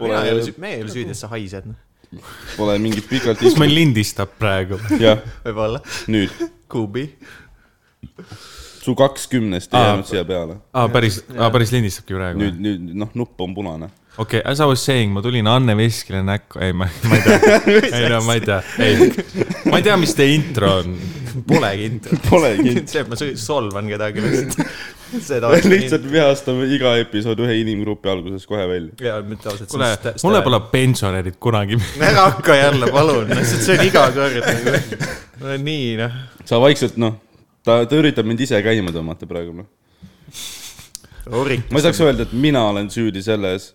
mina ei ole Pole , süü- , me ei ole süüdi , et sa haised , noh . pole mingit pikalt kas meil istmist , lindistab praegu ? jah , võib-olla . nüüd . Kuubi . su kakskümnest ei Aa. jäänud siia peale . aa , Ah, päris , aa , päris lindistabki praegu ? nüüd , nüüd , noh , nupp on punane . okei okay, , as I was saying , ma tulin Anne Veskile näkku , ei ma , ma ei tea , ei no ma ei tea , ei . ma ei tea , mis teie intro on . Polegi intro . Polegi . see , et ma sõ- solvan kedagi lihtsalt . seda . lihtsalt vihastame iga episood ühe inimgrupi alguses kohe välja . ja mitte ausalt . kuule , mulle . pole pensionärid kunagi . ära hakka jälle , palun , lihtsalt see on iga kord nagu . no nii , noh . sa vaikselt , noh , ta , ta üritab mind ise käima tõmmata praegu , noh . Orik , ma ei saaks öelda , et mina olen süüdi selles ,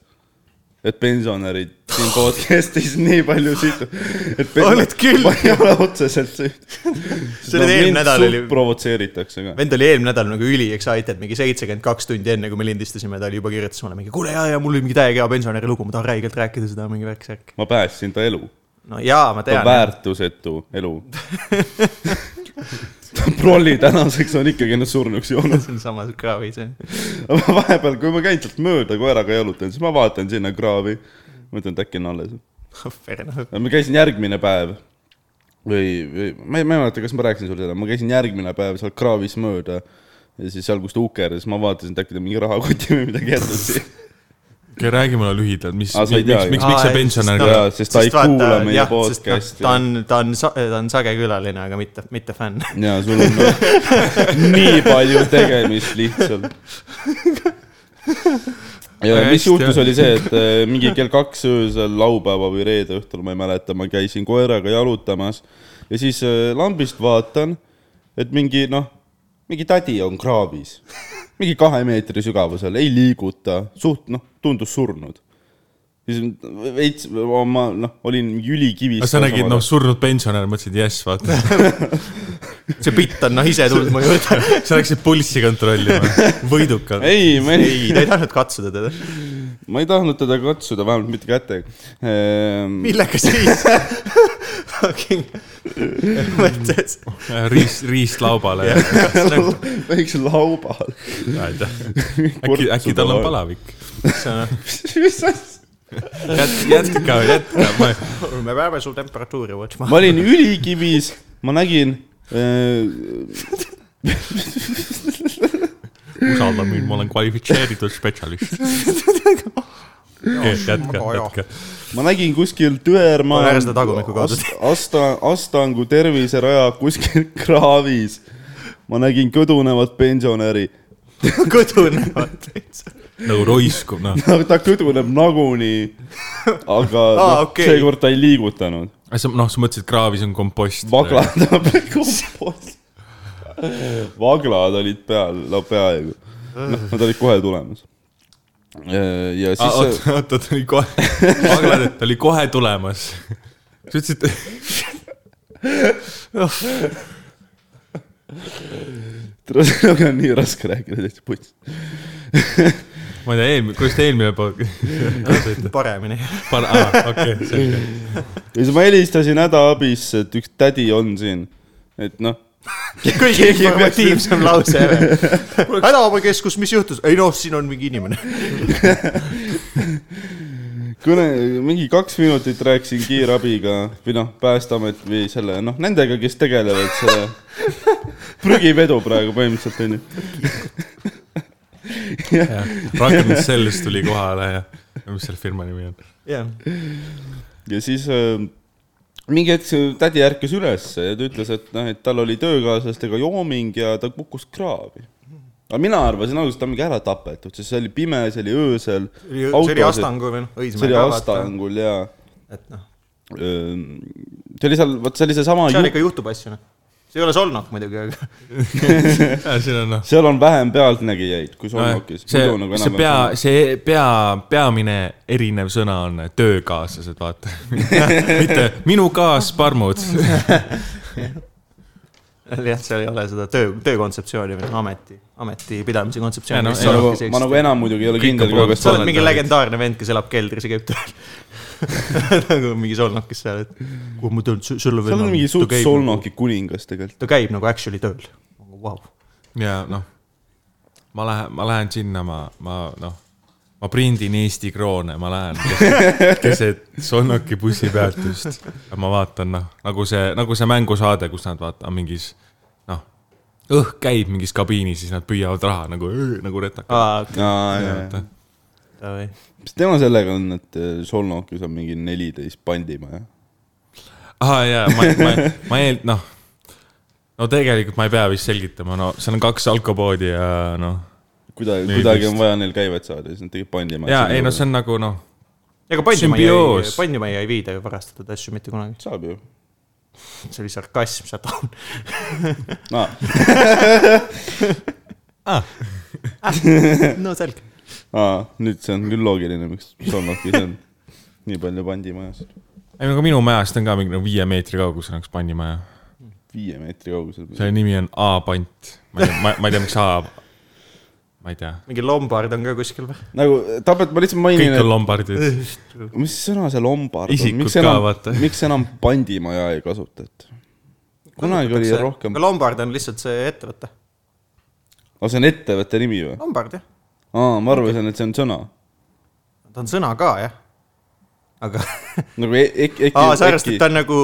et pensionärid siin podcast'is nii palju siit , et Oled küll. ma ei ole otseselt süüdi . See oli eelmine nädal oli- provotseeritakse ka . vend oli eelmine nädal nagu üli excited , mingi seitsekümmend kaks tundi enne , kui me lindistasime , ta oli juba kirjutas mulle mingi , kuule ja , ja mul oli mingi täiega hea pensionäri lugu , ma tahan räigelt rääkida seda , mingi värk-särk . ma päästsin ta elu , no jaa , ma ta tean . väärtusetu elu . prolli tänaseks on ikkagi ennast surnuks joonud . see on samas kraavis , jah . aga ma vahepeal , kui ma käin sealt mööda koeraga jalutan , siis ma vaatan sinna kraavi . mõtlen , et äkki on alles . Fair enough . ma käisin järgmine päev või , või ma ei ma ei mäleta , kas ma rääkisin sulle seda , ma käisin järgmine päev seal kraavis mööda . ja siis seal , kus ta ukerdas , ma vaatasin , et äkki ta mingi rahakoti või midagi jätnud siia . okei , räägi mulle lühidalt , mis , Aa, Ah, miks , sa ei miks , teagi. miks , miks see pensionär no- jaa, sest ta ei kuula meie podcasti. ta on , ta on , ta on sage külaline , aga mitte , mitte fänn . ja sul on nii palju tegemist lihtsalt . ja Aga mis hästi, juhtus , jah. oli see , et äh, mingi kell kaks öösel laupäeva või reede õhtul , ma ei mäleta , ma käisin koeraga jalutamas ja siis äh, lambist vaatan , et mingi noh , mingi tädi on kraavis , mingi kahe meetri sügavusel , ei liiguta , suht noh , tundus surnud . siis veits , ma noh , olin ülikivis . sa nägid , noh , surnud pensionär , mõtlesid jess , vaata . see bitt on noh ise tulnud mu juurde . sa läksid pulssi kontrollima , võidukalt . ei , ma ei ei , ta ei tahtnud katsuda teda . ma ei tahtnud teda katsuda , vähemalt mitte Ehm, kätega . millega siis ? Fucking , mõtled , riist , riistlaubale . väikse laubal . äkki , äkki tal on palavik ? mis asja ? jätka , jätka , ma ei , me peame su temperatuuri võtma . ma olin ülikivis , ma nägin äh, usalda mind , ma olen kvalifitseeritud spetsialist . jätka , jätka . ma nägin kuskil Tõermaa Ma ei näe seda tagumikku kaotada. Ast- Asta- , Astangu terviseraja kuskil kraavis . ma nägin kõdunevat pensionäri . kõdunevad täitsa . nagu roiskub , noh . ta kõduneb nagunii , aga Aa, noh, okei. seekord ta ei liigutanud . aga sa , noh , sa mõtlesid , et kraavis on kompost . vagladab kompost . vaglad olid peal , no peaaegu . noh , nad olid kohe tulemas . ja siis Ah, oot see- , oot , ta oli kohe , vaglad , ta oli kohe tulemas . sa ütlesid , tere, sellega on nii raske rääkida , täitsa puts . ma ei tea , eelmine , kuidas te eelmine poeg , paremini . pan- , aa , okei , selge . ja siis ma helistasin hädaabisse , et üks tädi on siin . et noh , kõige informatiivsem lause ever . hädaabikeskus , mis juhtus ? ei noh , siin on mingi inimene . kõne , mingi kaks minutit rääkisin kiirabiga või noh , Päästeamet või selle , noh , nendega , kes tegelevad selle prügivedu praegu põhimõtteliselt onju . rakendus sellest tuli kohale ja , mis selle firma nimi on ? jah , ja siis äh, mingi hetk see tädi ärkas ülesse ja ta ütles , et noh , et tal oli töökaaslastega jooming ja ta kukkus kraavi . aga mina arvasin alguses , et ta on mingi ära tapetud , sest see oli pime , see oli öösel . see oli . Astangu või noh , see Õismäe oli kaevataja . Astangul ja et noh , see oli seal , vot see oli seesama seal ju... , ikka juhtub asju noh . see ei ole solnok muidugi , aga siin on noh , seal on vähem pealtnägijaid kui Solnokis . nagu see , see pea , see pea , peamine erinev sõna on töökaaslased , vaata . mitte minu kaasparmud . jah , seal ei ole seda töö , töökontseptsiooni või noh, ameti , ametipidamise Ei, kontseptsiooni no, mis ei, Solnokis ei Nagu, ma eksisteeri. nagu enam muidugi ei ole Kõik on kindel ka , kas sa oled mingi olen- legendaarne vend , kes elab keldris ja käib tööl . nagu mingi solnokis seal , et kuhu ma tööl , sulle seal on mingi suht noh, Solnoki nagu- kuningas tegelikult . ta käib nagu actually tööl . Vau , ja noh , ma lähen , ma lähen sinna , ma , ma noh , ma prindin Eesti kroone , ma lähen keset Sonnoki bussipeatust . ma vaatan , noh , nagu see , nagu see mängusaade , kus nad vaata mingis , noh , õhk käib mingis kabiinis , siis nad püüavad raha nagu , nagu retakad . aa , aa , davai . mis tema sellega on , et eh, Solnokis on mingi neliteist pandimaja ? ahah , jaa , ma , ma , ma eel- , noh . no tegelikult ma ei pea vist selgitama , no seal on kaks alkopoodi ja noh . kuidagi , Neliteist. kuidagi on vaja neil käivet saada , siis nad tegid pandimaja . jaa , ei no see on nagu noh , ega Pandimajja ei Sümbioos. , Pandimajja ei viida ju varastatud asju mitte kunagi . saab ju . see oli sarkasm , sa tahad . aa , no selge . aa , ah, nüüd see on küll loogiline , miks Solnokis on nii palju pandimajasid . ei no aga minu majast on ka mingi no, viie meetri kaugusel üks pandimaja . viie meetri kaugusel . selle nimi on A-pant . ma ei tea , ma, ma ei tea , miks A , ma ei tea , mingi lombard on ka kuskil või ? nagu tapet , ma lihtsalt mainin , kõik on et lombardid . mis sõna see lombard on , Isikud miks ka, enam vaata. , miks enam pandimaja ei kasutata ? kunagi oli rohkem , lombard on lihtsalt see ettevõte . aga see on ettevõtte nimi või ? lombard jah , aa , ma arvasin , et see on sõna . ta on sõna ka jah . aga , nagu e- ek- , ek- , aa sa arvestad , ta on nagu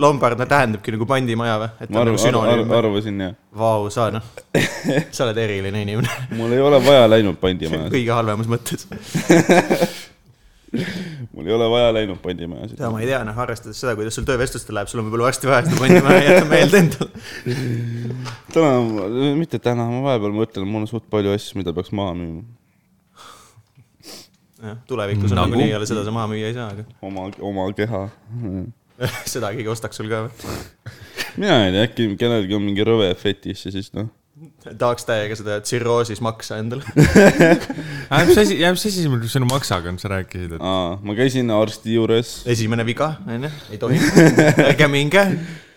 lombard , ta tähendabki nagu pandimaja või ? et ta ma on nagu arvan , sünonüüm arv, või ? arvasin jah . Vau , sa noh , sa oled eriline inimene , mul ei ole vaja läinud pandimajas , kõige halvemas mõttes . mul ei ole vaja läinud pandimajasid . seda ma ei tea , noh , arvestades seda , kuidas sul töövestlustel läheb , sul on võib-olla varsti vaja seda pandimaja jätta meelde endale . täna , mitte täna , ma vahepeal mõtlen , mul on suht palju asju , mida peaks maha müüma . jah , tulevikus on Nagu? nagunii ei ole seda , sa maha müüa ei saa , aga oma , oma keha . seda keegi ostaks sul ka või ? mina ei tea , äkki kellelgi on mingi rõve fetiš ja siis noh , tahaks täiega seda tsirroosis maksa endale . mis asi , mis asi sul sinu maksaga on , sa rääkisid , et aa , ma käisin arsti juures . esimene viga , onju , ei tohi , ärge minge .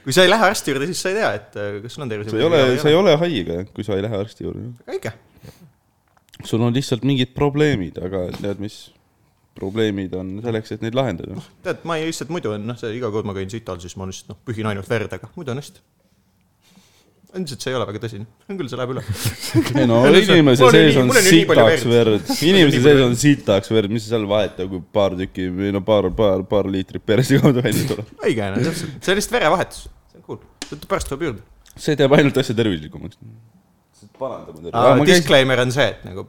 kui sa ei lähe arsti juurde , siis sa ei tea , et äh, kas sul on tervise . sa ei ole , sa ei . ole haige , kui sa ei lähe arsti juurde . õige , sul on lihtsalt mingid probleemid , aga tead , mis probleemid on selleks , et neid lahendada . tead , ma ei- lihtsalt muidu on noh , see iga kord ma käin sital , siis ma lihtsalt noh , pühin ainult verd , aga muidu on hästi . üldiselt see ei ole väga tõsine , küll see läheb üle . ei no Mul on inimese nii- sees on mul on nii palju sitaks verd. verd , inimese sees on sitaks verd , mis sa seal vahetad , kui paar tükki või no paar , paar , paar liitrit perse kaudu välja tuleb . õige on , täpselt , see on lihtsalt verevahetus , see on cool , pärast tuleb juurde . see teeb ainult asja tervislikumaks . parandame aga tervist . disclaimer on see , et nagu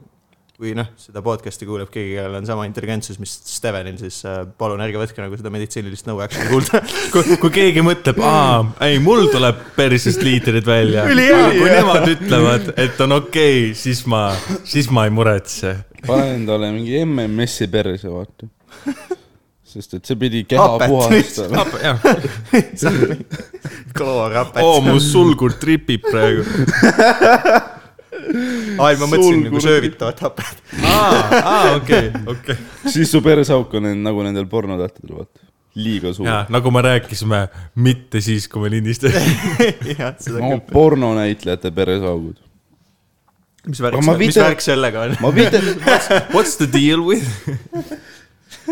kui noh , seda podcast'i kuuleb keegi , kellel on sama intelligentsus , mis Stevenil , siis äh, palun ärge võtke nagu seda meditsiinilist nõu äkki kuulda . kui, kui keegi mõtleb , aa , ei , mul tuleb persest liitrid välja . Ülihea! kui nemad ütlevad , et on okei okay, , siis ma , siis ma ei muretse . pane endale mingi MMS-i perse , vaata . sest et see pidi keha Hapet. puhastama . kloorhapet Oh, oo , Oh, mu sulgur tripib praegu . ai , ma mõtlesin nagu Sulgur- söövitavat hapet . aa , okei , okei . siis su perseauk on en- nagu nendel pornotähtedel , vaata . liiga suur . ja nagu me rääkisime , mitte siis , kui me lindistasime . jah , seda no küll . pornonäitlejate peresaugud . mis Aga värk ma , mis video- värk sellega on ? ma viitan , What's the deal with ?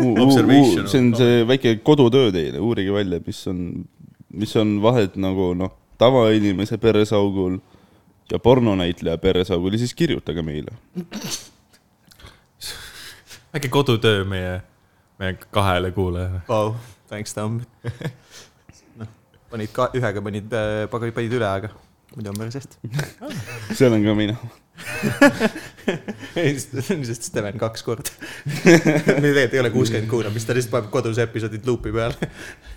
Observation see on on see väike kodutöö teile , uurige välja , mis on , mis on vahet nagu noh , tavainimese peresaugul ja pornonäitleja peresaugul ja siis kirjutage meile . väike kodutöö meie , meie kahele kuulajale . Vau , Oh, thanks Tom . noh , panid ka , ühega panid , pagari panid üle , aga muidu on päris hästi . seal on ka mina . lihtsalt Steven kaks korda . meil tegelikult ei ole kuuskümmend kuulajat , mis ta lihtsalt paneb kodus episoodid luupi peale .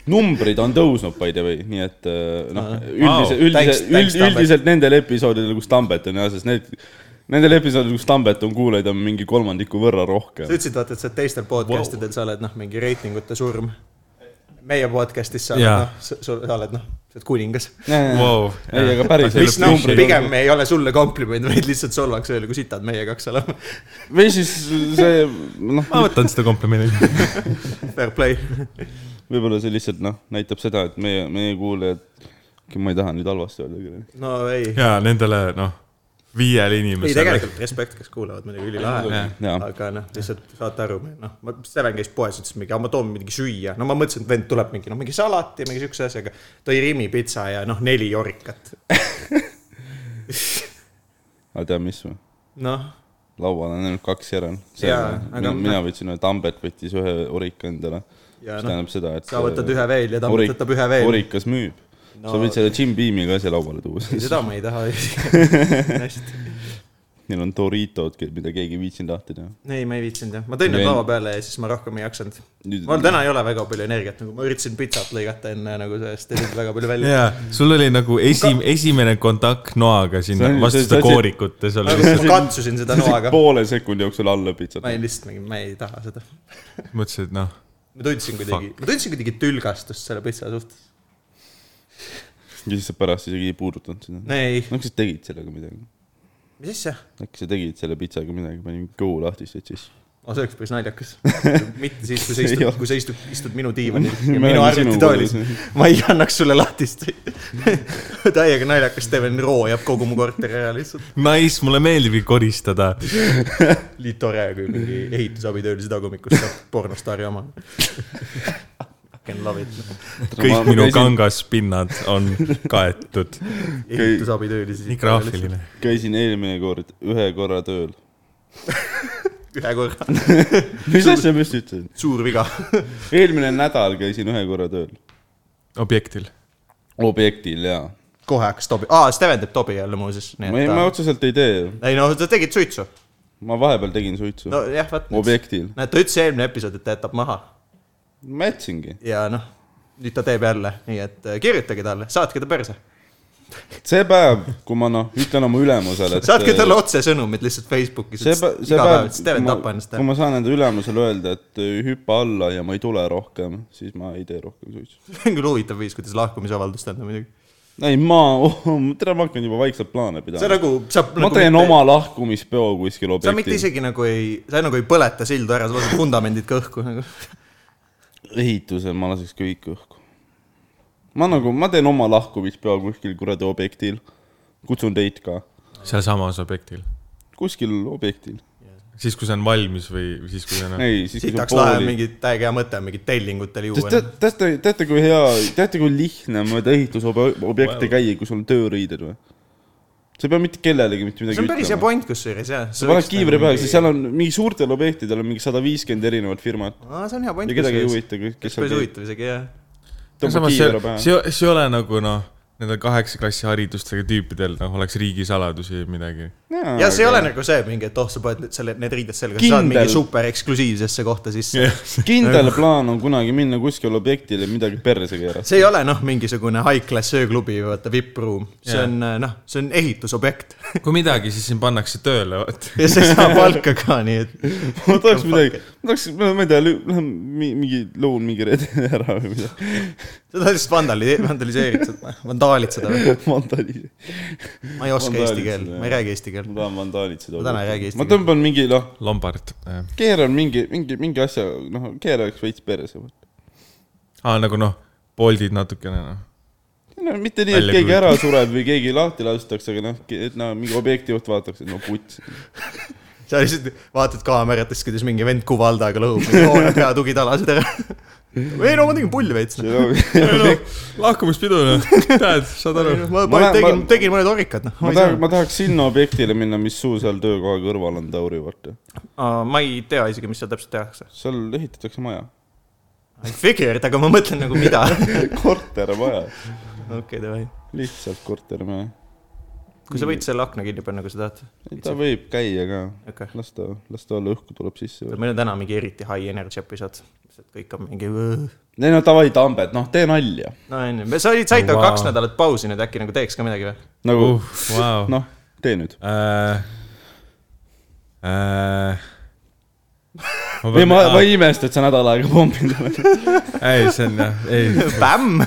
numbrid on tõusnud by the way , nii et äh, noh , Wow. üldiselt , üldiselt Thanks- , thanks, Tambet. üldiselt nendel episoodidel , kus Tambet on jah , sest need , nendel episoodidel , kus Tambet on kuulajaid , on mingi kolmandiku võrra sa rohkem . ütlesid , vaata , et sa oled teistel podcast idel , sa oled noh , mingi reitingute surm . meie podcast'is sa oled Jaa. noh , sa oled noh , sa oled kuningas . Wow. ei , aga päris . mis noh , pigem ei ole sulle kompliment , vaid lihtsalt solvaks öelda , kui sitad meie kaks oleme . või siis see , noh , ma võtan seda komplimendi . Fair play . võib-olla see lihtsalt noh , näitab seda , et meie , meie kuulajad , ma ei taha nüüd halvasti öelda küll . no ei ja nendele , noh , viiele inimesele . ei , tegelikult respekt , kes kuulavad , muidugi ülilahe Jah. , Jaa. aga noh , lihtsalt saate aru , noh , ma , Steven käis poes , ütles mingi , ma toon midagi süüa , no ma mõtlesin , et vend tuleb mingi , noh , mingi salat ja mingi siukse asjaga . tõi Rimi pitsa ja noh , neli orikat , aga tead mis või ? noh , laual on ainult kaks järel . Jaa, aga- noh. mina, mina võtsin ühe , Tambet võttis ühe orika endale . Jaa, mis noh, tähendab seda , et sa võtad ühe veel ja Tambet orik- võtab ühe veel. orikas müüb no, . No- sa võid selle Jim Beami ka siia lauale tuua , siis seda ma ei taha . hästi . neil on Doritod , mida keegi ei viitsinud lahti teha . ei , ma ei viitsinud jah , ma tõin need Ei. laua peale ja siis ma rohkem ei jaksanud . Nüüd- mul täna ei ole väga palju energiat , nagu ma üritasin pitsat lõigata enne nagu sellest ei tulnud väga palju välja . jaa , sul oli nagu esi , esimene kontakt noaga See sinna on- vastu see- seda see- koorikut ja seal Aga ma katsusin seda noaga , poole sekundi jooksul alla pitsad ma . ei lihtsalt mingi , ma ei taha seda . mõtlesid , et noh , ma tundsin kuidagi , ma tundsin kuidagi tülgastust selle pitsa suhtes . ja siis sa pärast isegi ei puudutanud seda . ei , no kas sa tegid sellega midagi ? mis asja ? äkki sa tegid selle pitsaga midagi , panin kõhu lahti , siis sõid sisse . no Oh, see oleks päris naljakas . mitte siis , kui sa Ei istud ole. , kui sa istud , istud minu diivanil ja Me minu oleme sinu arvutitoolis kodus. . ma ei annaks sulle lahtist . täiega naljakas , Steven Roo jääb kogu mu korteri ära lihtsalt . nice , mulle meeldibki koristada . nii tore , kui mingi ehitusabitöölise tagumikust saab pornostaari oma . Can love it . kõik minu . kangaspinnad on kaetud . ehitusabitöölise . nii graafiline . käisin eelmine kord ühe korra tööl . ühe korra , mis asja ma just ütlesin ? suur viga . eelmine nädal käisin ühe korra tööl . objektil . objektil jaa . kohe hakkas Tobi , aa , Steven teeb Tobi jälle muuseas . ma ei , ma otseselt ei tee ju . ei no sa tegid suitsu . ma vahepeal tegin suitsu no, . nojah , vaat . objektil . näed , ta ütles eelmine episood , et ta jätab maha ma jätsingi . ja noh , nüüd ta teeb jälle , nii et äh, kirjutage talle , saatke ta perse . see päev , kui ma noh , ütlen oma ülemusele , et . saatke talle otsesõnumid lihtsalt Facebookis . see päev , see päev , Steven tapa ennast kui ära . ma saan enda ülemusele öelda , et äh, hüppa alla ja ma ei tule rohkem , siis ma ei tee rohkem suitsu . see on küll huvitav viis , kuidas lahkumisavaldust anda muidugi . ei , ma oh, , tere , ma hakkan juba vaikselt plaane sa pidama . nagu , sa . ma teen . oma lahkumispeo kuskil sa mitte objektil . isegi nagu ei , sa nagu ei põleta sildu ära , sa lased vundamendid ka õhku nagu . ehitusel ma laseks kõik õhku . ma nagu , ma teen oma lahkumispeo kuskil kuradi objektil . kutsun teid ka . sealsamas objektil . kuskil objektil . siis , kui see on valmis või või siis , kui see on . ei , siis siit kui oleks lahe pooli . mingi täiega hea mõte , mingit tellingutele sest juua te . teate , teate , kui hea , teate , kui lihtne on mööda ehitusobjekte käia , kui sul on tööriided või ? sa ei pea mitte kellelegi mitte midagi see on päris hea nagu ütlema . point kusjuures jah . sa paned kiivri peale , siis . seal on mingi suurtel objektidel on mingi sada viiskümmend erinevat firmat aa , see on hea point . ja kedagi ei . huvita , kes kes päris seal käib . huvitav isegi jah . tõmbab samas see kiivri , pähe . see , see ei ole nagu noh , nendel kaheksa klassi haridustega tüüpidel , noh , oleks riigisaladusi või midagi . ja see ei ole nagu see mingi , et oh , sa paned nüüd selle , need riided selga , sa saad mingi Kindel. super eksklusiivsesse kohta sisse . kindel plaan on kunagi minna kuskile objektile midagi perse keerata . see ei ole noh , mingisugune high-class ööklubi , vaata vipp-ruum , see Jaa. on eh, noh , see on ehitusobjekt kui midagi , siis sind pannakse tööle , vot . ja sa ei saa palka ka , nii et ma tahaks midagi , ma tahaks , ma ei tea , lähen mi- mingi , lõun mingi reede ära või midagi . seda lihtsalt vandali- , vandaliseerid seda , vandaalid seda . vandalism . ma ei oska eesti Vandaalid keelt , seda, ma ei räägi eesti ma keelt . tahan vandaalitseda . Ma täna ei räägi eesti ma tõmban mingi , noh , Lombard . aa , keeran mingi , mingi , mingi asja , noh , keeraks veits perse . nagu noh , Boltid natukene noh . no mitte nii , et Välja keegi küll. ära sureb või keegi lahti lastakse , aga noh , et noh , mingi objektijuht vaataks , et no puts . sa lihtsalt vaatad kaameratest , kuidas mingi vend kuvaldaga lõhub mingi hoone pea tugitalasid ära . ei no ma tegin pulli veits . noh. lahkumispidu , noh . tead , saad aru . ma Ma ma lähen- tegin ma- , tegin mõned orikad , noh . ma tahaks , ma tahaks sinna objektile minna , mis sul seal töökoha kõrval on , Tauri , vaata . ma ei tea isegi , mis seal täpselt tehakse . seal ehitatakse maja . I figured , aga ma mõtlen nagu mida . kortermaja , okei , davai . lihtsalt kortermaja . kui sa võid selle akna kinni panna , kui sa tahad . ta võib käia ka , okei . las ta , las ta olla , õhku tuleb sisse . meil on täna mingi eriti high energy episood , lihtsalt kõik on mingi . ei no davai , Tambet , noh , tee nalja . no onju , sa olid , said ka Vau. kaks nädalat pausi nüüd , äkki nagu teeks ka midagi või ? nagu uh. , vau . noh , tee nüüd . Äh, äh, ma ei , pean- ma , ma aa, ei imesta , et sa nädal aega pomminud oled . ei , see on jah , ei , Bämm ,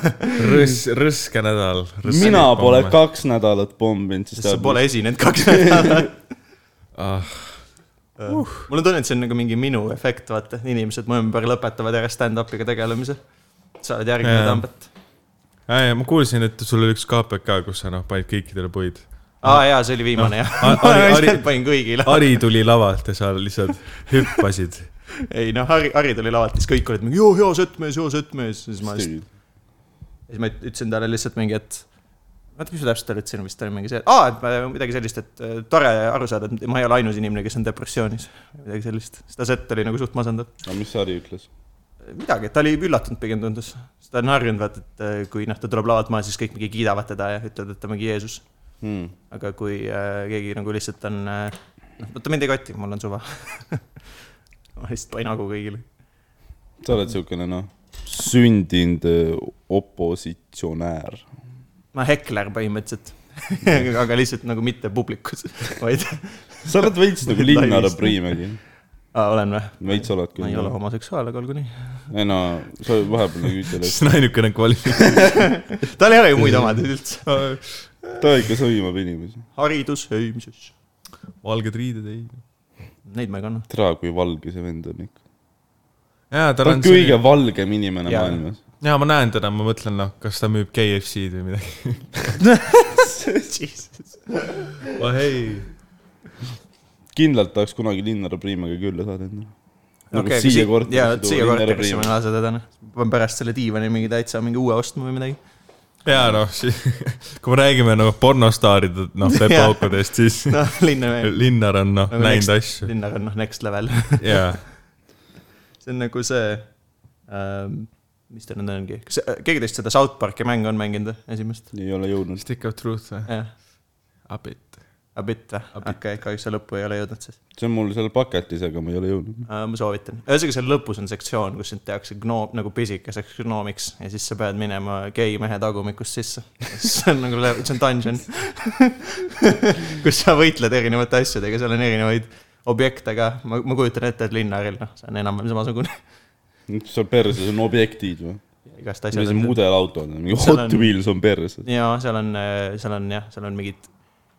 rõs- , rõske nädal . mina pole . kaks nädalat pomminud , siis sest sa pole esinenud kaks nädalat . Ah, Uh. mul on tunne , et see on nagu mingi minu efekt , vaata , inimesed mu ümber lõpetavad järjest stand-up'iga tegelemise . sa oled järgmine Jaa. tambet . ei , ma kuulsin , et sul oli üks KPK , kus sa noh , panid kõikidele puid . aa jaa , see oli viimane jah . Ari- ma Ari- lihtsalt panin kõigile . Ari tuli lavalt ja sa lihtsalt hüppasid . ei noh , Harri , Harri tuli lavalt , siis kõik olid mingi joo , hea settmees , hea settmees , siis ma lihtsalt Steve. ja siis ma ütlesin talle lihtsalt mingi , et oota , mis ma täpselt ütlesin , vist oli mingi see , aa , et ma- midagi sellist , et äh, tore aru saada , et ma ei ole ainus inimene , kes on depressioonis . midagi sellist , seda sett oli nagu suht masendav . aga mis Sari ütles ? midagi , ta oli üllatunud pigem tundus . seda on harjunud , vaata , et äh, kui noh , ta tuleb lavalt maha , siis kõik mingi kiidavad teda ja ütlevad , et ta mingi Jeesus . hmm. . aga kui äh, keegi nagu lihtsalt on , noh , vaata mind ei koti , mul on suva . ma lihtsalt panin hagu kõigile . sa oled siukene noh , sündinud öö, opositsionäär . ma hekler põhimõtteliselt . aga lihtsalt nagu mitte publikus , vaid , sa oled veits nagu Linnar Priimägi . olen või ? veits oled ma küll ei ole . homoseksuaal , aga olgu nii . ei no , sa vahepeal nagu ütled , siis on ainukene kvalifikatsioon . tal ei ole ju muid omadusi üldse . et ta ikka sõimab inimesi . haridus hõimsus . valged riided ei . Neid ma ei kanna . tea , kui valge see vend on ikka . jaa , ta tal on on kõige . valgem inimene Jaa. maailmas . jaa , ma näen teda , ma mõtlen , noh , kas ta müüb KFC-d või midagi . oh ei . kindlalt tahaks kunagi Linnar Priimäga külla saada endale . nagu Okei, okay, aga siia si- jaa, korterisse siia tuua Linnar korterisse ma ei Priimägi . lase teda , noh . pean pärast selle diivani mingi täitsa mingi uue ostma või midagi . jaa , noh , kui me räägime nagu pornostaaride , noh , pepaukudest , siis noh , linna veel . Linnar on , noh , näinud asju . linnaga on noh , Nagu next level . jaa , see on nagu see ähm, , mis ta nüüd ongi , kas äh, keegi teist seda South Park'i mängu on mänginud või? noh. esimest ? ei ole jõudnud . Stick of Truth või ? jah , A bit . A Bit või ? okei , kahjuks sa lõppu ei ole jõudnud siis . see on mul seal paketis , aga ma ei ole jõudnud . Äh, ma soovitan , ühesõnaga seal lõpus on sektsioon , kus sind tehakse gnoom , nagu pisikeseks gnoomiks ja siis sa pead minema gei mehe tagumikust sisse . see on nagu , see on dungeon . kus sa võitled erinevate asjadega , seal on erinevaid objekte ka , ma , ma kujutan ette , et Linnaril , noh , see on enam-vähem samasugune . seal perses on objektid või ? igast mis asi asjad . mudelautod on , mingi Seal Hot on- Wheels on perses . ja seal on , seal on jah , seal on mingid ,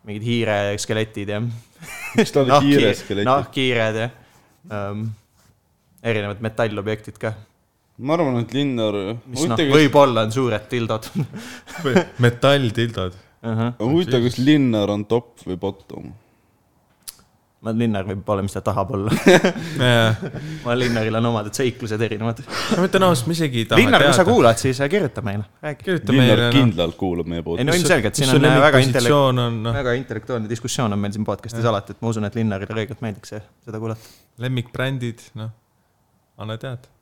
mingid hiire skeletid ja . Noh, miks tal on kiire skelett ? nahkhiired ja um, erinevad metallobjektid ka , ma arvan , et Linnar , mis noh , huvitav , võib-olla on suured tildod metalltildod . uh . -huh. kas , huvitav , kas Linnar on top või bottom ? ma , Linnar võib olla , mis ta tahab olla . jaa , ma , Linnaril on omad seiklused erinevad . ma ütlen ausalt , ma isegi ei taha Linnar , kui sa teada . kuulad , siis äh, kirjuta meile , räägi . kirjuta Linnar meile , noh . kindlalt kuulab meie ei no poolt . ilmselgelt , siin on väga intellekt- , intellekt- . on , noh , väga intellektuaalne diskussioon on meil siin podcast'is alati , et ma usun , et Linnarile reeglilt meeldiks see , seda kuulata . lemmikbrändid , noh , anna teada .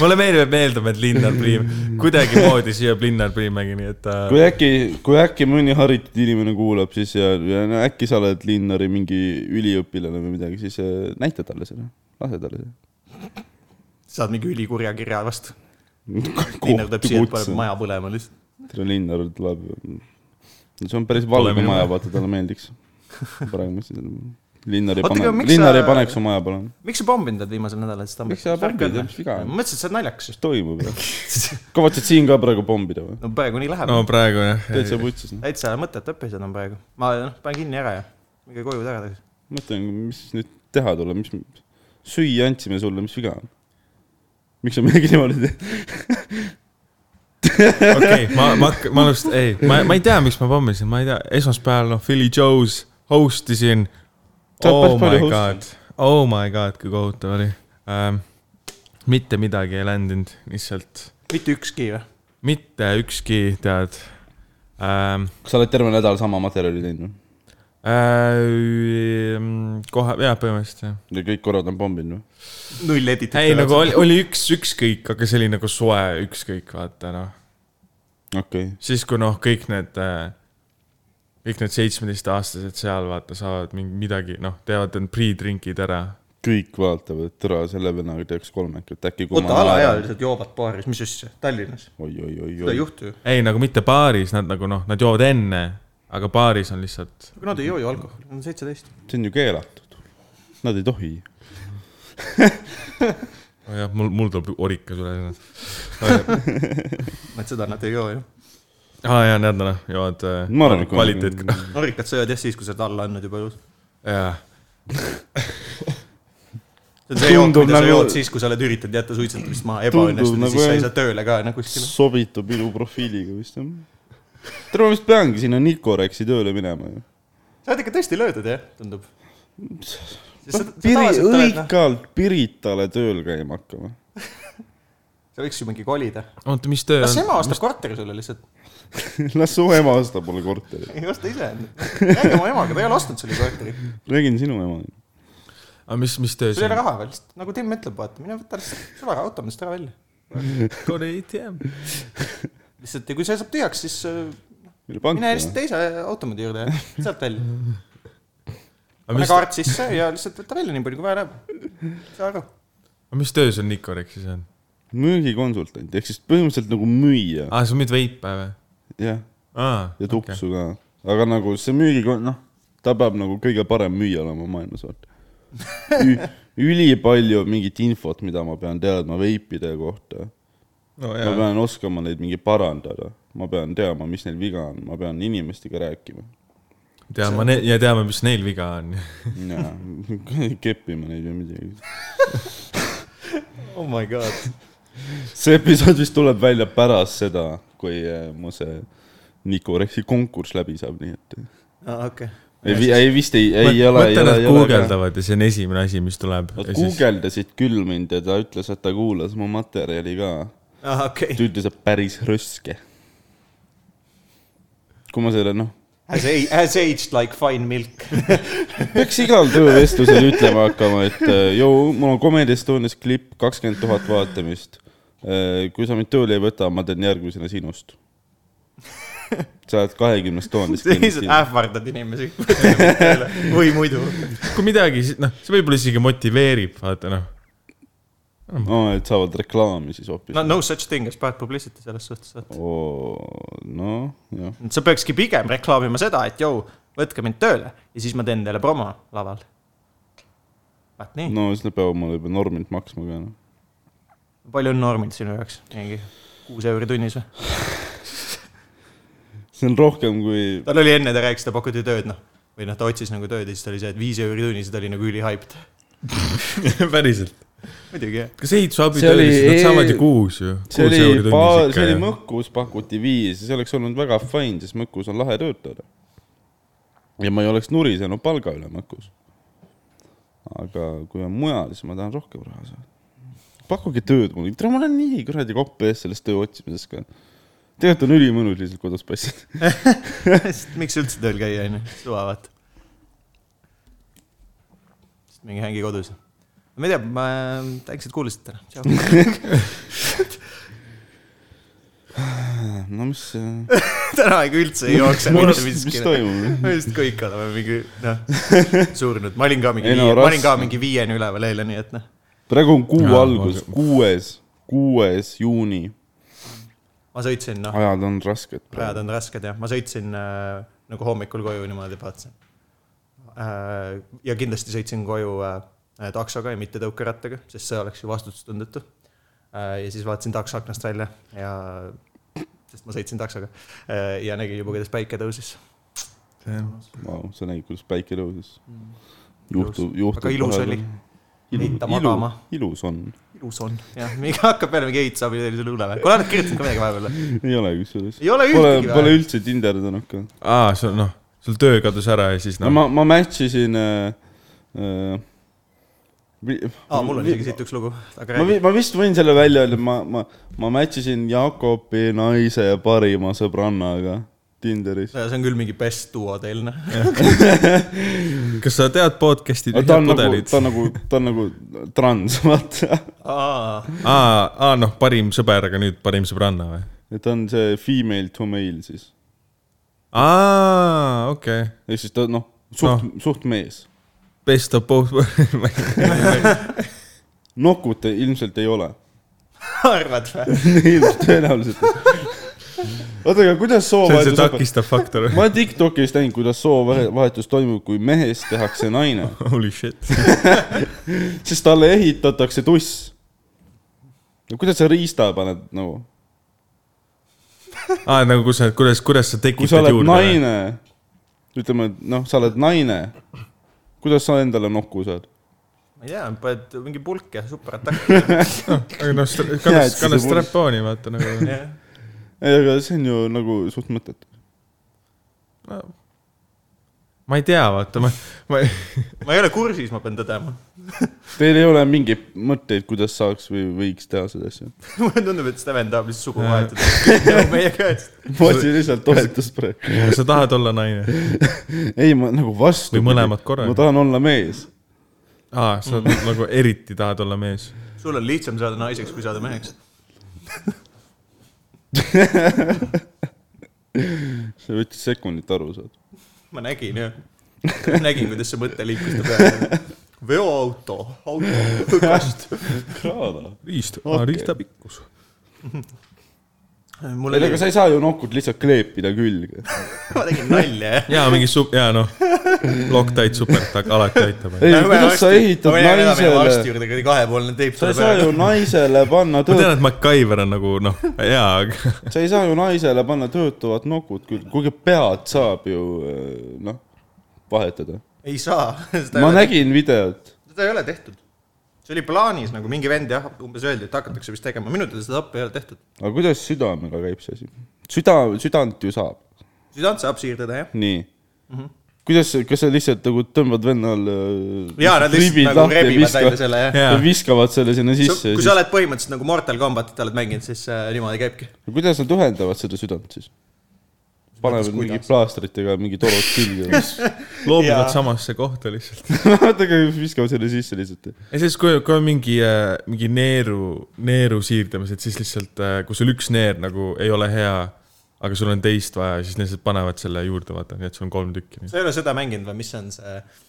mulle meeldib , meeldib , et Linnar Priim , kuidagimoodi sööb Linnar Priimägi , nii et äh, ta kui äkki , kui äkki mõni haritud inimene kuulab , siis ja, ja no äkki sa oled Linnari mingi üliõpilane või midagi , siis äh, näita talle seda , lase talle saad mingi ülikurja kirja vastu . seda . Linnar tuleb siia , paneb maja põlema lihtsalt . tere , Linnar tuleb . see on päris valge Pole minu maja , maja. vaata talle meeldiks . praegu ma ütlesin , Linnar ei Oota, pane aga , miks Linnar sa- ei paneks su maja palun . miks sa pomminud oled viimasel nädalal siis Tambet ? Miks sa pommid, mis viga on? ma mõtlesin , et sa oled naljakas mis . toimub jah ? kavatsed siin ka praegu pommida või ? no praegu nii läheb no no. . praegu jah , täitsa putsis , noh . täitsa mõttetu episood on praegu . ma noh , panen kinni ära ja minge koju tagasi . mõtlen , mis nüüd teha tuleb , mis , süüa andsime sulle , mis viga on ? miks sa midagi niimoodi teed ? okei , ma , ma , ma alust- , ei , ma , ma ei tea , miks ma pommisin , ma ei tea , esmaspäeval , noh , Philly Joe's host isin . Sa oled Oh päris my palju god , oh my god , kui kohutav oli ähm, . mitte midagi ei ländinud , lihtsalt mitte ükski või ? mitte ükski , tead ähm, . kas sa oled terve nädal sama materjali teinud või ? Äh, kohe , jaa , põhimõtteliselt jah . ja kõik korrad on noh. pomminud või ? null edit . ei , nagu oli , oli üks , ükskõik , aga see oli nagu soe ükskõik , vaata noh . okei okay. , siis , kui noh , kõik need , kõik need seitsmeteistaastased seal vaata saavad mingi midagi , noh , teevad need pre-drink'id ära . kõik vaatavad , et tere , selle vennaga teeks kolmekesi , et äkki . oota , alaealised joovad baaris , mis asja , Tallinnas ? seda ei oi-oi-oi-oi , juhtu ju . ei , nagu mitte baaris , nad nagu noh , nad joovad enne , aga baaris on lihtsalt , aga nad ei joo ju alkoholi , nad on seitseteist . see on ju keelatud . Nad ei tohi oh jah , mul , mul tuleb orikas üles oh, . et seda nad ei joo ju . aa jaa , nad noh , joovad äh, Ma arvan, et kui- kvaliteet , Mm. norikat sööd jah siis , kui sa oled alla andnud juba elus . jaa . see on see jook , Tundub mida sa nagu- jood siis , kui sa oled üritanud jätta suitsetamist maha , ebaõnnestunud ja nagu siis sa ei jah. saa tööle ka enam kuskile . sobitub minu profiiliga vist jah . tere , ma vist peangi sinna Nicorexi tööle minema ju . sa oled ikka tõesti löödud jah , tundub . noh. Piri- , õigalt Piritale tööl käima hakkama . ta võiks ju mingi kolida . oota , mis töö las on ? ema ostab korteri sulle lihtsalt , las su ema ostab mulle korteri . ei osta ise . räägi oma emaga , ta ei ole ostnud sulle korterit . räägin sinu ema . aga Ah, mis , mis töö sul ei see ole on ? raha veel , lihtsalt nagu Tim ütleb , vaata , mine võta lihtsalt sularaha automaatselt ära välja . kuradi ei tea . Ah, lihtsalt ja kui see saab tühjaks , siis äh, mille noh. pank mine lihtsalt ? teise automaadi juurde ja sealt välja . aga pane mis , kaart sisse ja lihtsalt võta välja nii palju , kui vaja läheb . saa aru . mis töö sul Nicorexis on ? müügikonsultant ehk siis põhimõtteliselt nagu Ah. müüja , aa , Ah, sa müüd veipa või ? Ah, jah , aa , ja tupsu ka . aga nagu see müügikon- , noh , ta peab nagu kõige parem müüja olema maailmas , vaata . ülipalju mingit infot , mida ma pean teadma veipide kohta no ma jaa , pean oskama neid mingi parandada , ma pean teadma , mis neil viga on , ma pean inimestega rääkima teame ne- ja teame , mis neil viga on . ja keppima neid või midagi . Oh my god . see episood vist tuleb välja pärast seda , kui äh, mu see Nicoreksi konkurss läbi saab , nii et aa , Ah, okei . ei , ei vist ei , ei ole , ei ole , mõtlen , et ei ole . guugeldavad ja see on esimene asi , mis tuleb . Nad guugeldasid küll mind ja ta ütles , et ta kuulas mu materjali ka . aa , Ah, okei . ta ütles , et päris rõske . kui ma selle noh , Has aged, has aged like fine milk . peaks igal töövestlusel ütlema hakkama , et äh, jõu , mul on Comedy Estonias klipp , kakskümmend tuhat vaatamist . kui sa mind tööle ei võta , ma teen järgmisena sinust . sa oled kahekümnest tuhandest lihtsalt kindlasti . ähvardad inimesi või muidu . kui midagi , noh , see võib-olla isegi motiveerib , vaata noh . aa , et saavad reklaami siis hoopis no . no such thing as bad publicity selles suhtes , et noh , jah . sa peakski pigem reklaamima seda , et jõu , võtke mind tööle ja siis ma teen teile promo laval . vaat nii no. , no siis nad peavad mulle juba normilt maksma ka noh . palju on normid sinu jaoks , mingi kuus euri tunnis või ? see on rohkem kui , tal oli enne , ta rääkis , ta pakuti tööd , noh , või noh , ta otsis nagu tööd ja siis ta oli see , et viis euri tunnis ja ta oli nagu ülihyped . päriselt . muidugi jah . kas ehitusabi See oli töölis , nad e- saavad ju kuus ju . see oli , see oli . Mõkkus pakuti viis ja see oleks olnud väga fine , sest Mõkkus on lahe töötada . ja ma ei oleks nurisenud palga üle Mõkkus . aga kui on mujal , siis ma tahan rohkem raha saada . pakkuge tööd mulle , tere , ma olen nii kuradi kopp ees selles töö otsimises ka . tegelikult on ülimõnus lihtsalt kodus passida . miks üldse tööl käia , onju , suva vaata . mingi hängi kodus . ma ei tea , ma , tänks , et kuulasite täna . Ah, no mis , täna ikka üldse ei jookse . mis, mis toimub ? me vist kõik oleme mingi , noh , surnud , ma olin ka mingi Ei no viie , ma olin raske. ka mingi viieni üleval eile , nii et noh . praegu on kuu Jaa, algus , kuues , kuues juuni . ma sõitsin , noh , ajad on rasked ajad praegu . on rasked jah , ma sõitsin äh, nagu hommikul koju niimoodi vaatasin äh, . ja kindlasti sõitsin koju äh, taksoga ja mitte tõukerattaga , sest see oleks ju vastutustundetu äh, . ja siis vaatasin takso aknast välja ja , sest ma sõitsin taksoga äh, ja nägin juba , kuidas päike tõusis . Vau , sa nägid , kuidas päike tõusis . juhtub , Aga juhtub . Mm. ilus oli. Heita magama. . ilus on . ilus on , jah , mingi hakkab peale mingi ehitusabi sellisele õllele , kuule , nad kirjutasid ka midagi vahepeal või ? ei ole kusjuures . ei ole Pole , ühtegi pole või ? üldse tinderdanud ka . aa , sul noh , sul töö kadus ära ja siis no noh , ma , ma match isin äh, . Äh, vi- aa , mul on isegi siit üks lugu , aga ma räägi . vi- , ma vist võin selle välja öelda , ma , ma , ma match isin Jakobi naise parima sõbrannaga Tinderis . see on küll mingi best duo teil , noh . kas sa tead podcast'i ta tühjad on nagu , pudelid ta ? on nagu , ta on nagu trans , vaata . aa , aa , aa noh , parim sõber , aga nüüd parim sõbranna või ? et ta on see female to male siis . aa , okei okay. . ehk siis ta noh , suht no. , suht mees . Best of both worlds . nokut ilmselt ei ole arvad või ? ilmselt tõenäoliselt . oota , aga kuidas see on see soovahetus hakkab ? takistav faktor . ma olen Tiktokis näinud , kuidas soovahetus toimub , kui mehest tehakse naine , Holy shit . siis talle ehitatakse tuss . no kuidas sa riista paned nagu , aa , nagu kus sa , kuidas , kuidas kui sa sa tekitad oled juurde või ? naine , ütleme , et noh , sa oled naine , kuidas sa endale nokku saad ? ma ei tea , paned mingi pulk ja superatakk . aga noh , Jaa, kanna et , siis kanna see purss. strap-on'i vaata nagu . ei ei , aga see on ju nagu suht mõttetu . ma ei tea , vaata ma , ma ei , ma ei ole kursis , ma pean tõdema . Teil ei ole mingeid mõtteid , kuidas saaks või võiks teha seda asja ? mulle tundub , et Steven tahab lihtsalt sugu vahetada . meie käest . ma otsin lihtsalt toetust praegu . sa tahad olla naine ? ei , ma nagu vastu . Või mõlemad korraga. ma tahan olla mees . aa , Mm. sa nagu eriti tahad olla mees . sul on lihtsam saada naiseks , kui saada meheks . see võttis sekundit aru , saad . ma nägin jah . nägin , kuidas see mõte liikus ta peale . veoauto , auto , kast . kraana . riist Okei. ah, okay. , riistapikkus . mul ei , oli aga , sa ei saa ju nokut lihtsalt kleepida külge . ma tegin nalja jah . jaa , mingi sup- , jaa noh , lokk-täit supertakk alati aitab . ei , kuidas sa ehitad naisele , naisele ? kahepoolne teip sa ei saa ju . naisele panna ma tean , tööd , et MacGyver on nagu noh , jaa , aga sa ei saa ju naisele panna töötavat nokut külge , kuigi pead saab ju äh, noh , vahetada . ei saa . ma nägin videot . seda ei ole tehtud . see oli plaanis nagu mingi vend jah , umbes öeldi , et hakatakse vist tegema , minu teada seda appi ei ole tehtud . aga kuidas südamega käib see asi ? süda , südant ju saab , südant saab siirdada jah . nii mm . -hmm. Mhm. kuidas , kas sa lihtsalt nagu tõmbad vennal eh, ja nad lihtsalt nagu rebivad välja selle jah . ja jaa , viskavad selle sinna sisse ja kui siis sa , oled põhimõtteliselt nagu Mortal Combatit oled mänginud , siis äh, niimoodi käibki . kuidas nad ühendavad seda südant siis ? panevad kuidas? mingi plaastritega mingi torud külge . jaa. loobuvad samasse kohta lihtsalt . vaadake , viskavad selle sisse lihtsalt . ja siis , kui , kui on mingi , mingi neeru , neeru siirdamised , siis lihtsalt , kui sul üks neer nagu ei ole hea , aga sul on teist vaja , siis lihtsalt panevad selle juurde , vaata , nii et sul on kolm tükki . sa ei ole seda mänginud või mis see on see äh,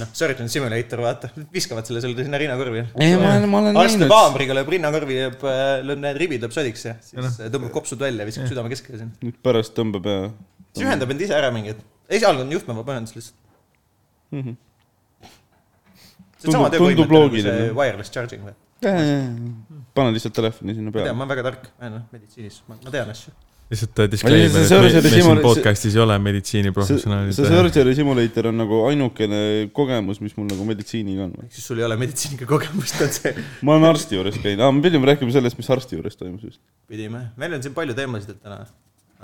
noh , Surgeon Simulator , vaata , viskavad selle sulle sinna rinnakorvi . ei , ma olen , ma olen arst teeb näinud . haamriga , lööb rinnakorvi , lööb , lööb need ribid lööb sodiks ja siis äh, tõmbab kopsud välja , viskab südame keskele sinna . nüüd pärast tõmbab ja . siis ühendab end ise ära mingi , et esialgu on juhtmevaba ühendus lihtsalt . see on sama Mhm. Tundub- tundub tööpõhimõte nagu see loogiline. wireless charging või ? pane lihtsalt telefoni ma sinna tean , peale . ma olen väga tark , ma olen noh, meditsiinis , ma tean asju . lihtsalt äh, Ei, see disclaimer , et me, Surgery me siin Simula- podcast'is ei ole see , meditsiiniprofessionaalid . äh. see Surgery Simulator on nagu ainukene kogemus , mis mul nagu meditsiiniga on . ehk siis sul ei ole meditsiiniga kogemust , on see . ma olen arsti juures käinud , aa , me pidime rääkima sellest , mis arsti juures toimus vist . pidime , meil on siin palju teemasid täna ,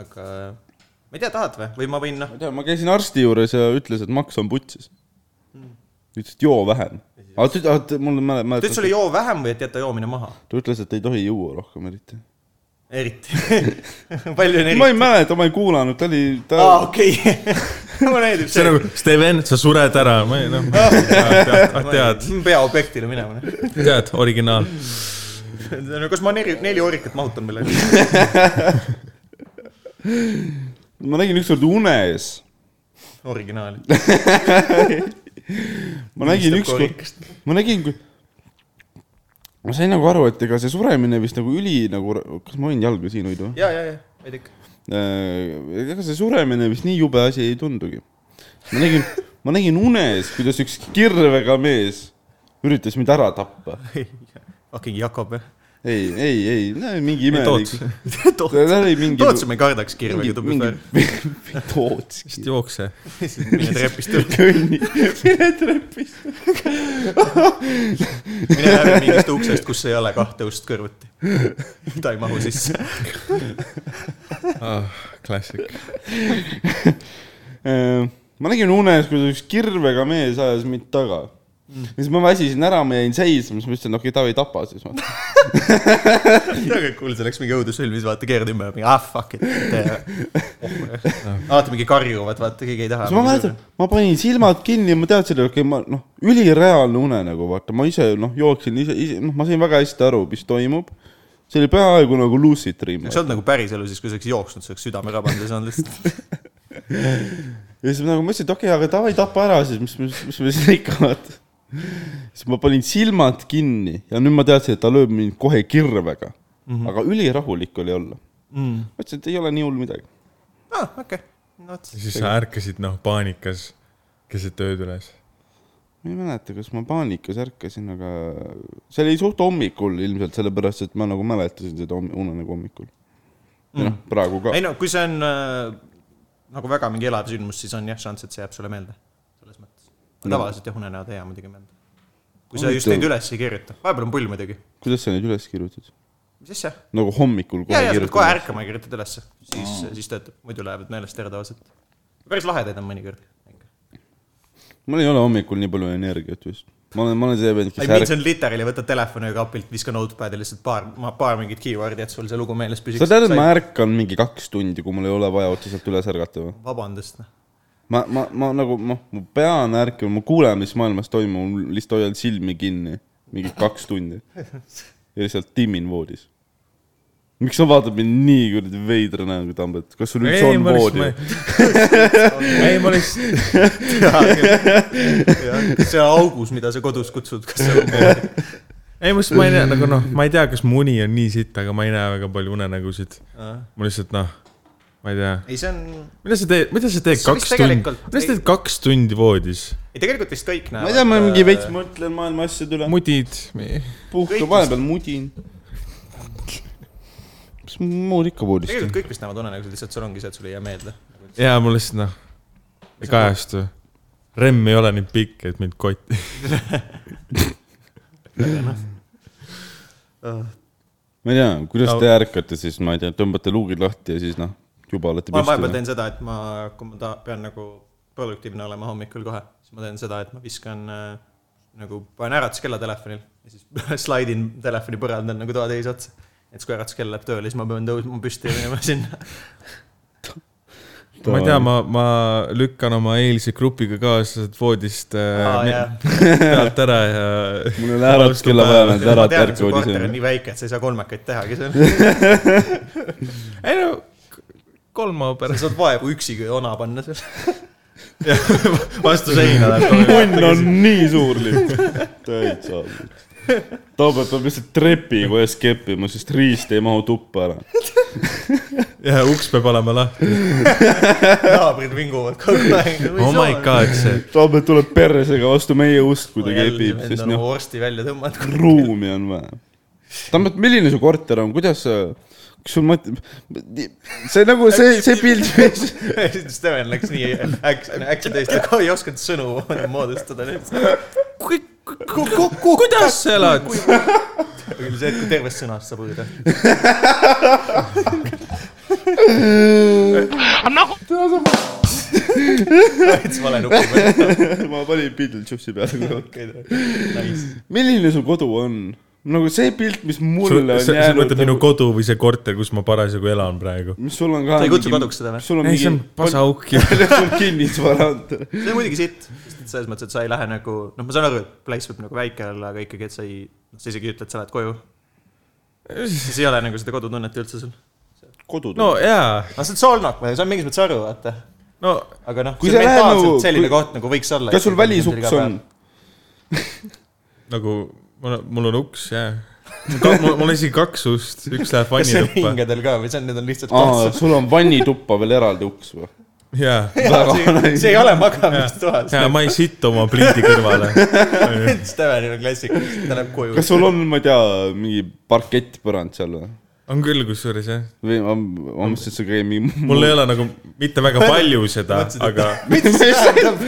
aga ma ei tea , tahad või , või ma võin noh ma , ei tea , ma käisin arsti juures ja ütles , et maks on putsis . Hmm. ütles , et joo vähem . aga ta ütles , et mul ta mäle- , ütles mäletan , sulle joo vähem või et jäta joomine maha , ta ütles , et ei tohi juua rohkem eriti . eriti . palju on ma eriti ? ei mäleta , ma ei kuulanud , ta oli , ta aa , okei , mulle meeldib see see on . nagu , Steven , sa sured ära , ma ei noh , tead , ah, tead , peaobjektile minema , noh . tead , originaal . no kas ma neli , neli oorikat mahutan meile ? ma nägin ükskord unes , originaali . ma nägin ükskord ,. ma nägin , kui ma sain nagu aru , et ega see suremine vist nagu üli nagu , kas ma võin jalga siin hoida või ? ja , ja , ja , ma ei tea . ega see suremine vist nii jube asi ei tundugi . ma nägin , ma nägin unes , kuidas üks kirvega mees üritas mind ära tappa . fucking Jakob , jah . ei , ei , ei , mingi imelik Toots ., ta oli mingi . Tootsi ma ei kardaks kirvega mingi tubli , Toots . vist jookse . peale . mine trepist üle , kõnni , mine trepist . mine läbi mingist uksest , kus ei ole kahte ust kõrvuti . ta ei mahu sisse . Ah, klassik . Ehm, ma nägin unes , kuidas üks kirvega mees ajas mind taga . ja siis ma väsisin ära , ma jäin seisma , siis ma ütlesin , okei okay, , Taavi tapa siis . aga kuule , see läks mingi õudussõlmis , vaata , keerad ümber , mingi ah fuck it . Oh, alati mingi karjuvad , vaata , keegi ei taha . siis ma mäletan , ma panin silmad kinni ja ma teadsin , et okei okay, , ma noh , ülireaalne une nagu vaata , ma ise noh , jooksin ise , ise , noh , ma sain väga hästi aru , mis toimub . see oli peaaegu nagu lucid dream . see on nagu päriselu siis , kui sa oleks jooksnud , sa oleks südame rabanud ja see on lihtsalt , ja siis ma nagu mõtlesin , et okei okay, , aga davai , tapa ära siis , mis , mis , mis me siin ikka vaata . siis ma panin silmad kinni ja nüüd ma teadsin , et ta lööb mind kohe kirvega mm . -hmm. aga ülirahulik oli olla mm. . mõtlesin , et ei ole nii hull midagi . aa , Ah, okei , no vot . siis sa ärkasid , noh , paanikas keset ööd üles . ma ei mäleta , kas ma paanikas ärkasin , aga see oli suht hommikul ilmselt , sellepärast et ma nagu mäletasin seda homm- une nagu hommikul . ja noh , praegu ka . ei no kui see on äh, nagu väga mingi elav sündmus , siis on jah šanss , et see jääb sulle meelde . selles mõttes . tavaliselt jah , unenäod ei jää muidugi meelde . kui sa just Huvitav. neid üles ei kirjuta , vahepeal on pull muidugi . kuidas sa neid üles kirjutad ? mis asja ? nagu hommikul ja , kohe ja sa pead kohe kirjutad ? ärkama ja kirjutad ülesse , siis , siis töötab , muidu lähevad meelest ära tavaliselt . päris lahedaid on mõnikord . mul ei ole hommikul nii palju energiat vist . ma olen , ma olen see vend , I kes mean , ärkab see . on literally , võta telefoni ja kapilt , viska notepad'i lihtsalt paar , paar mingit keyword'i , et sul see lugu meeles püsiks . sa tead , et ma ärkan mingi kaks tundi , kui mul ei ole vaja otseselt üles ärgata või ? vabandust , noh . ma , ma , ma nagu , ma , ma pean ärkama , ma kuulen , mis maailmas toimub , mul lihtsalt hoian silmi kinni mingi kaks tundi . ja lihtsalt timmin voodis . miks sa vaatad mind nii kuradi veidra näoga , Tambet , kas sul üldse ei , on ma voodi ? lihtsalt , ei ma lihtsalt , see augus , mida sa kodus kutsud , kas see on , ei ma lihtsalt , ma ei tea , nagu noh , ma ei tea , kas mu uni on nii sitt , aga ma ei näe väga palju unenägusid . ma lihtsalt noh , ma ei tea . ei , see on , mida sa teed , mida sa teed See vist kaks tundi tegelikult , mida sa ei- teed kaks tundi voodis ? ei tegelikult vist kõik näevad . äh, ma ei tea , ma mingi veits mõtlen maailma asjade üle , mudid , puhkan Kõik- vahepeal mudin . mis muud ikka voodis tegelikult teha ? kõik vist näevad unenägusid , lihtsalt sul ongi see , et sulle ei jää meelde . jaa , mul lihtsalt noh , ei kajastu . Remm ei ole nii pikk , et mind kotti . ma ei tea , kuidas No- te ärkate siis , ma ei tea , tõmbate luugid lahti ja siis noh , juba olete ma vahepeal püsti . teen seda , et ma , kui ma ta- , pean nagu produktiivne olema hommikul kohe , siis ma teen seda , et ma viskan äh, nagu , panen äratuskella telefonil ja siis slaidin telefoni põrandal nagu toa teise otsa . et siis , kui äratuskell läheb tööle , siis ma pean tõusma püsti ja minema sinna . ma ei tea , ma , ma lükkan oma eilse grupiga kaaslased voodist äh, Aa, me- jaa. pealt ära ja . mul ei ole äratuskella vaja , nad ma ärata tean , et su ärkavad korter ise on . nii väike , et sa ei saa kolmekaid tehagi seal . ei no , kolm päeva sa pärast . saad vaevu üksiga jona panna seal . vastu seina läheb . punn on nii suur lihtsalt . täitsa . Taabet peab lihtsalt trepikojas keppima , sest riist ei mahu tuppa ära . ja uks peab olema lahti . naabrid vinguvad kogu aeg . oh my god , see . Taabet tuleb persega vastu meie ust , kui ta kepib , sest sest noh . noh , vorsti välja tõmmad . ruumi on vaja . Taabet , milline su korter on , kuidas sa , kas sul mõte , see nagu see , see pilt , mis , Steven läks nii äks- , äkki tõesti , ei osanud sõnu moodustada nüüd . kuidas sa elad ? küll see , et kui tervest sõnast saab õõda . täitsa vale nupu peal . ma panin Beetlejuice'i peale . Nice . milline su kodu on ? nagu see pilt , mis mulle on sa sa mõtled minu jäänud , kodu või see korter , kus ma parasjagu elan praegu ? mis sul on ka . Sa ei kutsu koduks seda või? sul on ei , see on mingi , pasauk ju . sul on kinnisvara on . see on muidugi sitt , sest et selles mõttes , et sa ei lähe nagu , noh , ma saan aru , et place võib nagu väike olla , aga ikkagi , et sa ei , sa isegi ei ütle , et sa lähed koju . siis ei ole nagu seda kodutunnet üldse sul . kodu . no jaa , no Ah, see on noh, Solnok , see on mingis mõttes aru , vaata . no aga noh , Kui see on sa lähed mentaalselt nagu- nagu, selline kui- kui... koht nagu võiks olla . kas sul välisuks on ? nagu mul on , mul on uks jah . mul mul on isegi kaks ust , üks läheb kas see on vannituppa . hingedel ka või see on , need on lihtsalt aa , kortsud ? sul on vannituppa veel eraldi uks või ? jaa , väga nice. see ei ole magamistoas . jaa , ma ei sitta oma pliidi kõrvale . Stevenil on klassik , ta läheb koju . kas sul on , ma ei tea , mingi parkettpõrand seal või ? on küll , kusjuures jah . või ma , ma mõtlesin , et sa käid mingi . mul ei ole nagu mitte väga palju seda , Mõtlesin, et- aga mis see tähendab ?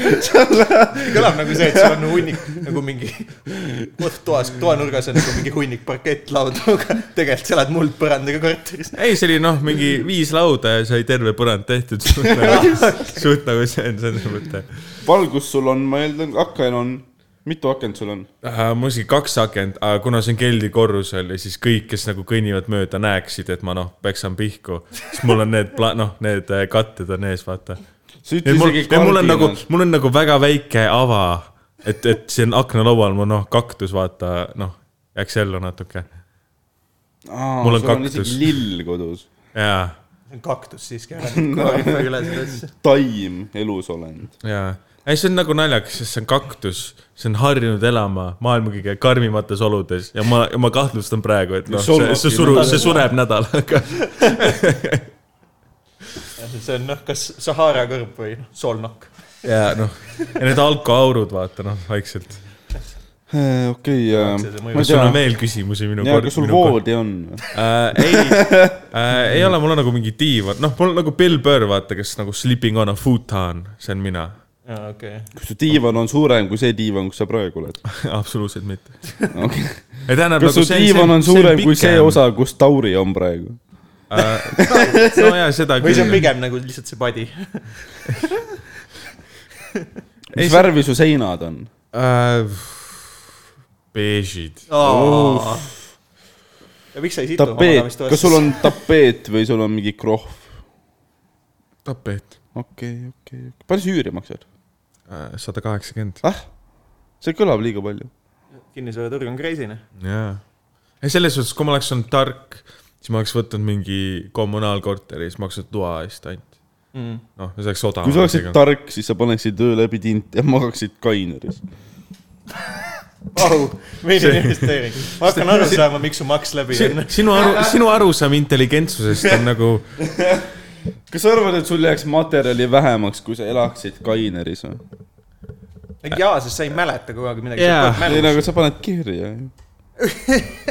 kõlab nagu see , et sul on hunnik nagu mingi , toas , toanurgas on nagu mingi hunnik parkettlaudadega , tegelikult sa elad muldpõrandaga korteris . ei , see oli noh , mingi viis lauda ja sai terve põrand tehtud . suht nagu see on selles mõttes . valgus sul on , ma eeldan , aken on . mitu akent sul on ? mul oli kaks akent , aga kuna see on keldrikorrusel ja siis kõik , kes nagu kõnnivad mööda , näeksid , et ma noh , peksan pihku , siis mul on need , noh , need äh, katted on ees , vaata . sa ütle et mul , isegi et mul on nagu kardinal ., mul on nagu väga väike ava , et , et siin aknalaual mul noh , kaktus , vaata , noh , jääks ellu natuke . aa , nagu- mul on sul on kaktus. isegi lill kodus . jaa , kaktus siiski , koorib üle selle asja . taim elusolend . jaa . ei , see on nagu naljakas , sest see on kaktus , see on harjunud elama maailma kõige karmimates oludes ja ma , ma kahtlustan praegu , et noh , see , see surub , see sureb nädalaga . see on noh , kas Sahara kõrb või noh, solnokk . ja noh , ja need alkoaurud , vaata noh , vaikselt . okei , see mõju. ma ei kas sul on tea . veel küsimusi minu ja kas sul minu kord- voodi on ? äh, ? ei äh, , ei ole , mul on nagu mingi diivan , noh , mul on nagu Bill Burr , vaata , kes nagu sleeping on a futon , see on mina . jaa , okei okay. . kas su diivan on suurem kui see diivan , kus sa praegu oled ? absoluutselt mitte . okei . ei tähendab nagu kas su diivan on suurem kui see ? osa , kus Tauri on praegu ? Äh, no jaa , seda või see on küll . pigem nagu lihtsalt see padi . mis värvi su seinad on ? Äh, beežid , ja miks sa ei situ tapeet , kas sul ? on tapeet või sul on mingi krohv ? tapeet , okei , okei , palju see üüri maksab ? Äh, sada kaheksakümmend . ah , see kõlab liiga palju . kinnisvaraturg on noh? crazy'ne . jaa . ei , selles suhtes , kui ma oleks olnud tark , siis ma oleks võtnud mingi kommunaalkorteri , siis maksnud toa eest ainult . Mm. Mm. noh , see oleks odavam . kui sa oleksid tark , siis sa paneksid öö läbi tint ja magaksid kaineris . au , milline investeering . ma hakkan aru saama , miks su maks läbi on . sinu aru , sinu arusaam intelligentsusest on nagu , kas sa arvad , et sul jääks materjali vähemaks , kui sa elaksid kaineris või ? jaa , sest sa ei mäleta kogu aeg midagi Jaa. . ei , nagu no aga sa paned kirja ju .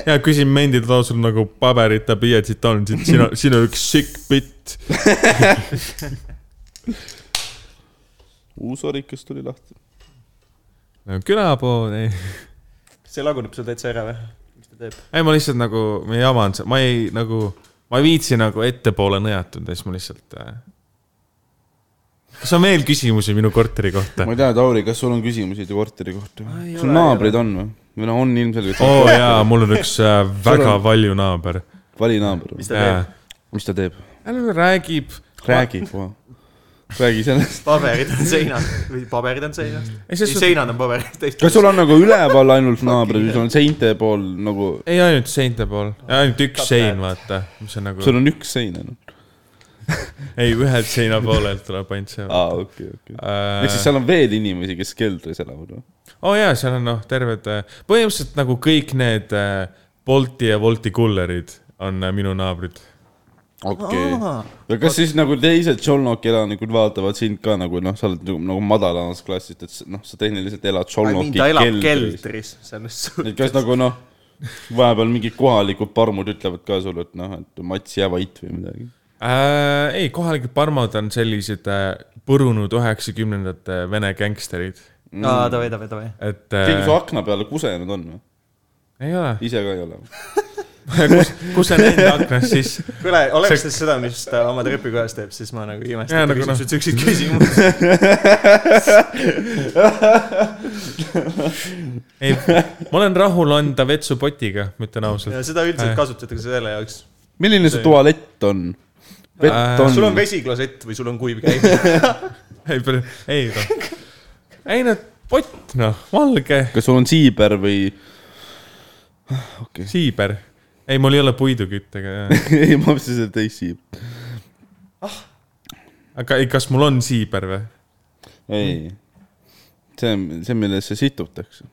ja küsin mendid , too sul nagu paberit ja pliiatsit on , sina , sina üks sick bit . uus orikas tuli lahti . külapood , ei . see laguneb sul täitsa ära või ? mis ta teeb ? ei , ma lihtsalt nagu , ma jaman , ma ei nagu , ma ei viitsi nagu ettepoole nõjatuda , siis ma lihtsalt äh... . kas on veel küsimusi minu korteri kohta ma ? ei tea , Tauri , kas sul on küsimusi tu korteri kohta Ei või ? ole, sul ei naabreid on või ? või noh , on ilmselgelt oo oh, jaa , mul on üks äh, väga valju naaber . vali naaber . mis ta teeb ? ta mis ta teeb ? räägib . räägi kohe . räägi sellest . paberid on seinal või paberid on seinas ? ei , ei , selles suhtes , seinad on paberid teist . kas sul on nagu üleval ainult naabrid või sul on seinte pool nagu , ei ainult seinte pool , ainult üks Top sein , hat. vaata , mis on nagu , sul on üks sein ainult ? ei ühelt seina poolelt tuleb ainult see . aa , okei , okei . Äh. ehk Ah. siis seal on veel inimesi , kes keldris elavad või ? oo jaa , seal on noh , terved , põhimõtteliselt nagu kõik need äh, Bolti ja Wolti kullerid on äh, minu naabrid . okei okay. . ja kas siis nagu teised Tšolnoki elanikud vaatavad sind ka nagu noh , sa oled nagu, nagu madalamast klassist , et s- noh , sa tehniliselt elad Tšolnoki ta elab keldris . keldris , selles et suhtes kas . nagu noh , vahepeal mingid kohalikud parmud ütlevad ka sulle , et noh , et Mats jää vait või midagi . Äh, ei , kohalikud parmad on sellised äh, purunud üheksakümnendate vene gängsterid , aa , davai , davai , davai . et keegi äh, su . akna peale kusenud on või ? ei ole , ise ka ei ole või ? kus , kus on enda aknas siis ? kuule , oleks See- see seda , mis ta oma trepikojas teeb , siis ma nagu Jaa, imestan , et nagu küsimus noh. on siukseid küsimusi . ei , ma olen rahul anda vetsupotiga , ma ütlen ausalt . ja seda üldiselt kasutatakse selle jaoks . milline su tualett on ? vett Äh, on sul on vesiklosett või sul on kuiv käib ? ei , ei noh , ei no pott noh , valge , kas sul on siiber või ? okei , siiber . ei , mul ei ole puiduküttega , ei ma mõtlesin , et ei siib . aga ei , kas mul on siiber või ? ei , see on , see , millesse situtakse .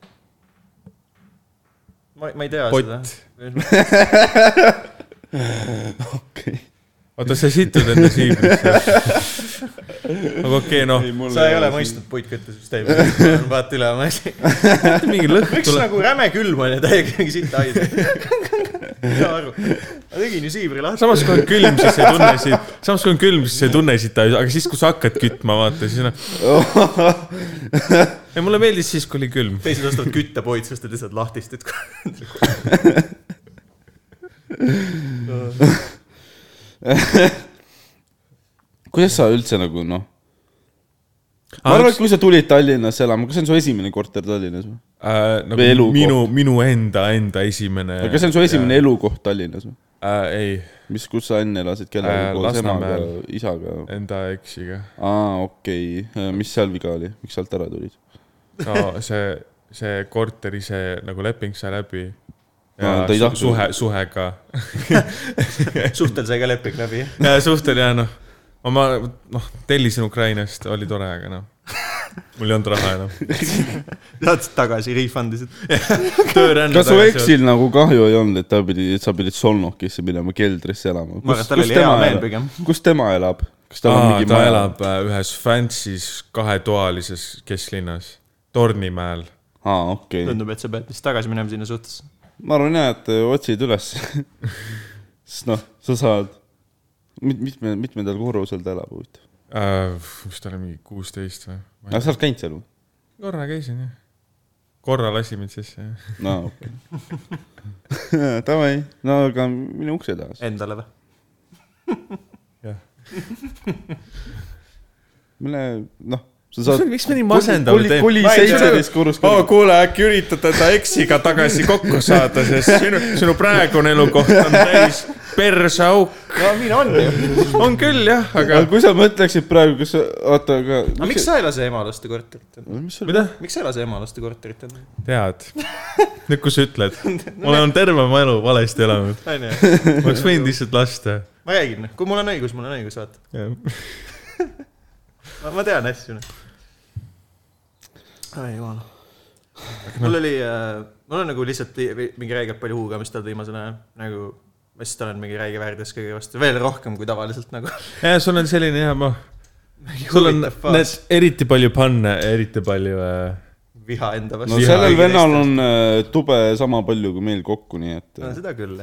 ma , ma ei tea Pott. seda . okei oota , sa situd enda siibrisse ? aga okei , noh , sa ei ole . mõistnud puitküttesüsteemi , vaata üle oma asi . mingi lõhn võiks tuleb . nagu räme külm on ja täiega mingi sita haida . saa aru , ma tegin ju siibri lahti . samas kui on külm , siis ei tunne siit , samas kui on külm , siis ei tunne siit , aga siis , kui sa hakkad kütma , vaata , siis noh . ei , mulle meeldis siis , kui oli külm . teised ostavad küttepoid , sest et lihtsalt lahtistid . kuidas sa üldse nagu noh , ma arvan , et kui sa tulid Tallinnasse elama , kas see on su esimene korter Tallinnas või ? äh, Või nagu elukoht. minu , minu enda , enda esimene . kas see on su esimene ? elukoht Tallinnas või ? Äh, ei , mis , kus sa enne elasid , kellega Äh, koos emaga Lasnamäel. , isaga ? enda eksiga . aa , okei , mis seal viga oli , miks sealt ära tulid ? no see , see korteri , see nagu leping sai läbi . No, ja ta ei su, tahtnud. suhe , suhe ka . suhtel sai ka leping läbi . suhtel ja noh , ma , ma noh , tellisin Ukrainast , oli tore , aga noh , mul ei olnud raha enam . saatsid tagasi , refund isid . tööränne . kas su eksil nagu kahju ei olnud , et ta pidi , et sa pidid Solnokisse minema , keldrisse elama ? ma arvan , et tal oli hea meel pigem . kus tema elab ? kas tal on Aa, mingi ta maja? elab äh, ühes fancy's kahetoalises kesklinnas , Tornimäel . aa , okei okay. . tundub , et sa pead vist tagasi minema sinna suhtesse . ma arvan jah , et öö, otsid üles . sest noh , sa saad , mitme , mitmendal korrusel ta elab huvitav ? Äh, mis ta oli , mingi kuusteist või ? aga sa oled käinud seal või ? korra käisin jah . korra lasi mind sisse jah . no okei okay. . Davai , no aga mine ukse taha siis . Endale või ? mine , noh , sa saad . miks me nii masendame teeme ? koli seitseteist korrust oh, . kõrgem . kuule , äkki üritad teda eksiga tagasi kokku saada , sest sinu , sinu praegune elukoht on täis perseauk . no nii on ju . on küll jah , aga aga kui sa mõtleksid praegu , kas sa , oota , aga . aga miks sa ei lase emalaste korterit endale ? mida ? miks sa ei lase emalaste korterit endale ? tead , nüüd kui sa ütled , ma olen terve oma elu valesti elanud , onju , ma oleks võinud lihtsalt lasta . ma räägin , kui mul on õigus , mul on õigus , vaata . ma , ma tean asju . noh. ai jumal . mul oli äh, , mul on nagu lihtsalt li- vi- mingi räigelt palju huugamist olnud viimasel ajal , nagu ma siis olen mingi räige väärdes kõige vastu , veel rohkem kui tavaliselt nagu . ja sul on selline hea , ma , sul on need eriti palju panne , eriti palju äh, . viha enda vastu no . sellel vennal on äh, tube sama palju kui meil kokku , nii et äh, no . seda küll ,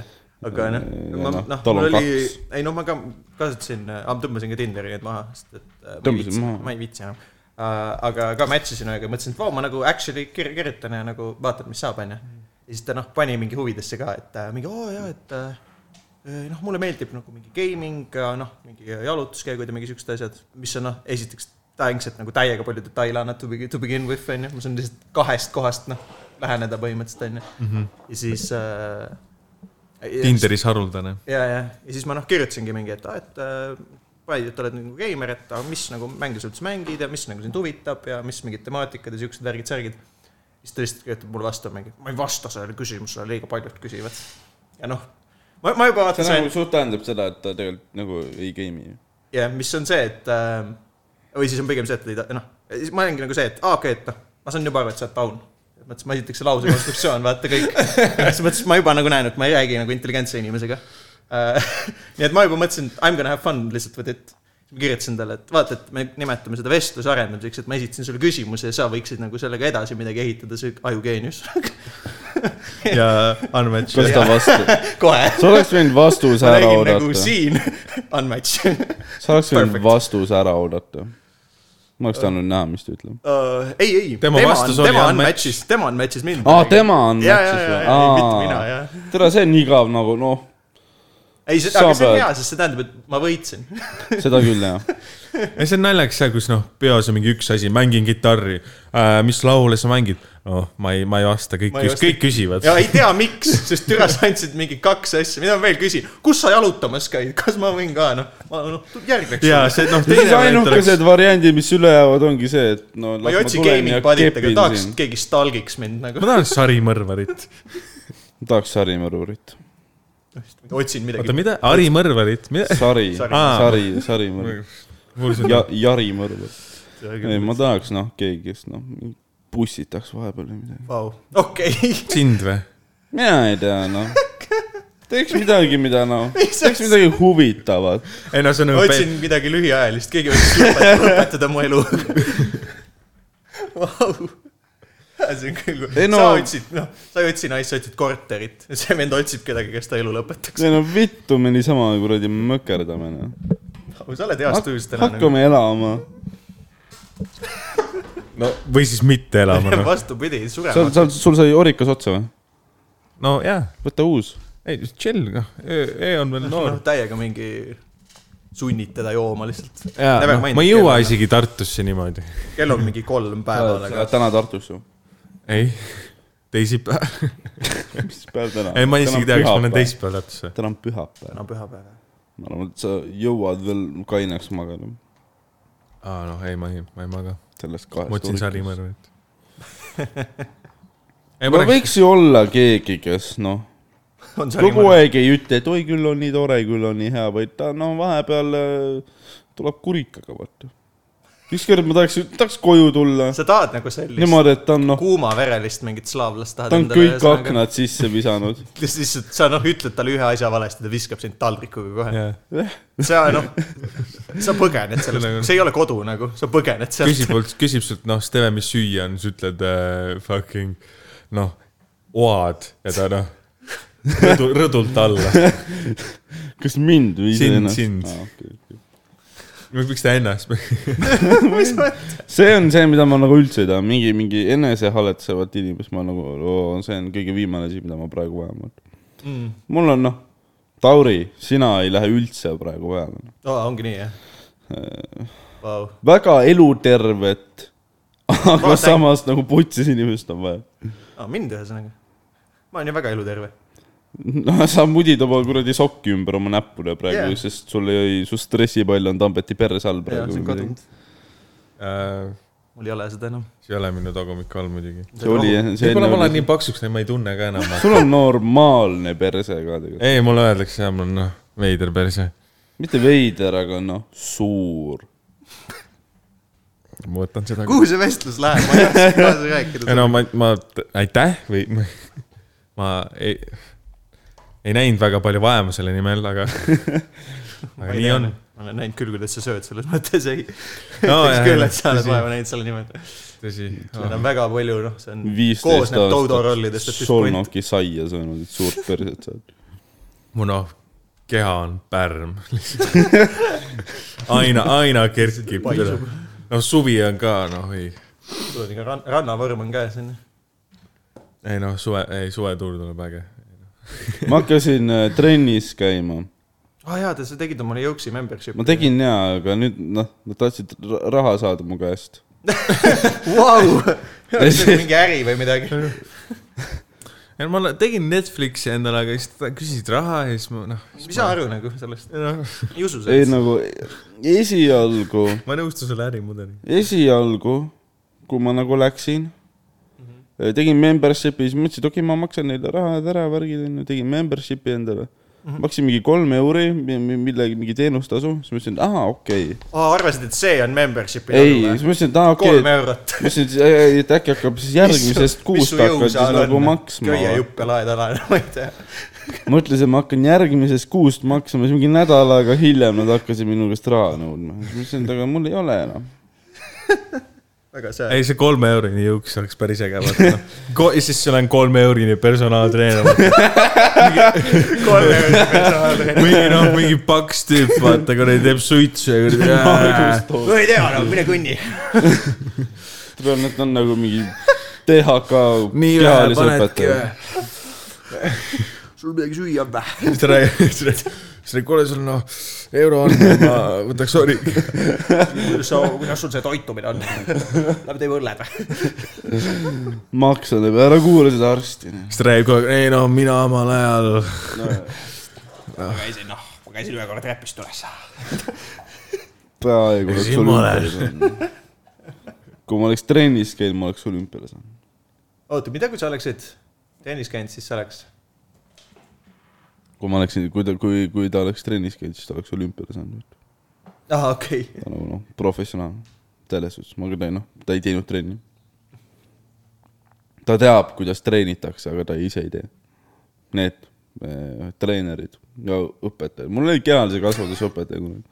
aga noh Ja , ma noh, noh , tal mul on oli kaks. , ei noh , ma ka kasutasin , tõmbasin ka Tinderi need maha , sest et äh, ma ei Tõmbasid viitsi , maha. ma ei viitsi enam . aga ka match isin ühega , mõtlesin , et vau , ma nagu actually kir- kirjutan ja nagu vaatan , mis saab , onju . ja siis ta noh , pani mingi huvidesse ka , et äh, mingi oo jaa , et äh, noh , mulle meeldib nagu mingi gaming , noh , mingi jalutuskäigud ja mingi siuksed asjad , mis on noh , esiteks thanks , et nagu täiega palju detaile annab to begin, to begin with , onju , ma saan lihtsalt kahest kohast noh , läheneda põhimõtteliselt , Mhm. onju . ja siis äh, . Tinderis haruldane . ja , ja , ja siis ma noh , kirjutasingi mingi , et aa , et äh, Paide , et oled nagu geimer , et aga mis nagu mänge sa üldse mängid ja mis nagu sind huvitab ja mis mingid temaatikad ja siuksed värgid-särgid . siis ta lihtsalt kirjutab mulle vastu mingi , ma ei vasta sellele küsimusele , liiga paljud küsivad . ja noh , ma , ma juba see vaatan nagu sain , suht tähendab seda , et ta tegelikult nagu ei game'i . ja mis on see , et äh, või siis on pigem see , et ei ta- noh , siis ma olengi nagu see , et aa , okei okay, , et noh , ma saan juba aru , et sa oled taun mõttes ma esiteks see lause konstruktsioon , vaata kõik . selles mõttes ma juba nagu näen , et ma ei räägi nagu intelligentse inimesega . nii et ma juba mõtlesin , et I m gonna have fun lihtsalt with it . ma kirjutasin talle , et vaata , et me nimetame seda vestluse arendamiseks , et ma esitasin sulle küsimuse ja sa võiksid nagu sellega edasi midagi ehitada , see ajugeenius . ja unmatch . kas ta vastab ? kohe . sa oleks võinud vastuse ma ära nägin nagu oodata . siin unmatch . sa oleks võinud Perfect. vastuse ära oodata . ma oleks tahtnud näha , mis ta ütleb . Äh, ei , ei . Tema vastus oli tema on unmatch. match'is , tema on match'is mind . aa , tema on ja , ja , ja , ja , mitte mina , matšis või ? jah . tere , see on igav nagu noh , ei , see , Sa aga see on pead- hea , sest see tähendab , et ma võitsin . seda küll jah . ja see on naljakas seal , kus noh , peos on mingi üks asi , mängin kitarri äh, . mis laule sa mängid ? noh , ma ei , ma ei vasta , kõik Ma ei , vasta. kõik küsivad . ja ei tea , miks , sest türa sa andsid mingi kaks asja , mida ma veel küsin . kus sa jalutamas käid , kas ma võin ka , noh , ma , noh , järgmiseks . ja see noh , siis teine variant oleks ainukesed . variandid , mis üle jäävad , ongi see , et no . ma ei otsi gaming padit , aga tahaks , et keegi stalgiks mind ma nagu . tahan sarimõrvarit . tahaks sarimõrvurit . otsin oota , midagi . mida ? harimõrvarit ? sari , Sari- Aa. sari , sarimõrv , ja , jarimõrv . ei , ma tahaks noh , keegi , kes noh , pussitaks vahepeal või midagi . Vau , okei . sind või ? mina ei tea , noh . teeks midagi , mida noh , Mis teeks asja? midagi huvitavat . ei no see on nagu otsin midagi lühiajalist , keegi võiks lõpet- lõpetada mu elu . Vau see on küll , kui Ei no- sa otsid , noh , sa ei otsi naist , sa otsid korterit , see vend otsib kedagi , kes ta elu lõpetaks . ei no vittu , me niisama kuradi mökerdame , noh . sa oled heas tujus täna . hakkame nagu- elama . no või siis mitte elama noh . nagu- vastupidi , seal , surema . seal , sul sai orikas otsa või ? no jaa , võta uus . ei chill noh , öö on veel noor noh , täiega mingi sunnid teda jooma lihtsalt . jaa , Never noh mind, , ma ei jõua kell on- isegi Tartusse niimoodi . kell on mingi kolm sa päeval , aga oled täna Tartus ju . ei , teisipäev , mis päev Ah, täna ? ei ma isegi ei tea , kas ma olen . teisipäeval Tartusse . täna on pühapäev . täna on pühapäev . ma arvan , et sa jõuad veel kaineks magada aa noh , ei ma ei , ma ei maga , sellest kahest . ma otsin . sarimõrvarit ei no võiks ju olla keegi , kes noh , on see kogu niimoodi ? aeg ei ütle , et oi küll on nii tore , küll on nii hea , vaid ta no vahepeal äh, tuleb kurikaga , vaata . ükskord ma tahaks , tahaks koju tulla sa tahad nagu sellist niimoodi , et ta on noh , kuumaverelist mingit slaavlast tahad ta on kõik aknad sisse visanud . lihtsalt sa noh , ütled talle ühe asja valesti , ta viskab sind taldrikuga kohe . jah , sa noh , sa põgened Sellega on- sellest , see ei ole kodu nagu , sa põgened sealt . küsib , küsib sult , noh , Steve , mis süüa on , sa ütled äh, fucking noh , oad ja ta noh , rõdu , rõdult alla . kas mind või Sind, iseennast sind. ah, okay, okay. ? miks ta ennast , mis mõttes ? see on see , mida ma nagu üldse ei taha , mingi , mingi enesehaletsevat inimest ma nagu , see on kõige viimane asi , mida ma praegu vajan . Mm. mul on noh , Tauri , sina ei lähe üldse praegu peale . Äh. ongi nii jah ? wow. . väga elutervet , aga Vaata- samas nagu putsis inimest on vaja . Ah, mind ühesõnaga . ma olen ju väga eluterve . noh , sa mudid oma kuradi sokki ümber oma näppule praegu Jaa. yeah. , sest sul ei , su stressipall on Tambeti perse all jaa , praegu see on . kadunud . äh, . mul ei ole seda enam . see ei ole minu tagumik all muidugi . see oli jah , see võib-olla ma olen enne nii paksuks läinud , ma ei tunne ka enam . oli . sul on normaalne perse ka tegelikult . ei , mulle öeldakse jah , mul on noh , veider perse . mitte veider , aga noh , suur . ma võtan seda . kuhu see vestlus läheb , ma ei oska kaasa rääkida ei . no ma , ma , aitäh või ma, ma ei , ei näinud väga palju vaeva selle nimel , aga , aga nii on .. ma olen näinud küll , kuidas sa sööd , selles mõttes ei No, no, . jah, küll , jah, et sa oled tõsi. vaeva näinud selle nimel . tõsi . Neid on väga palju , noh , see on , viisteist koosneb aastat toudorollidest , et siis point . solnoki saia söönud , et suurt perset saad . mu noh , keha on pärm aina , aina kerkib üle Paisub. . noh , suvi on ka , noh ei , sul on ikka ran- , rannavõrm on käes , on ju . ei noh , suve , ei suvetuur tuleb äge . ma hakkasin äh, trennis käima . aa Ah, jaa , sa tegid omale jooksi membership'i . ma . tegin jaa , aga nüüd noh , nad tahtsid ra- raha saada mu käest . Vau , mingi äri või midagi . ei ma olen- tegin Netflixi endale , aga siis ta küsis raha ja siis ma noh , ma ei saa aru nagu sellest , noh , ei usu ei sellest . nagu esialgu , ma ei nõustu selle ärimudeliga . esialgu , kui ma nagu läksin , tegin membership'i , siis mõtlesin , et okei okay, , ma maksan neile rahad ära , värgid onju , tegin membership'i endale . maksin mingi kolm euri , millegi , mingi teenustasu , siis mõtlesin , et aa , okei okay. . aa , arvasid , et see on membership'i ei , siis mõtlesin , et aa , okei okay, kolm , eurot . mis nüüd , et äkki hakkab siis järgmisest kuust hakkad siis nagu maksma . köiejuppe laed ala , ma ei tea . mõtlesin , ma hakkan järgmisest kuust maksma , siis mingi nädal aega hiljem nad hakkasid minu käest raha nõudma . siis ma ütlesin , et aga mul ei ole enam . väga see . ei , see kolme eurine jõuks oleks päris äge , vaata noh . ja siis sul on kolme eurine personaaltreener , kolm eurot personaalne . mingi noh , mingi paks tüüp , vaata , kuradi teeb suitsu ja kuradi . ma ei tea , no mine kõnni . tuleb , nad on nagu mingi THK nii vähe kehalise panedki õpetaja või .. sul midagi süüa on vä ? siis ta räägib , siis ta räägib , siis ta räägib , kuule sul noh , euro on , ma võtaks sori . kuidas sa , kuidas sul see toitumine on ? Lähme teeme õlled vä ? maksa teeb , ära kuula seda arsti . siis ta räägib kogu aeg , ei noh , mina omal ajal . ma käisin , noh , ma käisin ühe korra trepist üles . peaaegu oleks Siis sul ma ümber saanud . kui ma oleks trennis käinud , ma oleks sul ümber saanud . oota , mida , kui sa oleksid trennis käinud , siis sa oleks ? kui ma oleksin , kui ta , kui , kui ta oleks trennis käinud , siis ta oleks sul ümber saanud . aa , Ah, okei okay. . ta nagu noh , professionaal selles suhtes , ma küll ei noh , ta ei teinud trenni . ta teab , kuidas treenitakse , aga ta ise ei tee . Need eh, treenerid ja õpetajad , mul oli kehalise kasvatuse õpetaja kunagi .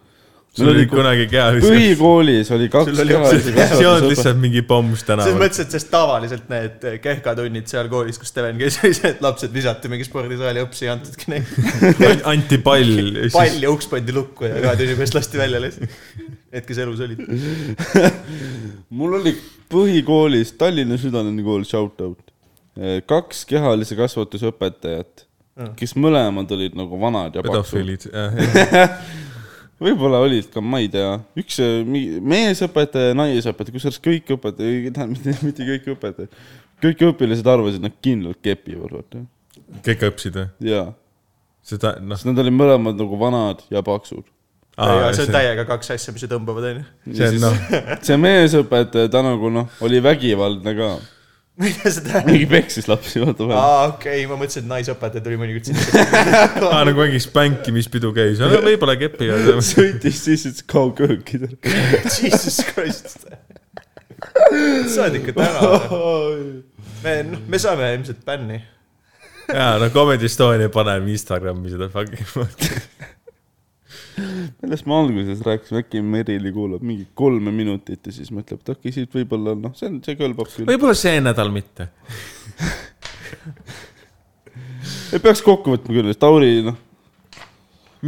sul oli kunagi keha . põhikoolis oli kaks Sul oli kehalise see on kasvatuse õpetajat . lihtsalt mingi pomms selles tänaval . mõttes , et sest tavaliselt need kehkatunnid seal koolis , kus Steven käis , oli see , et lapsed visati mingi spordisaali õps , ei antudki neid anti pall . pall ja uks pandi lukku ja kahe tunni pärast lasti välja lihtsalt . Need , kes elus olid . mul oli põhikoolis , Tallinna Südalinnakool , shout out , kaks kehalise kasvatuse õpetajat , kes mõlemad olid nagu vanad ja paksud . pedofiilid . võib-olla olid ka , ma ei tea , üks äh, mi- meesõpetaja ja naisõpetaja , kusjuures kõik õpetajad , tähendab mitte, mitte kõik õpetajad , kõik õpilased arvasid , et nad kindlalt kepivad , vaata . kõik õppisid või ? jaa , seda , noh . sest nad olid mõlemad nagu vanad ja paksud . see on täiega kaks asja , mis ju tõmbavad , onju . see on noh , see meesõpetaja , ta nagu noh , oli vägivaldne ka , mida see tähendab ? mingi peksis lapsi , vaata vahel . aa , okei okay, , ma mõtlesin , et naisõpetaja tuli mõnikord sisse . nagu mingi spänkimispidu käis , aga võib-olla kepi ei olnud . sõitis siis , ütles kaugkööki . Jesus Christ . sa oled ikka tänav . me , me saame ilmselt bänni . jaa , no Comedy Estonia paneb Instagrami seda fucking . millest me alguses rääkisime , äkki Merili kuulab mingi kolme minutit ja siis mõtleb , et okei , siit võib-olla noh , see on , see kõlbab küll . võib-olla see nädal mitte . ei peaks kokku võtma küll , Tauri noh ,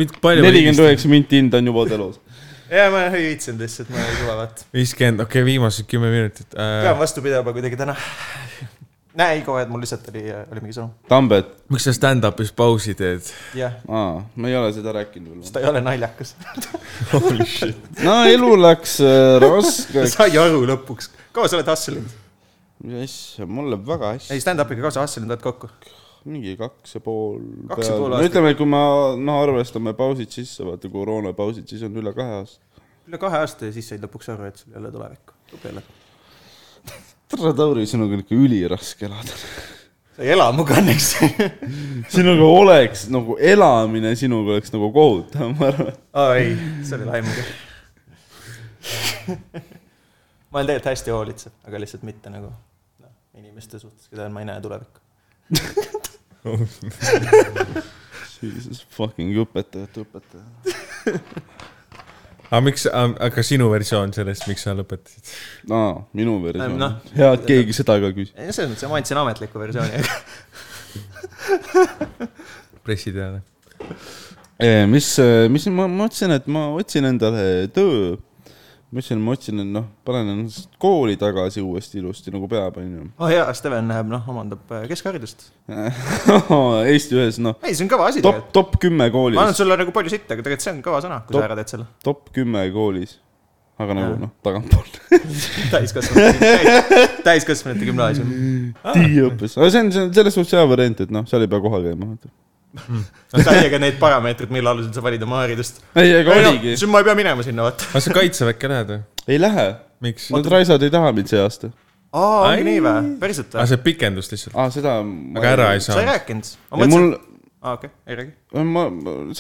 mind palju . nelikümmend . üheksa minti hind on juba telus . ja ma ei viitsinud lihtsalt , ma ei kõva vaata . viiskümmend , okei okay, , viimased kümme minutit pean äh, . vastu pidama kuidagi täna . näe , ei kohe , et mul lihtsalt oli , oli mingi sõnum . Tambet , miks sa stand-up'is pausi teed ? jah , aa , ma ei ole seda rääkinud veel . ta ei ole naljakas . no elu läks äh, raskeks . sai aru lõpuks . kaua sa oled hustle'inud ? mis asja , mul läheb väga hästi ei , . stand-up'iga kaua sa hustle'inud oled kokku ? mingi kaks ja pool . Kaks ja pool no aastat. ütleme , kui ma , noh , arvestame pausid sisse , vaata koroonapausid , siis on üle kahe aasta . üle kahe aasta ja siis said lõpuks aru , et sul ei ole tulevikku . peale . tere , Tauri , sinuga on ikka üliraske elada . sa ei ela minuga õnneks . sinuga oleks nagu elamine sinuga oleks nagu kohutav , ma arvan . aa ei , see oli laimuga . ma olen tegelikult hästi hoolitsev , aga lihtsalt mitte nagu noh , inimeste suhtes , keda ma ei näe tulevikku . Jesus fucking õpetajate õpetaja . aga miks , aga sinu versioon sellest , miks sa lõpetasid ? aa , minu versioon Noh. no. . hea , et keegi seda ka küsis . ei , selles mõttes ma andsin ametliku versiooni , aga pressiteade . Eh, mis , mis ma mõtlesin , et ma otsin endale töö . ma ütlesin , ma otsin , noh , panen ennast kooli tagasi uuesti ilusti nagu peab , onju . oh, jaa , Steven läheb , noh , omandab äh, keskharidust . Eesti ühes , noh , ei , see on kõva asi top tegelikult ., top kümme ma annan koolis , sulle nagu palju sitta , aga tegelikult see on kõva sõna , kui Top. sa ära teed selle . top kümme koolis . aga nagu Jaa. noh , tagantpoolt . täiskasvanute , täiskasvanute gümnaasium . tiiõppes , aga see on , see on selles suhtes hea variant , et noh , seal ei pea kohal käima . täiega need parameetrid , mille alusel sa valid oma haridust . ei , aga ei noh , oligi , siis ma ei pea minema sinna , vaata . aga sa kaitseväkke lähed või ? ei lähe . miks ? Nad raisad ei taha mind see aasta . aa , Ai. ongi nii vä ? päriselt aga vä ? see pikendus lihtsalt . aa , seda . aga ära ei sa ei saa . rääkinud ? ma ei , mõtlesin , mul , aa okei , ei räägi . ma ,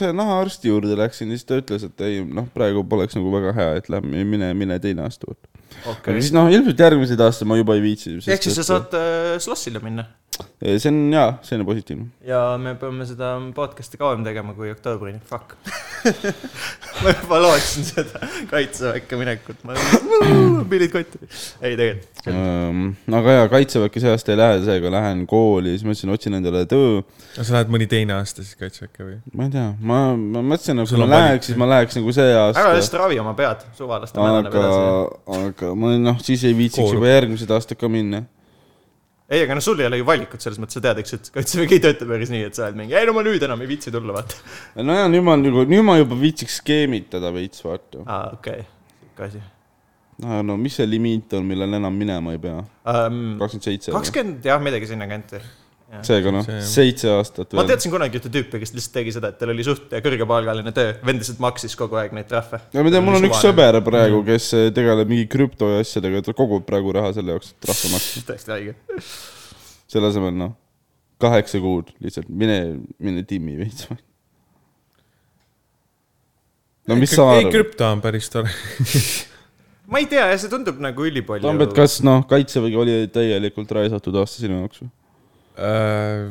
see nahaarsti juurde läksin ja siis ta ütles , et ei , noh , praegu poleks nagu väga hea , et lähme , mine , mine teine aasta juurde . aga okei . siis noh , ilmselt järgmiseid aastaid ma juba ei viitsi . ehk siis sa . saad äh, Slossile minna see on jaa , see on positiivne . ja me peame seda podcast'i kauem tegema kui oktoobrini , fuck . ma juba lootsin seda kaitseväkke minekut , ma pillid kotti . ei tegelikult , Ehm, aga jaa , kaitseväkke see aasta ei lähe , seega lähen kooli , siis mõtlesin , otsin endale töö sa lähed mõni teine aasta siis kaitseväkke või ? ma ei tea , ma , ma mõtlesin , et Sul kui ma on valik. läheks , siis ma läheks nagu see ära aasta . lihtsalt ravi oma pead , suvalaste mädaneb aga edasi ., aga ma noh , siis ei viitsiks Kool. juba järgmised aastad ka minna . ei , aga no sul ei ole ju valikut selles mõttes , sa tead , eks , et kaitsevägi ei tööta päris nii , et sa oled mingi , ei no ma nüüd enam ei viitsi tulla , vaata . nojah , nüüd ma nagu , nüüd ma juba viitsiks skeemitada veits , vaata . aa , okei okay. , sihuke asi no mis see limiit on , millal enam minema ei pea ? um, . kakskümmend seitse . kakskümmend , jah , midagi sinnakanti . seega noh See- , seitse aastat ma veel . teadsin kunagi ühte tüüpi , kes lihtsalt tegi seda , et tal oli suht kõrgepalgaline töö , vend lihtsalt maksis kogu aeg neid trahve . no ma tean , mul on üks sõber Mm. praegu , kes eh, tegeleb mingi krüpto ja asjadega , ta kogub praegu raha selle jaoks , et trahve maksta . täiesti haige . selle asemel noh , kaheksa kuud lihtsalt mine , mine timmi veits . no mis sa ei , arvad ? krüpto on päris tore . ma ei tea , see tundub nagu ülipalju . Tambet , kas noh , kaitsevägi oli täielikult raisatud aasta sinu jaoks või ? see Äh,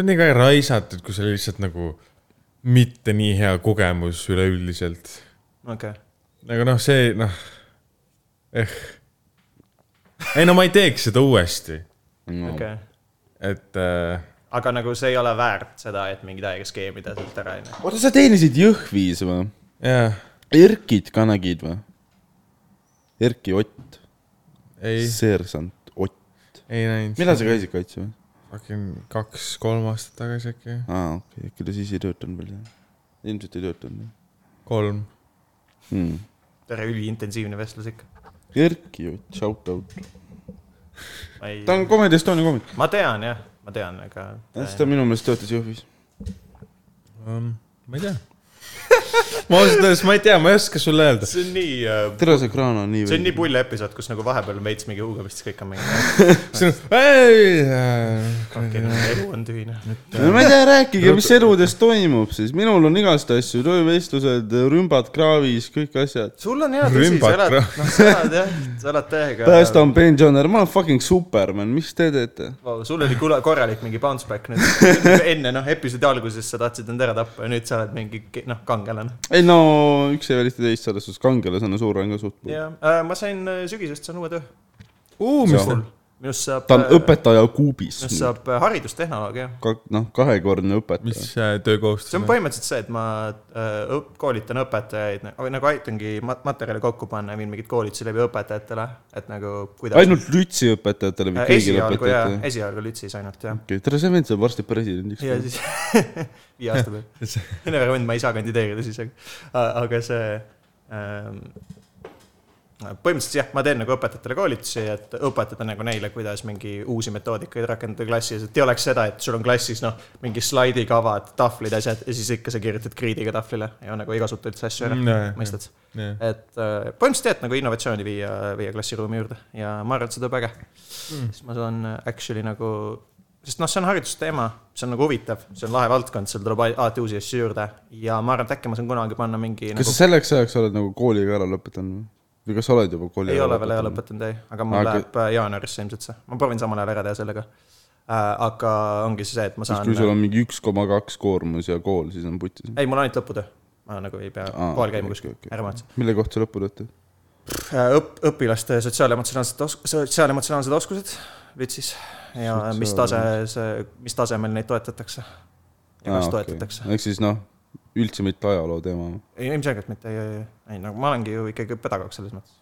on nii ka raisatud , kui see oli lihtsalt nagu mitte nii hea kogemus üleüldiselt . okei , aga noh , see noh , eh . ei no ma ei teeks seda uuesti , Mm. okei . et äh, aga nagu see ei ole väärt seda , et mingi täiega skeemida sealt ära , onju . oota , sa teenisid Jõhvis või ? jah , Erkit ka nägid või ? Erki Ott , ei , seersant Ott . ei näinud . millal sa ? käisid kaitseväes ? kaks-kolm aastat tagasi äkki , aa , Ah, okei , äkki ta siis ei töötanud veel jah ? ilmselt ei töötanud kolm . jah hmm. . tere , üliintensiivne vestlus ikka . Erki Ott , shout out . ma ei , ta on Comedy Estonia komik . ma tean jah , ma tean , aga . ta minu meelest töötas Jõhvis . Um, ma ei tea . ma ausalt öeldes , ma ei tea , ma ei oska sulle öelda . see on nii uh, tere , see kraan on nii see on nii pull episood , kus nagu vahepeal on veits mingi huugamist , kõik on mingi , see Äh, on , elu on noh." tühine . no ma ei tea , rääkige , mis eludes toimub siis , minul on igast asju , töövestlused , rümbad kraavis , kõik asjad . sul on hea tõsi , sa Rümbad elad , kra- noh , sa elad jah , sa elad täiega . päästan pensionär , ma olen fucking superman , mis te teete ? Vau, sul oli kula- korralik mingi bounce back nüüd . enne noh , episoodi alguses sa tahtsid end ära tappa ja nüüd sa oled mingi ke- noh , kangelane . ei no üks ei välista teist selles suhtes , kangelasena suur on ka suht . ja äh, ma sain äh, sügisest , saan uue töö . mis ta mul , minust saab . ta on . õpetaja kuubis . minust saab äh, haridustehnoloog , jah . noh , kahekordne õpetaja . mis äh, töökohustus see on põhimõtteliselt see , et ma äh, õp- koolitan õpetajaid , nagu aitangi mat- , materjale kokku panna ja viin mingeid koolitusi läbi õpetajatele , et nagu kuidas . ainult lütsi õpetajatele või kõigile Äh, esialgu jaa , õpetajatele ? esialgu lütsis ainult jah . okei , tere , see vend saab varsti presidendiks . ja siis viie aasta peal . mine väga mind , ma ei saa kandideerida siis , aga , aga see ähm, . põhimõtteliselt jah , ma teen nagu õpetajatele koolitusi , et õpetada nagu neile , kuidas mingi uusi metoodikaid rakendada klassis , et ei oleks seda , et sul on klassis noh , mingi slaidikavad , tahvlid , asjad ja siis ikka sa kirjutad kriidiga tahvlile ja nagu ei kasuta üldse asju Mm, ära , on ? mõistad ? et äh, põhimõtteliselt jah , et nagu innovatsiooni viia , viia klassiruumi juurde ja ma arvan , et see tuleb äge mm. . siis ma saan actually nagu , sest noh , see on haridusteema , see on nagu huvitav , see on lahe valdkond , seal tuleb al- alati uusi asju juurde ja ma arvan , et äkki ma saan kunagi panna mingi . kas sa selleks ajaks oled nagu kooli ka ära lõpetanud või? või kas sa oled juba kooli ei ole veel , ei ole ? lõpetanud ei , aga mul Aga- aga... läheb äh, jaanuarisse ilmselt see , ma proovin samal ajal ära teha sellega äh, . aga ongi see , et ma siis saan nagu- äh, kui , sul on mingi üks koma kaks koormus ja kool , siis on putis . ei , mul on ainult lõputöö , ma nagu ei pea Aa, kohal käima okei, kuskil okei, , okei. ära mõtle . mille kohta sa lõppu teed ? õp- , Äh, õpilaste sotsiaalemotsionaalsed os- , sotsiaalemotsionaalsed oskused vitsis ja mis tase see , mis tasemel neid toetatakse ja kas toetatakse . ehk siis noh , üldse mitte ajaloo teema . ei , ilmselgelt mitte , ei , ei , ei , no ma olengi ju ikkagi pedagoog selles mõttes .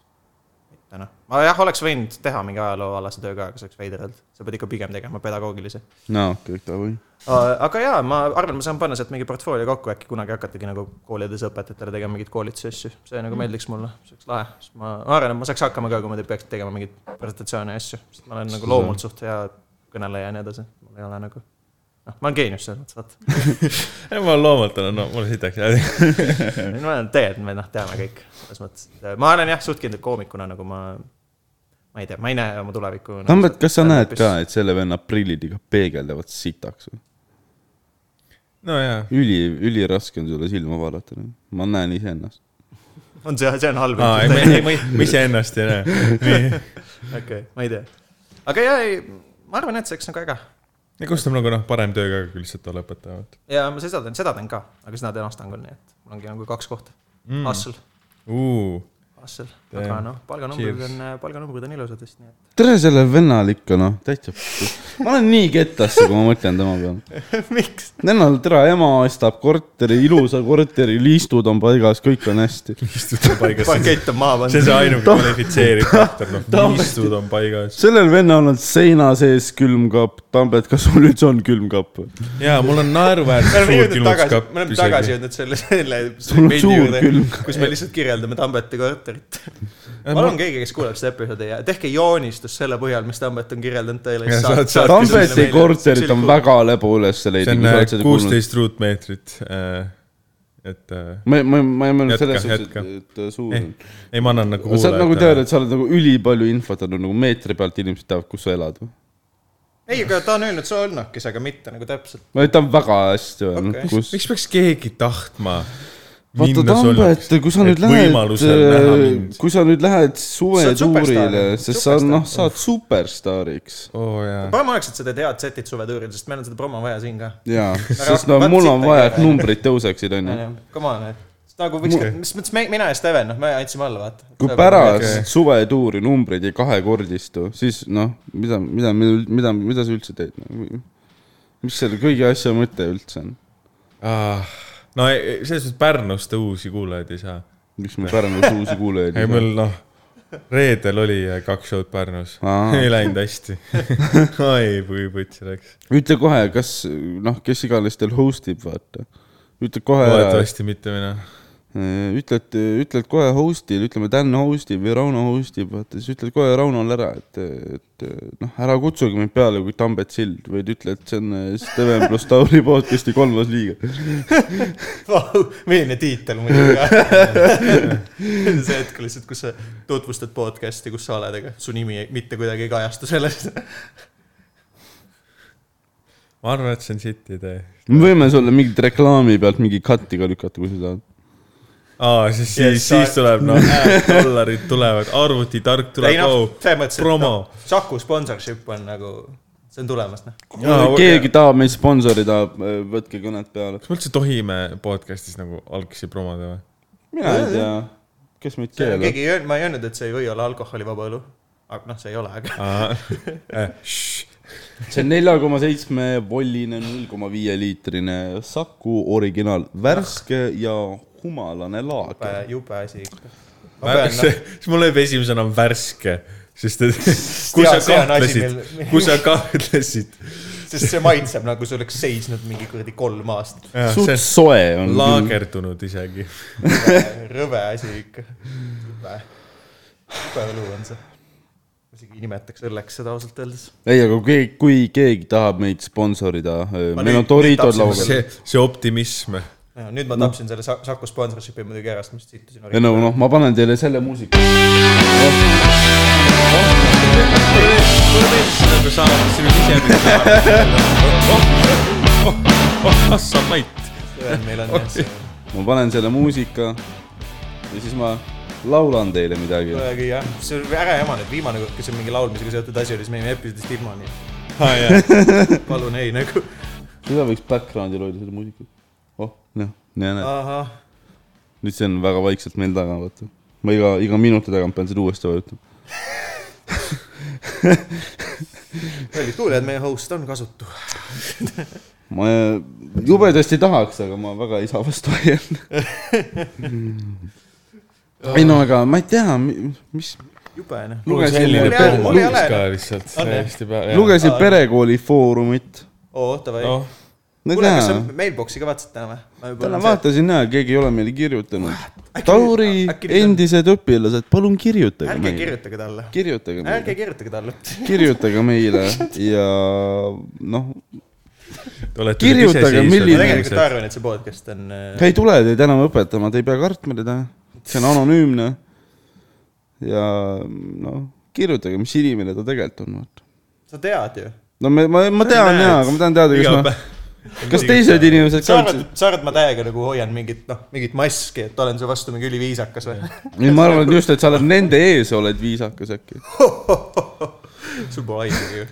mitte noh , ma jah , oleks võinud teha mingi ajalooalase töö ka , aga see oleks veider olnud , sa pead ikka pigem tegema pedagoogilisi . no okei okay, , davai . Äh, aga jaa , ma arvan , ma saan panna sealt mingi portfoolio kokku , äkki kunagi hakatagi nagu koolides õpetajatele tegema mingeid koolitusi asju , see Mhm. nagu meeldiks mulle , see oleks lahe , sest ma ma arvan , et ma saaks hakkama ka , kui ma te- peaks tegema mingeid presentatsioone ja asju , sest ma olen nagu loomult suht hea kõneleja ja nii edasi , mul ei ole nagu noh , ma olen geenius selles mõttes , vaata . ei , ma loomalt olen , noh, no mulle sitaks jääb . ma olen tegelikult , me noh , teame kõik , selles mõttes . ma olen jah , suht kindel koomikuna nagu ma , ma ei tea , ma ei näe oma tulevikku . noh. noh, Tambet , kas sa näed ka , et selle venna prillid ikka peegeldavad sitaks või ? no jaa . üli , üliraske on sulle silma vaadata . ma näen iseennast . on see , see on halb . aa , ei , ma , ei , ma , ma iseennast ei näe . nii . okei okay, , ma ei tea . aga jaa , ei , ma arvan , et see oleks nagu äge ja kust on nagu noh , parem töö ka kui lihtsalt olla õpetaja , vaata . ja ma seda teen , seda teen ka , aga seda teen Astangul , nii et mul ongi nagu kaks kohta mm. . Hassel , Hassel , aga Damn. noh , palganumbrid Cheers. on , palganumbrid on ilusad vist , nii et . tere sellele vennale ikka noh , täitsa . ma olen nii kettasse , kui ma mõtlen tema peale . miks ? Lennal tere ema ostab korteri , ilusa korteri , liistud on paigas , kõik on hästi . istud on paigas . see pakett on maha on pandud . see ainuke kvalifitseeriv faktor , noh , istud on paigas . sellel vennal on seina sees külmkapp , Tambet , kas sul üldse on külmkapp või ? jaa , mul on me naeruväärselt oleme suur jõudnud tagasi , külmutskapp me oleme tagasi . jõudnud selle , selle on suur külm. kus me lihtsalt kirjeldame Tambeti korterit . ma- palun keegi , kes kuuleb seda episoodi ja tehke joonistus selle põhjal , mis Tambet on kirjeldanud teile . Ja saad- saad- Tambeti korterit on . väga lebu üles see leida , kui sa oled on äh, seda kuulnud . kuusteist ruutmeetrit . et äh, ma , ma , ma ei mõelnud Jätka, selles suhtes , jätka. Eh, et , et suur ei on ., ei ma annan nagu sa oled nagu tead , kuulajatele . et sa oled nagu ülipalju infot andnud , nagu meetri pealt inimesed teavad , kus sa elad või ? ei , aga ta on öelnud solnokis , aga mitte nagu täpselt . ma ütlen väga hästi öelnud Okei. okay. , kus . miks peaks keegi tahtma vaata minna Tambet , kui sa nüüd lähed , äh, lähed . kui sa nüüd lähed oled suvetuurile superstaar. , sest sa Superstaar. noh , sa oled superstaariks . oo Oh, jaa . parem oleks , et sa teed head setid suvetuuril , sest meil on seda promo vaja siin ka jaa , sest Aga no vaat mul on siit vaja , on et numbrid tõuseksid , onju . onju , come on , et nagu võiks , mis mõttes me , mina ja Steven , noh , me andsime alla , vaata . Nagu kui pärast suvetuuri numbrid ei kahekordistu , siis noh , mida , mida , mida , mida sa üldse teed no? ? mis selle kõigi asja mõte üldse on ? Ah. no ei- ei, selles mõttes Pärnust uusi kuulajaid ei saa . miks me Pärnus uusi kuulajaid ei , mul noh , reedel oli äh, kaks show'd Pärnus . Aa. ei läinud hästi . ai , kui putsi läks . ütle kohe , kas noh , kes iganes teil host ib , vaata . ütle kohe , loodetavasti mitte mina . ütled , ütled kohe host'il , ütleme Dan host ib või Rauno host ib , vaata siis ütled kohe Raunole ära , et , et noh , ära kutsuge mind peale kui Tambet Sild , vaid ütle , et see on äh, Steven pluss Tauri podcast'i kolmas liige . Vau, milline tiitel muidugi ka . see hetk lihtsalt , kus sa tutvustad podcast'i , kus sa oled , aga su nimi ei- mitte kuidagi ei kajastu selles . ma arvan , et see on sitt idee . me võime sulle mingit reklaami pealt mingi cut'i ka lükata , kui sa tahad . aa , siis , Yes, siis , sa- siis tuleb noh , dollarid tulevad , arvutitark ei tuleb , oh. noh oo ,. selles mõttes , et promo. noh , Saku sponsorship on nagu , see on tulemas , noh . Jaa, keegi tahab meid sponsorida , võtke kõned peale . kas me üldse tohime podcast'is nagu algsi promoda või ? mina ei tea , kes meid keelab . keegi ei öelnud , ma ei öelnud , et see ei või olla alkoholivaba õlu . aga noh , see ei ole , aga Äh, see on nelja koma seitsme volline , null koma viie liitrine Saku originaal , värske ja humalane jube laager ., jube asi ikka . noh. siis mul läheb esimesena värske , sest et kui jaa, sa see on asi, kahtlesid mil- , kui sa kahtlesid . sest see maitseb nagu see oleks seisnud mingi kuradi kolm aastat . suht soe on . laagerdunud isegi . rõve asi ikka . jube , jube õlu on see . isegi ei nimetaks õlleks seda ausalt öeldes . ei , aga kui , kui keegi tahab meid sponsorida , meil nüüd- on Doritos nüüd laua peal . see , see optimism . nüüd ma tapsin selle Sa- Saku sponsorship'i muidugi ära , sest ma lihtsalt sittusin ei . no , noh , ma panen teile selle muusika . nagu sa , sinu sisemine . Oh, ah sa vait . meil on jah see ma panen selle muusika ja siis ma laulan teile midagi . kuidagi jah , see oli väga jama nüüd , viimane kord , kui see mingi laulmisega seotud asi oli , siis me jäime episoodist ilma , nii et palun ei nagu . seda võiks background'il hoida , seda muusikat . oh , noh , näe , näe . ahah , nüüd see on väga vaikselt meil taga , vaata . ma iga , iga minuti tagant pean seda uuesti vajutama . kallid kuulajad , meie host on kasutu . ma jubedasti tahaks , aga ma väga ei saa vastu vaielda . ei no aga ma ei tea , mis , jube noh . oh, lugesin , Mul ei ole- ka lihtsalt On, jah? täiesti pea- . lugesin perekooli foorumit . oo , davai . noh , ma ei kuule , kas tea sa , mailbox'i ka vaatasid täna või ? täna . vaatasin ja keegi ei ole meile kirjutanud . Tauri äkki nüüd on- endised õpilased , palun kirjutage ärge meile , kirjutage talle . kirjutage ärge meile , kirjutage talle . kirjutage meile ja noh , olete nüüd Kirjutage, ma milline- iseseisvad tegelikult inimesed . arvan , et see podcast on äh, ei tule teid enam õpetama , te ei pea kartma teda , see on anonüümne . ja noh , kirjutage , mis inimene ta tegelikult on , vaata . sa tead ju . no me , ma , ma tean näed. jaa , aga ma tahan teada , iga kas ma , päev . kas teised inimesed sa ka arvad , sa arvad , ma täiega nagu hoian mingit , noh , mingit maski , et olen su vastu mingi üliviisakas või ? ei , ma arvan et just , et sa oled nende ees , oled viisakas äkki . sul pole aimugi ju .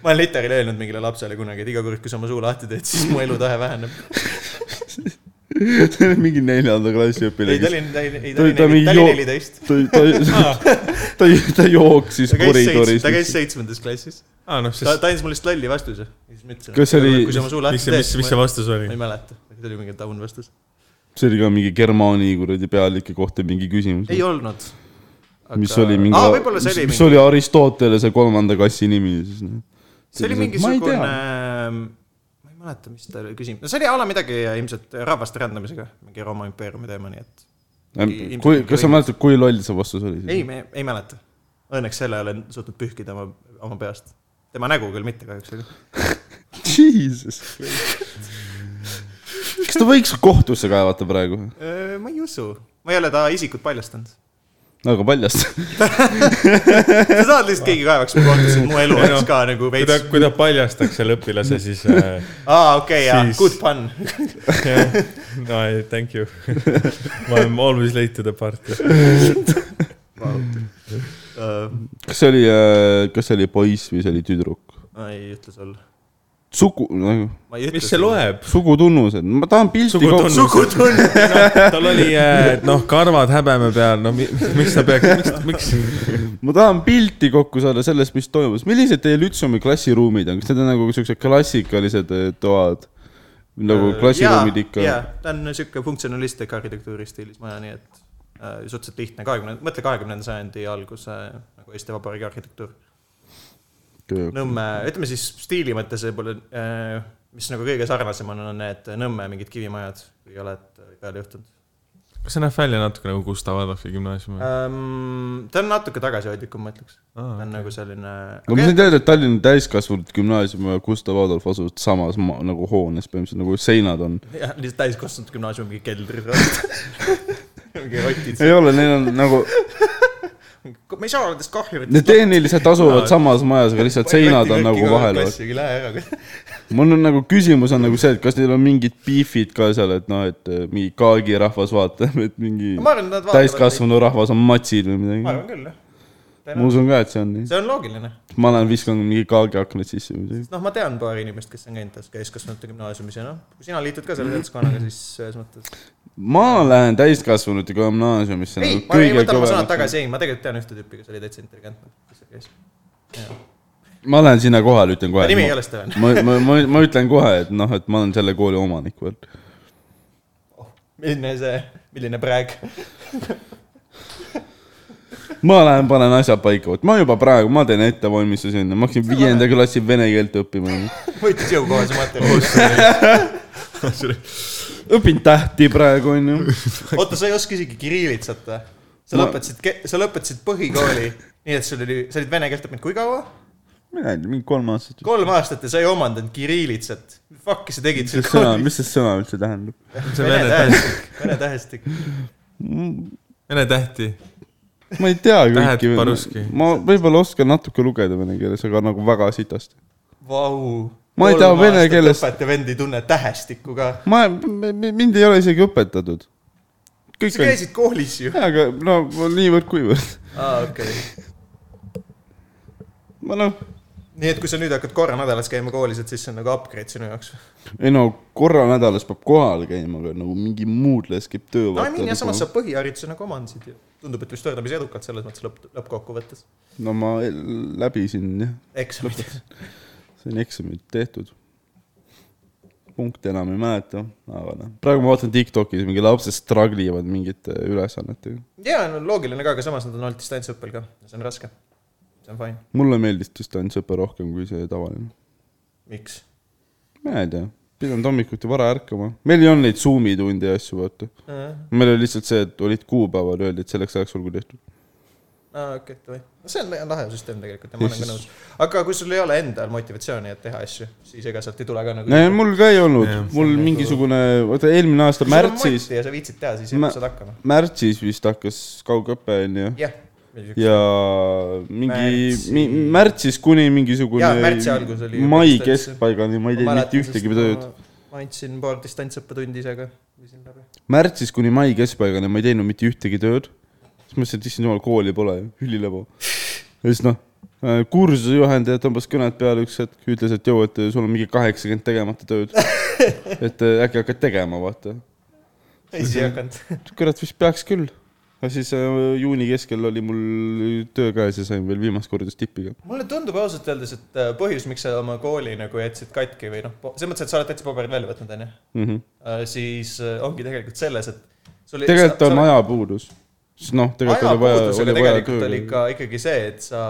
ma olen literaal öelnud mingile lapsele kunagi , et iga kord , kui sa oma suu lahti teed , siis mu elutahe väheneb . mingi neljanda klassi ei , õpilane , ta oli , ta oli , ta Ta oli- ta oli mingi joo- neliteist . kes ta , ta , ta , ta jooksis ta käis seitsmes , koridoris ta . käis seitsmendas klassis . aa noh , ta , sest ta andis mulle lihtsalt lolli vastuse . ja siis ma ütlesin , Kas see oli- kui sa oma suu mis lahti see , mis , mis see teed , vastus oli ma ? ei mäleta , see oli mingi taun vastus . see oli ka mingi Germani kuradi pealike kohta mingi küsimus . ei olnud . mis oli mingi aa , võib-olla , see mis, oli mis mingi , oli Aristotelese kolmanda klassi nimi siis noh . see oli mingisugune , ma ei mäleta , mis ta oli küsimus , no see oli a la midagi ilmselt rahvaste rändamisega , mingi Rooma impeeriumi teema , nii et mingi- kui , mingi kas sa õige- mäletad , kui loll see vastus oli ? ei , me ei mäleta . Õnneks selle olen suutnud pühkida oma , oma peast . tema nägu küll mitte kahjuks , aga Jesus . kas ta võiks kohtusse kaevata praegu ? Öö, ma ei usu . ma ei ole ta isikut paljastanud . aga paljast . sa tahad lihtsalt keegi kaevaks mu kohtusse , et mu elu Ei oleks noh, ka nagu kui ta veits ,. kui ta paljastaks selle õpilase , siis äh, aa , okei , jaa , siis- good fun . jah. no ei, thank you . I am always late to the party . kas see oli , kas see oli poiss või see oli tüdruk ? ma ei ütle sulle . sugu , ma ei ütle mis see ? loeb ? sugutunnused , ma tahan pilti Sugutunnus- kohta . sugutunne . tal oli äh, noh , karvad häbeme peal , no mi- miks ta peaks , miks , miks , ma tahan pilti kokku saada sellest , mis toimus . millised teie Lütseumi klassiruumid on , kas need on nagu siuksed klassikalised eh, toad ? nagu klassiruumid ikka Äh, jaa , ta on sihuke funktsionalistlik arhitektuuri stiilis maja , nii et äh, suhteliselt lihtne , kahekümne , mõtle kahekümnenda sajandi alguse nagu Eesti Vabariigi arhitektuur . yeah. ? Nõmme , ütleme siis stiili mõttes võib-olla äh, , mis nagu kõige sarnasem on , on need äh, Nõmme mingid kivimajad , kui oled peale juhtunud kas see näeb välja natuke nagu Gustav Adolfi Äh. gümnaasium või ? ähm, . ta on natuke tagasihoidlikum , ma ütleks . ta on Aa, nagu selline no ma sain teada , et Tallinna täiskasvanute gümnaasium ja Gustav Adolf asuvad samas ma, nagu hoones põhimõtteliselt , nagu seinad on . jah , lihtsalt täiskasvanud gümnaasium , mingi keldrid . mingi rotid . ei ole , neil on nagu , me ei saa olla tast kahjurid . need tehniliselt asuvad samas majas , aga lihtsalt seinad on nagu vahel . klassigi lähe ära . mul on nagu küsimus on nagu see , et kas neil on mingid beef'id ka seal , et noh , et eh, mingi kaagi rahvas vaatab , et mingi ma arvan , et nad vaatavad . täiskasvanu rahvas on matsid või ma midagi . arvan küll , jah . ma usun ka , et see on nii . see on loogiline . ma lähen viskan mingi kaagi aknad sisse või midagi . noh , ma tean Mhm. paari inimest , kes on käinud täiskasvanute gümnaasiumis ja noh , kui sina liitud ka selle seltskonnaga , siis selles mõttes ma lähen täiskasvanute gümnaasiumisse . nagu ei , ma ei võta oma sõnad . tagasi , ei , ma tegelikult tean ühte tüüpi , kes oli täitsa intelligentne , kes seal käis . ma lähen sinna kohale , ütlen kohe . Ta nimi ei ole Steven. ma , ma , ma , ma ütlen kohe , et noh , et ma olen selle kooli omanik veel . milline see , milline praeg . ma lähen panen asjad paika , vot ma juba praegu , ma teen ettevalmistuse enne , ma hakkasin viienda klassi vene keelt õppima . võttis jõukohase Oh, materjali . õpin tähti praegu onju . oota , sa ei oska isegi kirillitsat või ? sa Ma- lõpetasid , sa lõpetasid põhikooli , nii et sul oli , sa olid vene keelt õppinud kui kaua ? mina ei tea , mingi kolm aastat . kolm aastat ja sa ei omandanud kirillitsat . Fuck'i sa tegid mis seal see sõna , koolis ? mis see sõna üldse tähendab ? see on Vene vene täht , tähestik , vene tähestik . vene tähti . ma ei tea Tähed kõiki paruski. . ma võib-olla oskan natuke lugeda vene keeles , aga nagu väga sitasti . Vau . Ma ei tea vene keelest- õpetaja vend ei tunne tähestikku ka . ma , mind ei ole isegi õpetatud . kõik sa on , käisid koolis ju . jaa , aga no niivõrd-kuivõrd . aa , okei okay. . ma noh , nii et kui sa nüüd hakkad korra nädalas käima koolis , et siis see on nagu upgrade sinu jaoks . ei no korra nädalas peab kohal käima , aga nagu mingi muud leskib töö . no I mean , ja samas sa põhihariduse nagu omandasid ju . tundub , et vist võrdlemisi edukalt selles mõttes lõpp , lõppkokkuvõttes . no ma el- läbisin jah , eksamid . sain eksamid tehtud . punkte enam ei mäleta , aga noh , praegu ma vaatan Tiktokis mingi lapsed struggle ivad mingite ülesannetega . jaa , no loogiline ka , aga samas nad on olnud distantsõppel ka . see on raske . see on fine . mulle meeldis distantsõpe rohkem kui see tavaline . miks ? mina ei tea , pidanud hommikuti vara ärkama , meil ei olnud neid Zoomi tunde ja asju , vaata . aa , meil oli lihtsalt see , et olid kuupäevad , öeldi , et selleks ajaks olgu tehtud . okei , davai . no see on la- lahe süsteem tegelikult ja ma Ja olen ka siis- nõus . aga kui sul ei ole endal motivatsiooni , et teha asju , siis ega sealt ei tule ka nagu ei , mul ka ei olnud Jah. , mul mingisugune , oota eelmine aasta Kui sul on märtsis moti , ja sa viitsid teha , siis Ma- ma... saad hakkama . märtsis vist hakkas kaugõpe , onju . jah . ja mingi Märtsi- mi, märtsis kuni mingisugune Jaa, märtsi algus oli ju mai distantsõpe. keskpaigani , ma ei teinud mitte ühtegi tööd .. ma andsin paar distantsõppetundi ise ka . viisin läbi . märtsis kuni mai keskpaigani ma ei teinud mitte ühtegi tööd . siis mõtlesin , et issand jumal , kooli pole ju , ülilebo . ja siis noh , kursusejuhendaja tõmbas kõned peale üks hetk , ütles , et jõu , et sul on mingi kaheksakümmend tegemata tööd . et äh, äkki hakkad tegema , vaata . ei , siis ei hakanud . kurat , vist peaks küll . aga siis äh, juuni keskel oli mul töö käes ja sain veel viimast korda stipiga . mulle tundub ausalt öeldes , et äh, põhjus , miks sa oma kooli nagu jätsid katki või noh , selles mõttes , et sa oled täitsa paberid välja võtnud , onju , Mm -hmm. siis äh, ongi tegelikult selles , et sul ei- tegelikult sa- on sa- ajapuudus . sest noh , tegelikult oli vaja , ajapuudusega oli vaja tegelikult oli tööga . ikka , ikkagi see , et sa ,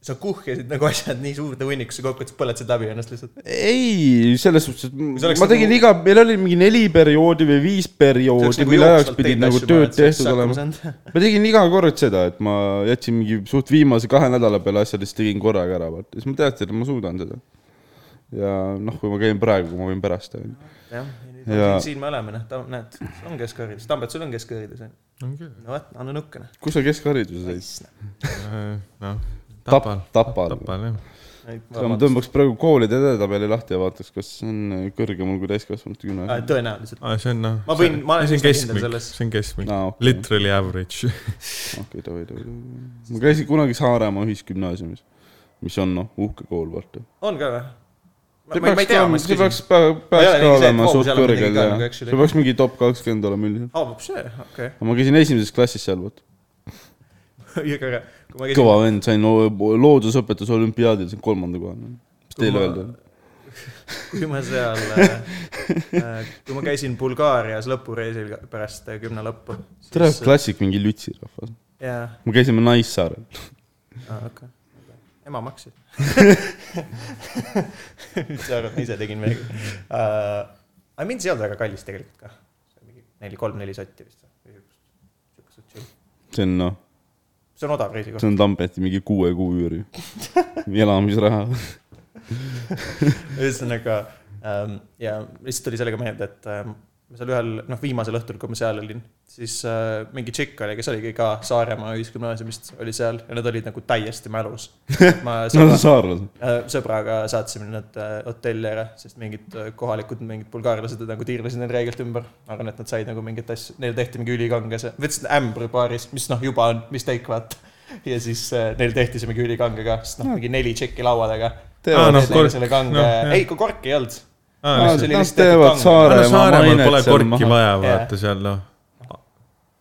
sa kuhjasid nagu asjad nii suurde hunnikusse kokku , et sa põletasid läbi ennast lihtsalt . ei , selles suhtes , see et oleks ma tegin nagu- iga , meil oli mingi neli perioodi või viis perioodi , mille ajaks pidid nagu tööd tehtud olema . ma tegin iga kord seda , et ma jätsin mingi suht viimase kahe nädala peale asjad , siis tegin korraga ära , vaata , siis ma teadsin , et ma suudan seda . ja noh , kui ma käin praegu , ma võin pärast , onju . jah , Ja- siin me oleme , noh , näed , on keskharidus , Tambet , sul on keskharidus , onju . no vot , anna noh. nukkena . kus sa keskhariduse said ? noh , Tapal Tapal ,, Tapal . Tapal jah . ma tõmbaks praegu koolide edetabeli lahti ja vaataks , kas see on kõrgemal kui täiskasvanute gümnaasium . tõenäoliselt . aa , see on noh . Ma võin- ma olen see on üsna kindel keskmik selles. , see on keskmik . aa , okei . Literally average . okei , davai , davai , davai . ma käisin kunagi Saaremaa ühisgümnaasiumis , mis on noh , uhke kool , vaata . on ka või ? see peaks ka , see peaks , peaks ei ole mingi see, ka et olema oo, suht seal on midagi kõrgel ka ja nagu, eks ju, see peaks mingi top kakskümmend olema üldiselt . aa , Oh, see , okei . aga ma käisin esimeses klassis seal , vot . õige , aga kui ma kõva vend , sain lo- loodusõpetuse olümpiaadil , sain kolmanda koha . mis teile Kõva- öelda on ? kui ma seal , kui ma käisin Bulgaarias lõpureisil ka- pärast äh, gümna lõppu . tere , klassik mingi lütsi rahvas . jaa , me käisime Naissaarel . Ah, okei . ema maksis . mis sa arvad , ma ise tegin midagi uh, ? aga mind see ei olnud väga kallis tegelikult ka . mingi neli , kolm-neli sotti vist või sihukest , sihukest sotti . see on noh , see on odav reisikoht . see on Tambeti mingi kuue kuu üüri . elamisraha . ühesõnaga ähm, ja lihtsalt tuli sellega meelde , et ähm, ma seal ühel , noh , viimasel õhtul , kui ma seal olin , siis äh, mingi tšikk oli , kes oligi ka Saaremaa ühisgümnaasiumist , oli seal ja nad olid nagu täiesti mälus . ma Nad sõbra, on saarlased . äh, sõbraga saatsime nad äh, hotelli ära , sest mingid äh, kohalikud , mingid bulgaarlased nagu tiirlesid neil reeglilt ümber . ma arvan , et nad said nagu mingit asja , neile tehti mingi ülikange see , võtsid ämbri baaris , mis noh , juba on mistake , vaata . ja siis äh, neil tehti see mingi ülikange ka , sest noh , mingi neli tšekki laua taga aa , noh , kork , kork , selle kange noh, no, , jah. ei , kui korki ei olnud , Noh, aa , Nad see oli nad lihtsalt teevad teatud no Saaremaa Saaremaal pole mainet seal korki maha . vaja , Jaa. vaata seal noh .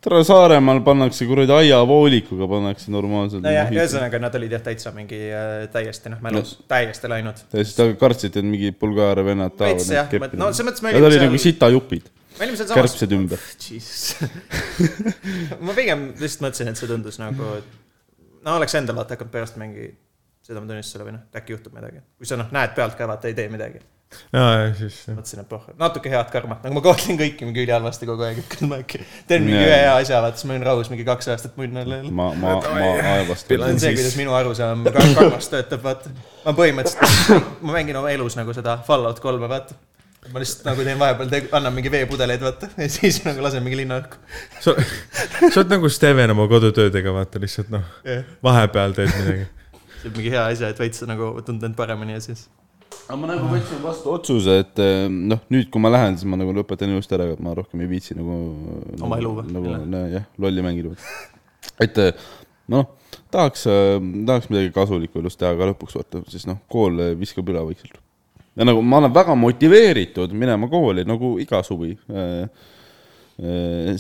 tere , Saaremaal pannakse kuradi aiavoolikuga pannakse normaalselt . nojah , ühesõnaga nad olid jah täitsa mingi äh, täiesti noh , mälus no. täiesti läinud . ja siis ta kartsid , et mingi Bulgaaria vennad tahavad veits jah neid , keppi . no selles mõttes me Nad olime olid nagu seal , sitajupid , me olime seal samas . kärbsed ümber . Jesus . ma pigem lihtsalt mõtlesin , et see tundus nagu , et no oleks endal vaata hakanud peast mingi , seda ma tunnistan läbi , noh , äkki juhtub midagi . kui sa noh , näed pealt ka , vaata ei tee midagi . jaa , ja siis jah. mõtlesin , et pohh , natuke head karmat , nagu ma kohtlen kõiki mingi ülihalvasti kogu aeg , et kui ma äkki teen mingi Jaa. ühe hea asja , vaata siis ma olin rahus mingi kaks aastat munn all jälle . ma , ma , ma see on aevastan . see , kuidas minu arusaam ka- karmast töötab , vaata . ma põhimõtteliselt , ma mängin oma elus nagu seda Fallout kolme , vaata . ma lihtsalt nagu teen vahepeal , annan mingi veepudeleid , vaata , ja siis nagu lasen mingi linna õhku . sa , sa oled nagu Steven oma kodutöödega , vaata lihtsalt noh , vahepeal teed midagi . see on mingi hea asi , et veits nagu tundnud end paremini ja siis . aga ma nagu võtsin vastu otsuse , et eh, noh , nüüd kui ma lähen , siis ma nagu lõpetan ilusti ära , et ma rohkem ei viitsi nagu . Oma elu või? nagu nä- jah , lolli mängida . et eh, noh , tahaks , tahaks midagi kasulikku elus teha ka lõpuks vaata , siis noh , kool eh, viskab üle vaikselt . ja nagu ma olen väga motiveeritud minema kooli nagu iga suvi .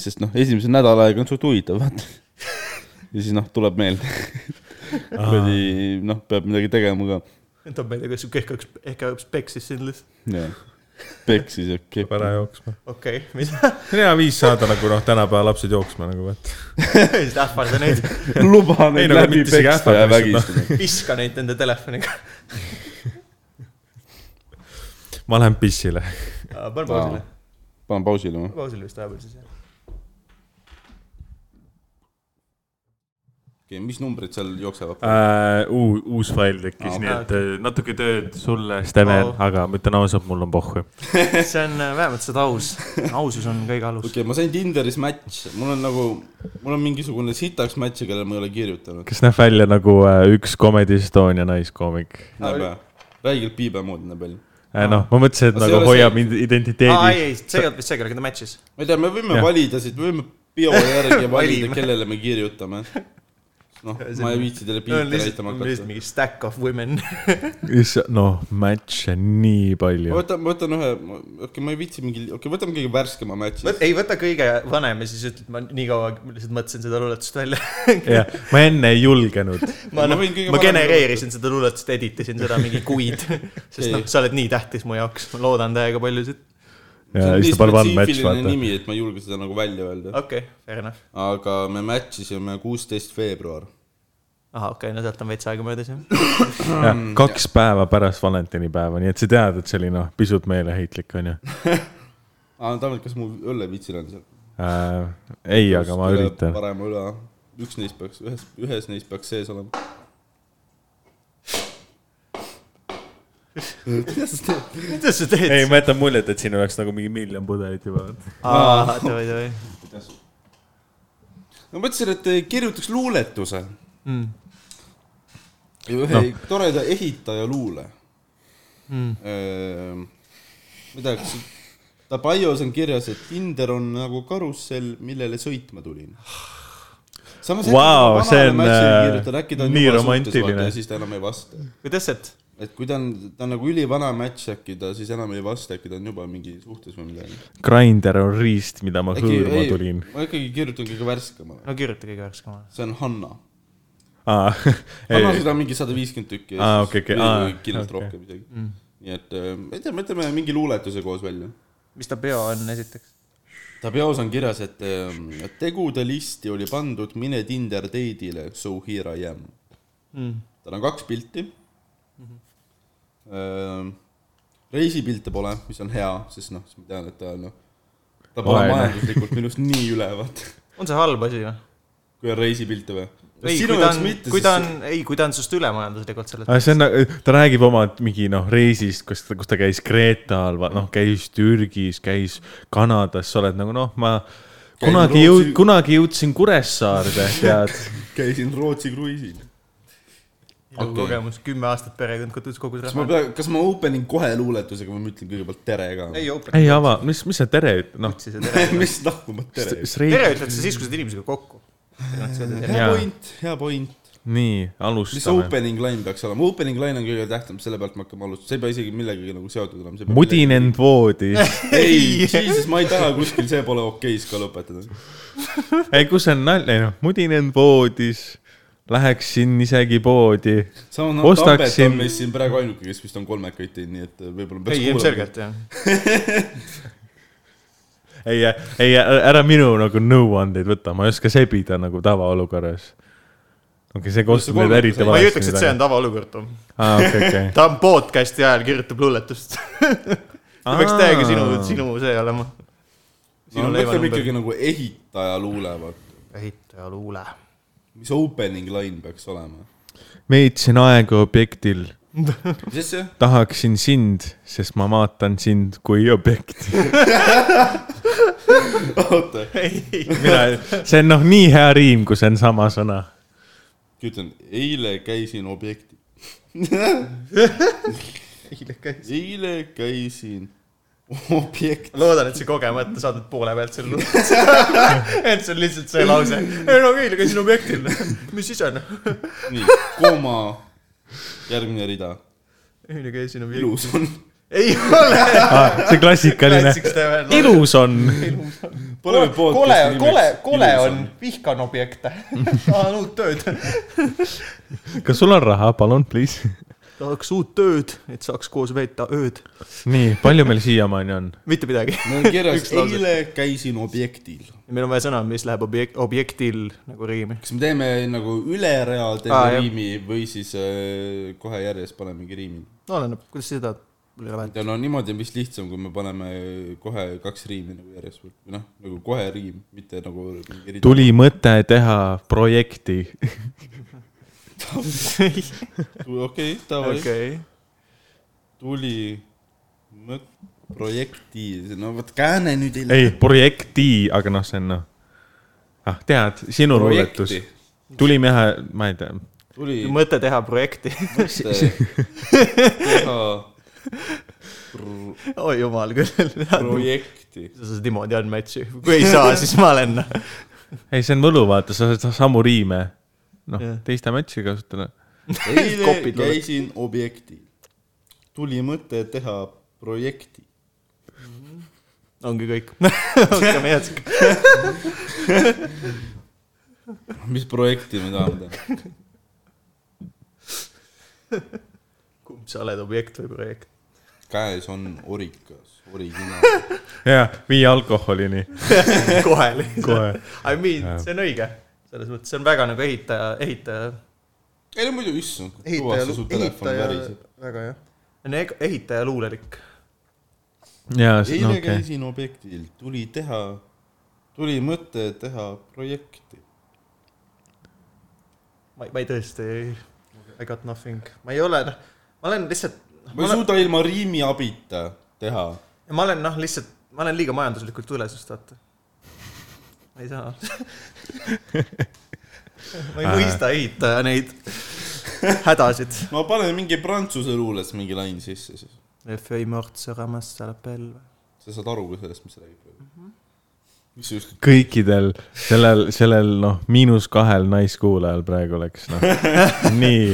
sest noh , esimese nädala aega on suht huvitav , vaata . ja siis noh , tuleb meelde . kuradi noh , peab midagi tegema ka et on meile , kas su kehk oleks , ehk oleks peksis sind lihtsalt . jah , peksis ja kepp peab . ära jooksma . okei okay, , mida ? see on hea viis saada nagu noh , tänapäeva lapsed jooksma nagu vaata . siis ähvarda neid , luba Ei, neid nagu no aga läbi mitte isegi peksta ja ähvardada vägistada . viska neid nende telefoniga . ma lähen pissile . pane pausile , panen pausile ma . pausile vist vahepeal siis . okei , mis numbrid seal jooksevad ? uh, . uus fail tekkis oh, , Aa, okei. nii et äh, natuke tööd sulle , Steven Au. oh. , aga ma ütlen ausalt , mul on pohhu . see on äh, vähemalt seda aus , ausus on kõige alus . okei , ma sain Tinderis match , mul on nagu , mul on mingisugune sitaks match , kellele ma ei ole kirjutanud . kes näeb välja nagu äh, üks Comedy Estonia naiskoomik näeb hea , räigelt piibe moodi näeb välja . äh, . noh , ma mõtlesin , et Aga see nagu ei ole hoiab mind aa identiteedi . ei , see ei olnud vist see , kellega ta match'is . ma ei tea , me võime Jah. valida siit , me võime bio järgi valida Valime. , kellele me kirjutame . noh , ma ei viitsi teile no on pilte lihtsalt , näitama on lihtsalt hakata . mingi stack of women . issand , noh , match'e nii ma palju . võtan , ma võtan ühe , okei , ma ei viitsi mingi , okei okay, , võtame kõige värskema match'i . ei võta kõige vanem ja siis ütled , ma nii kaua lihtsalt mõtlesin seda luuletust välja . jah , ma enne ei julgenud . ma, Ma ma, võin kõige ma vanem- genereerisin seda luuletust , editisin seda mingi kuid . sest noh , sa oled nii tähtis mu jaoks , ma loodan täiega paljusid . ja siis ta paneb one match , vaata . nimi , et ma ei julge seda nagu välja öelda . okei okay, , fair enough . aga me match isime kuusteist veebruar . ahah , okei okay, , no sealt on veits aega möödas jah . kaks päeva pärast valentinipäeva , nii et sa tead , et see oli noh , pisut meeleheitlik onju aa , Ah, Tanel , kas mu õllepitsil on seal ? äh, . ei , aga ma üritan . parema üle , üks neist peaks , ühes , ühes neist peaks sees olema . kuidas sa teed ? mida sa teed ? ei , ma jätan muljet , et siin oleks nagu mingi miljon pudelit juba . aa , davai , davai . ma mõtlesin , et eh, kirjutaks luuletuse . Mm. ühe no. toreda ehitaja luule mm. . mida , kas ta bios on kirjas , et Tinder on nagu karussell , millele sõitma tulin . samas äkki Vau, ta see on, vanale matchile äh, kirjutada, äkki ta on nii juba suhtes, romantiline. vaata, ja siis ta enam ei vasta . kuidas see , et kui ta on , ta on nagu ülivana match , äkki ta siis enam ei vasta , äkki ta on juba mingi suhtes või midagi . Grinder on riist , mida ma hõõruma ei tulin ., ma ikkagi kirjutan kõige värskemale . no kirjuta kõige värskem . see on Hanna . aa , Hanna ei , seda on mingi sada viiskümmend tükki . Aa, Ah, okei, okei, aa, kindlalt okei. rohkem isegi mm. . nii et äh, ma ei tea , mõtleme mingi luuletuse koos välja mis ta peo on esiteks ? ta peos on kirjas , et ähm, tegude listi oli pandud mine Tinder date'ile , so here I am Mm. tal on kaks pilti Mhm. mm . -hmm. reisipilte pole , mis on hea , sest noh , siis ma tean , et ta on noh , ta pole Vaene. majanduslikult minust nii ülevat , on see halb asi või ? kui on reisipilte või ? ei , kui ta on , kui ta on , ei , kui ta on sinust ülemajanduslikult selles see on , ta räägib oma mingi noh , reisist , kus , kus ta käis Kreetal , noh , käis Türgis , käis Kanadas , sa oled nagu noh , ma Käin kunagi jõud- Rootsi- , kunagi jõudsin Kuressaarde , tead . käisin Rootsi kruiisil . okay. nagu kogemus , kümme aastat perekond kodus kogus kas ma raha . pean , kas ma open in kohe luuletusega või ma ütlen kõigepealt tere ka ? ei open . ei ava , mis , mis see tere üt- , noh . otsi see tere . mis nahku ma tere . tere ütled sa siis , kui sa oled inimesega kokku . hea point , hea point . nii , mis alustame . opening line peaks olema , opening line on kõige tähtsam , selle pealt me hakkame alustama , see ei pea isegi millegagi nagu seotud olema . mudinen voodi . ei , jesus , ma ei taha kuskil See pole okeis ka lõpetada . ei , kus on nalja , noh , mudinen voodis , läheksin isegi poodi . samas noh , Tambet Ostaksin- on meist siin praegu ainuke , kes vist on kolmekaid teinud , nii et eh, võib-olla peaks ei , ilmselgelt jah . ei , ei , ära minu nagu nõuandeid võta , ma ei oska sebida nagu tavaolukorras . okei , see kostab nüüd eriti ma ei ütleks , et see on . tavaolukord , Tom . aa , okei , okei . ta on podcast'i ajal , kirjutab luuletust . ta peaks Aa. täiega sinu , sinu see olema . no sinu mõtleme leivanumber . ikkagi nagu ehitaja luule , vaata . ehitaja luule . mis opening line peaks olema ? meetsin aega objektil , mis asja ? tahaksin sind , sest ma vaatan sind kui objekti . oota , see on noh , nii hea riim , kui see on sama sõna . ütlen , eile käisin objekti . eile käisin objekti . loodan , et sa kogemata saad nüüd poole pealt selle luuletuse . et see on lihtsalt see lause . ei no okei , käisin objektil . mis siis on ? nii , koma , järgmine rida . eile käisin objektil . ilus on . ei ole . see klassikaline . Lätsiks te veel. ilus on . kole , paneme podcast'i kole , nimeks kole Ilus on , vihkan objekte . tahan uut tööd . kas sul on raha , palun , please ? tahaks uut tööd , et saaks koos veeta ööd . nii , palju meil siiamaani on ? mitte midagi . mul on kirjas Üks , lause. eile käisin objektil . meil on vaja sõna , mis läheb objek- , objektil nagu riimi . kas me teeme nagu ülerea teeme Aa, ah, jah. riimi või siis äh, kohe järjest panemegi riimi ? no oleneb , kuidas sa seda , mul ei ole vahet . ja no niimoodi on vist lihtsam , kui me paneme kohe kaks riimi nagu järjest või või noh , nagu kohe riim , mitte nagu mingi rida . tuli mõte teha projekti . okei , davai okay. . okei . tuli mõt- , projekti , no vot kääne nüüd ei ei , projekti , aga noh , see on noh . ah , tead , sinu Projekti. luuletus . tuli mehe , ma ei tea . tuli mõte teha projekti . mõte teha pro- oi jumal küll . projekti . sa saad niimoodi andmetsi , kui ei saa , siis ma olen . ei , see on võlu , vaata , sa saad samu riime . noh Jah. , teiste matši kasutada . eile Kopid oled. käisin objektil . tuli mõte teha projekti . ongi kõik . hakkame edasi . mis projekti me tahame teha ? kumb sa oled , objekt või projekt ? käes on orikas , originaal . jaa , vii alkoholini kohe lihtsalt . kohe . I mean , see on õige . selles mõttes , see on väga nagu ehitaja , ehitaja ei no muidu , issand , kõvasti su telefon väriseb . väga hea . no ega- ehitaja luulelik . jaa , eile no, no okei okay. okay. . käisin objektil , tuli teha , tuli mõte teha projekti . ma ei , ma ei tõesti , I got nothing , ma ei ole , noh , ma olen lihtsalt , ma ei suuda ilma riimi abita teha . ma olen noh , lihtsalt , ma olen liiga majanduslikult üle , sest vaata . ma ei saa . ma ei mõista ehitaja neid hädasid . no paneme mingi prantsuse luulest mingi lain sisse siis . sa saad aru ka sellest , mis räägib praegu . mis sa just , kõikidel sellel , sellel noh , miinus kahel naiskuulajal praegu läks , noh . nii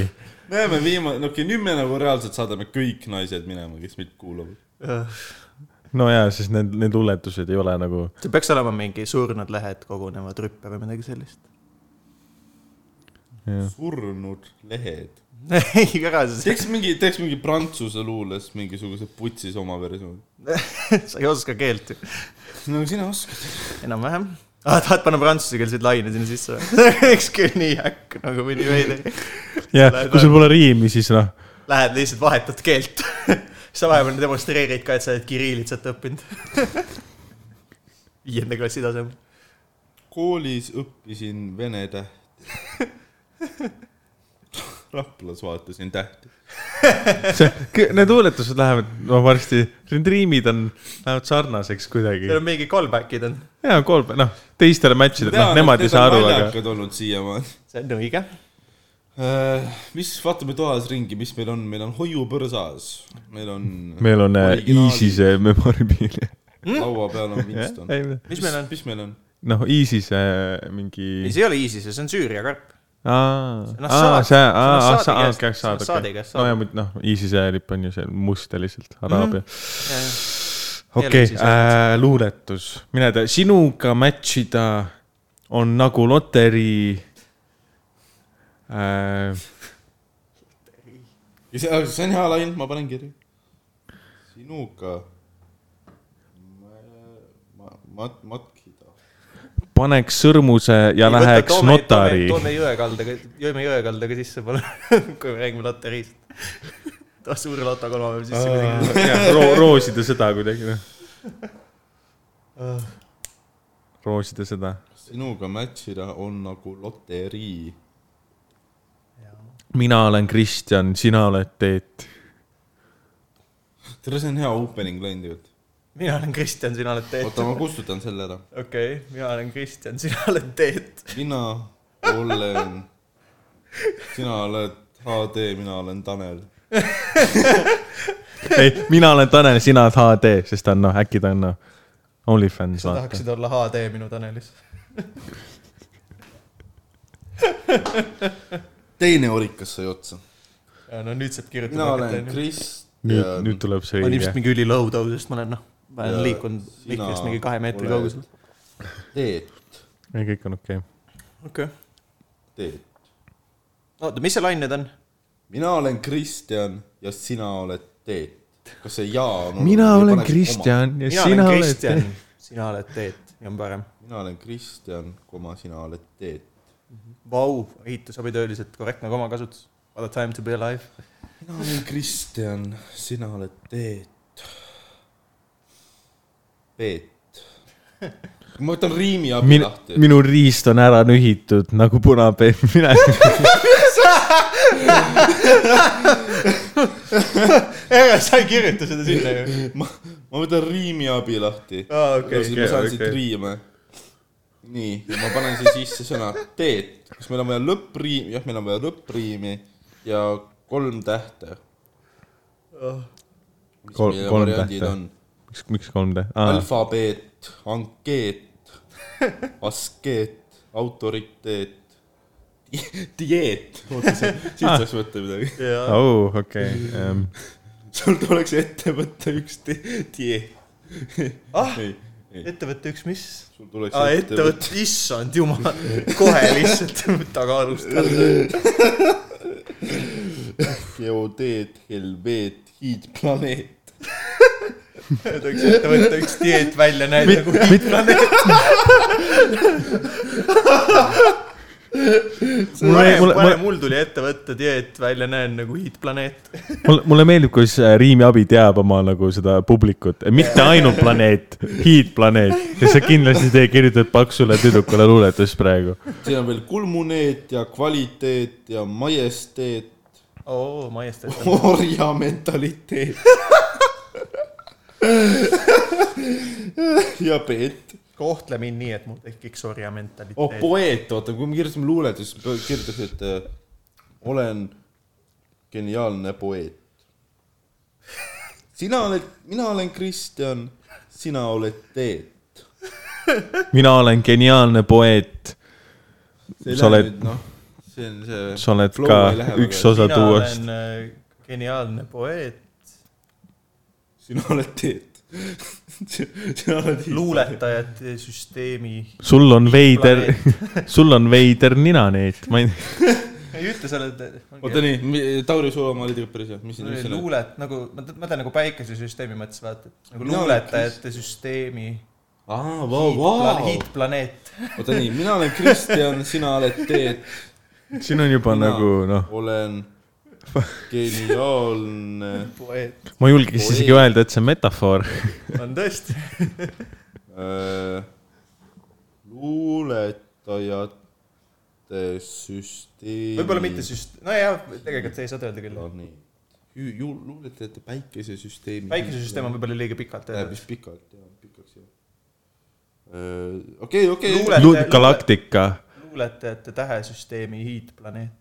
näeme viimane , no okei , nüüd me nagu reaalselt saadame kõik naised minema , kes meid kuulavad . no jaa , sest need , need luuletused ei ole nagu , see peaks olema mingi surnud lehed kogunevad rüppe või midagi sellist . surnud lehed . ei , ära sa , teeks mingi , teeks mingi prantsuse luules mingisuguse putsis oma versiooni . sa ei oska keelt ju . no sina oskad . enam-vähem . aa , tahad panna prantsusekeelseid laine sinna sisse või ? eks küll nii äkk nagu mõni veider . jah , kui sul pole riimi , siis noh , Lähed lihtsalt vahetad keelt . sa vahepeal demonstreerid ka , et sa oled kirillitsat õppinud . viienda klassi tasemel . koolis õppisin vene tähti . Raplas vaatasin tähti . Noh, see , need luuletused lähevad , no varsti , need riimid on , lähevad sarnaseks seal kuidagi . on mingi callback'id on . jaa , kolm , noh , teistele matšidele , noh , nemad ei saa aru , aga naljakad olnud siiamaani . see on õige . mis , vaatame toas ringi , mis meil on , meil on hoiupõrsas , meil on meil on äh, Originaal- ISISe memoripiil . laua peal on Winston . noh , mis meil on ? mis meil on ? ISISe mingi , ei , see ei ole ISISe , see on Süüria karp . on aa , Assaadi- see , see on aa , aa , Assaadi käest- aa , okei , see on saad , Assaadi okei käest . no saadud. ja , noh , ISISe lipp on ju seal must ja lihtsalt araabia . Jälle okei äh, siis , luuletus , mine tea , sinuga match ida on nagu loterii äh, . see on hea lain , ma panen kirja . sinuga . Mat- , matkida . paneks sõrmuse ja ei, läheks võtta, notari . toome Jõekaldaga , Jõime Jõekaldaga sisse , palun , kui me räägime loteriist . too suur loto kolmapäev sisse kuidagi . Ro, roosida seda kuidagi , noh . roosida seda . sinuga matchida on nagu loterii . mina olen Kristjan , sina oled Teet . tere , see on hea opening lain tegelikult . mina olen Kristjan , sina oled Teet . oota , ma kustutan selle ära . okei , mina olen Kristjan , sina oled Teet . mina olen , sina oled HD , mina olen Tanel . ei , mina olen Tanel , sina oled HD , sest ta on noh , äkki ta on noh , OnlyFans sa vaata . tahaksid olla HD minu Tanelis ? teine orikas sai otsa . no nüüd saab kirjutada . mina olen . Kristjan . nüüd , nüüd tuleb see ma olen õige ilmselt . mingi ülilow tau , sest ma olen noh , ma Ja olen liikunud sina Mihklist mingi kahe meetri oled- kaugusel . Teet , ei , kõik on okei okay. . okei . Teet . oota , mis see lain nüüd on ? mina olen Kristjan ja sina oled Teet . kas see jaa on ? mina olen . Kristjan ja mina sina olen oled Kristjan Teet ., sina oled Teet ja on parem . mina olen Kristjan , koma , sina oled Teet . Vau , ehitusabitöölised , korrektne komakasutus . What a time to be alive . mina olen Kristjan , sina oled Teet . Peet . ma võtan riimi abi minu lahti ,. minu riist on ära nühitud nagu punapeep , mina ära , sa ei kirjuta seda sinna ju . ma , ma võtan riimi abi lahti . aa , okei , siis ma okei, saan siit okei. riime . nii , ja ma panen siia sisse sõna Teet . kas meil on vaja lõppriimi , jah , meil on vaja lõppriimi ja kolm tähte . Ah. mis Kol- meie kolm variandid tähte. on? miks , miks 3D ? Ah. alfabeet , ankeet , askeet , autoriteet , Ah. dieet . oota , see , siit saaks võtta midagi . jaa . oo , okei . sul tuleks ette võtta üks di- dieet . ah , ei , ei , ettevõte üks , mis ? sul tuleks aa , ettevõte , issand jumal , kohe lihtsalt tagaalustada . geodeet , helveet , hiidplaneet . tuleks ettevõte üks dieet välja nagu- näida , kui mulle , varem , mulle , mulle varem , mul tuli ettevõtte dieet välja näen nagu hiidplaneet . mulle , mulle meeldib , kuidas Riimiabi teab oma nagu seda publikut , mitte ainult planeet , hiidplaneet ja sa kindlasti tee- , kirjutad paksule tüdrukule luuletust praegu . siin on veel kulmuneet ja kvaliteet ja majesteet , oo , majesteet . orja mentaliteet . ja Peet . kohtle mind nii , et mul tekiks orja mentaliteet oh , poeet , oota , kui me kirjutasime luulet , siis pö- kirjutas , et äh, olen geniaalne poeet . sina oled , mina olen Kristjan , sina oled Teet . mina olen geniaalne poeet , Sa oled- noh , see on see , sa oled Flow ka ei lähe väga üks hästi. osa mina tuuast . olen äh, geniaalne poeet , sina oled Teet . sina oled luuletajate süsteemi . sul on veider , sul on veider nina , Neet , ma ei , ei ütle , sa oled . oota nii , Tauri , sul oma oli tegelikult päris hea , mis , mis siin on ? luulet nagu , ma tean , ma tean nagu päikesesüsteemi mõttes vaata , et nagu Mina olen Oh, luuletajate süsteemi aa , vau , hiitpla- vau . hiitplaneet . oota nii , mina olen Kristjan , sina oled Teet . siin on juba Mina. mina. nagu noh , olen geniaalne poeet ma ei julgeks isegi Poeet. öelda , et see on metafoor . on tõesti . Äh, luuletajate süsteem . võib-olla mitte süst- , nojah , tegelikult ei saa öelda küll . süsteem . ju luuletajate päikesesüsteemi . päikesesüsteem on võib-olla liiga pikalt Läheb öeldud . vist pikalt , jah , pikaks jah . okei , okei . Luule- galaktika , luuletajate tähesüsteemi hiidplaneet .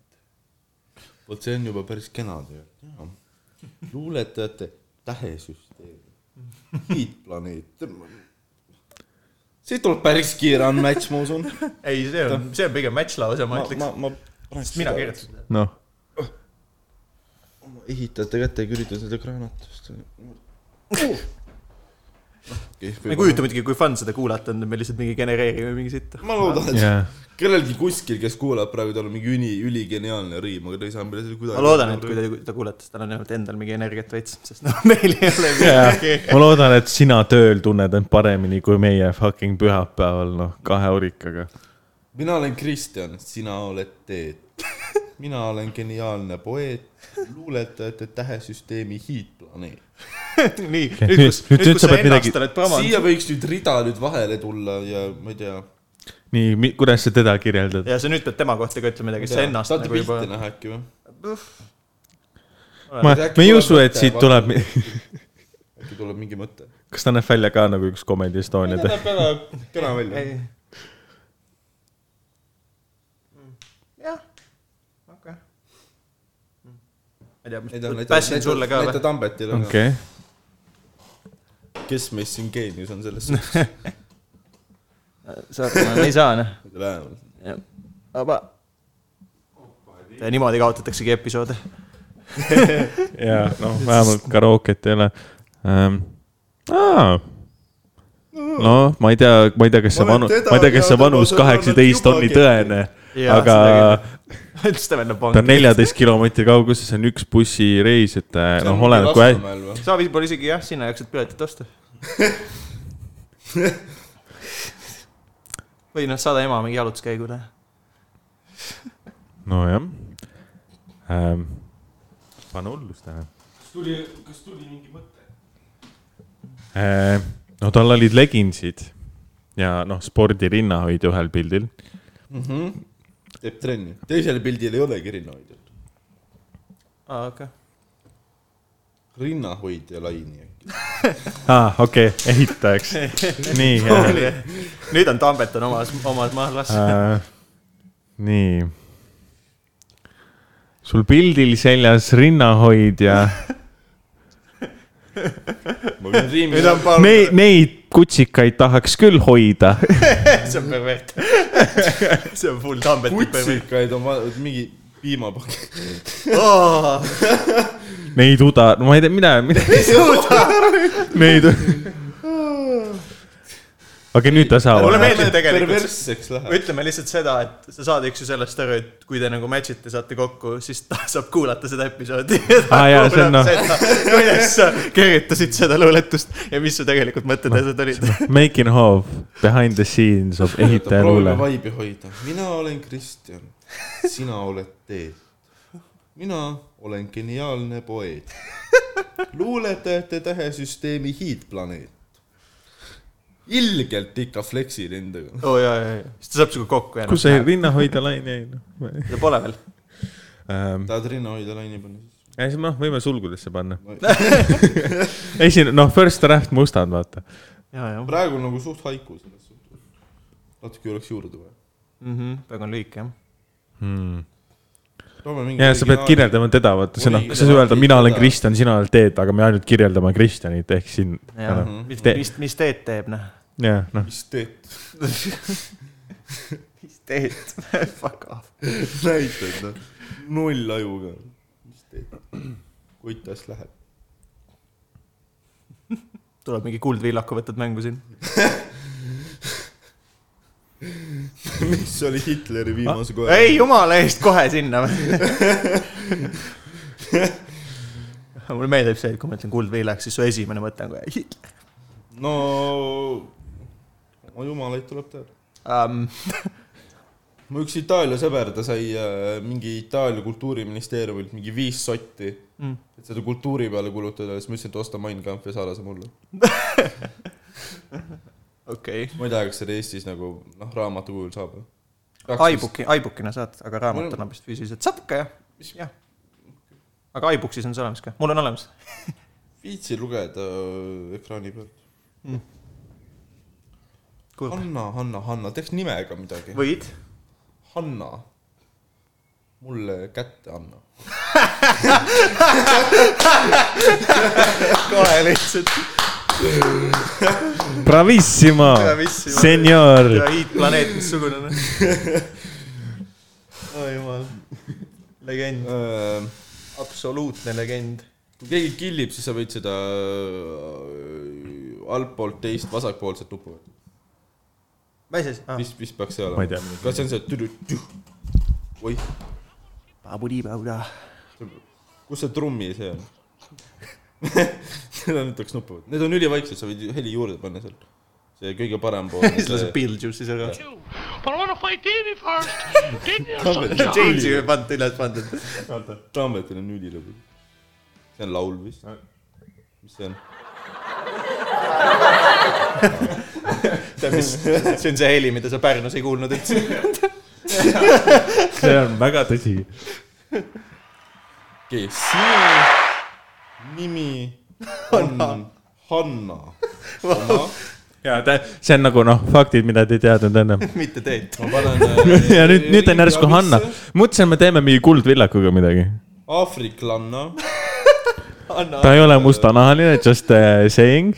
vot see on juba päris kena tegelikult . luuletajate tähesüsteem , hiidplaneet . siit tuleb päris kiire unmatch , ma usun . ei , see on , see on pigem match lause , ma ma , ütleks . ma , ma sest mina kirjutasin seda . noh , ehitajate kätte küritas nende kraanatust . Uh! ma ei kujuta muidugi , kui fun seda kuulata on , me lihtsalt mingi genereerime mingi sitta . ma loodan , et jah . kellelgi kuskil , kes kuulab praegu , tal on mingi üli , üligeniaalne riim , aga ta ei saa meile seda kuidagi . ma loodan , et kui te , ta kuulete , siis tal on vähemalt endal mingi energiat veits , sest noh , meil ei ole midagi . ma loodan , et sina tööl tunned end paremini kui meie fucking pühapäeval , noh , kahe orikaga . mina olen Kristjan , sina oled Teet . mina olen geniaalne poeet , luuletajate tähesüsteemi hiidplaneet . nii , nüüd- nüüd kus , nüüd- nüüd nüüd kus sa sa pead midagi- ennast oled promanud siia võiks nüüd rida nüüd vahele tulla ja ma ei tea . nii , kuidas sa teda kirjeldad ? ja sa nüüd pead tema kohta ka ütlema midagi , sa ennast saate nagu juba pilti , näha äkki või ? noh. ma , Äkki ma ei tuleb usu , et mõte, siit vaata. tuleb , äkki tuleb mingi mõte ? kas ta näeb välja ka nagu üks Comedy Estonia tee ? näeb väga kena välja . Ei. Mm. jah , okei . ma ei tea , ma passin sulle ka näita või ? Tambetile ka . okei , kes meist siin geenius on selles Noh. suhtes , Äh, sorry , ma ei saa noh . lähemalt . vaba . niimoodi kaotataksegi episoode . ja noh , vähemalt karooket ei ole ähm, . no ma ei tea , ma ei tea , kas see Ma olen vanus , teda ma ei tea , kas see teadnud, vanus olen kaheksateist juba on nii kettu. tõene , Jaa, aga seda siis ta veel läheb ta on vangi . neljateist kilomeetri kauguses , see on üks bussireis , et äh, noh , oleneb kui hästi . sa võib-olla isegi jah , sinna jaoks , et piletit osta . või noh , saada ema mingi jalutuskäigule . nojah ähm, . pane hullust ära . kas tuli , kas tuli mingi mõte äh, ? no tal olid leginsid ja noh , spordirinnahoid ühel pildil . Mhm. teeb trenni , teisel pildil ei olegi rinnahoidjat , aa , okei . rinnahoidja laini äkki . aa ah, , okei okay, , ehitajaks . nii äh, , nüüd on Tambet on omas , omas mahlas . äh, nii . sul pildil seljas rinnahoidja . ma võin riimi nüüd . on palm , Neid , neid kutsikaid tahaks küll hoida . see on pervert . see on full Tambeti pervert . kutsikaid on va- mingi piimapakk . Neid uda , no ma ei tea , mida , mida . Neid . okei , nüüd ta saab Mulle aru . meeldib tegelikult- perversseks läheb . ütleme lihtsalt seda , et sa saad , eks ju , sellest aru , et kui te nagu match ite , saate kokku , siis ta saab kuulata seda episoodi . Aa, jaa, see on noh- . kuidas sa kirjutasid seda luuletust ja mis su tegelikult mõtted olid . Making of behind the scenes of ehitaja luule proovime . vaibi hoida . mina olen Kristjan , sina oled Teet . mina olen geniaalne poeet . luuletajate tähesüsteemi hiidplaneet . ilgelt ikka flexi nendega . oo jaa , jaa , jaa , siis ta saab sinuga kokku jääda . kus see ? rinnahoidja laine jäi no? ? seda pole veel . Ähm, tahad rinnahoidja laini panna siis ? ei , siis noh , võime sulgudesse panna . esimene , noh , first draft mustad , vaata . jaa , jaa . praegu on nagu suht haiku selles suhtes . natuke oleks juurde vaja . praegu on Mhm, lühike , jah . toome mingi . ja sa pead . kirjeldama teda , vaata , sa noh , sa ei saa öelda , mina olen Kristjan , sina oled Teet , aga me ainult kirjeldame Kristjanit ehk siin . jaa , mis , mis , mis Teet teeb , noh ? jah , noh , mis teed ? mis Teet ? Fuck off . näitad noh , null ajuga . mis teed ? kuidas läheb ? tuleb mingi kuldvillaku võtad mängu siin . mis oli Hitleri viimase Ah, koer ? ei , jumala eest , kohe sinna . mulle meeldib see , et kui ma ütlen kuldviilaks , siis su esimene mõte on kohe no , no jumalaid tuleb teada . um, . mu üks Itaalia sõber , ta sai äh, mingi Itaalia kultuuriministeeriumilt mingi viis sotti mm. , et seda kultuuri peale kulutada , siis ma ütlesin , et osta Mein Kampf ja saada see mulle . okei okay. . ma ei tea , kas seda Eestis nagu noh , raamatu kujul saab . iBooki , iBookina saad , aga raamatuna vist füüsiliselt saab ikka jah , jah . aga iBook siis on see olemas ka , mul on olemas . viitsi lugeda äh, ekraani pealt . kurb . Hanna , Hanna , Hanna , teeks nimega midagi . võid . Hanna , mulle kätte anna . kohe lihtsalt . bravissimo , Bravissimo. senor ja hiidplaneet , missugune on . oi jumal . Oh, jumal . legend , Äh, absoluutne legend . kui keegi killib , siis sa võid seda äh, altpoolt teist vasakpoolset nuppu võtta . mis asi ah. ? mis , mis peaks see Ma ei tea. olema ? kas see on see tüdru- , oih , Babudi-babuda . kus see trummi see on ? seda nüüd tuleks nuppu võtta , need on ülivaiksed , sa võid ju heli juurde panna seal . see kõige parem pool . siis laseb Beetlejuice'i sõga . But I want to fight Davy first. Davy or something. Change'i ei pannud üles pandud . Tambetil on ülilõbus . see on laul vist . mis see on ? see on see heli , mida sa Pärnus ei kuulnud üldse . see on väga tõsi . okei , sinu nimi on Hanna . ja ta , see on nagu noh , faktid , mida te ei teadnud ennem . mitte teed . ma panen äh, ja nüüd , nüüd on järsku Hanna . mõtlesin , me teeme mingi kuldvillakuga midagi . aafriklanna , ta ei ole mustanahaline , just uh, saying .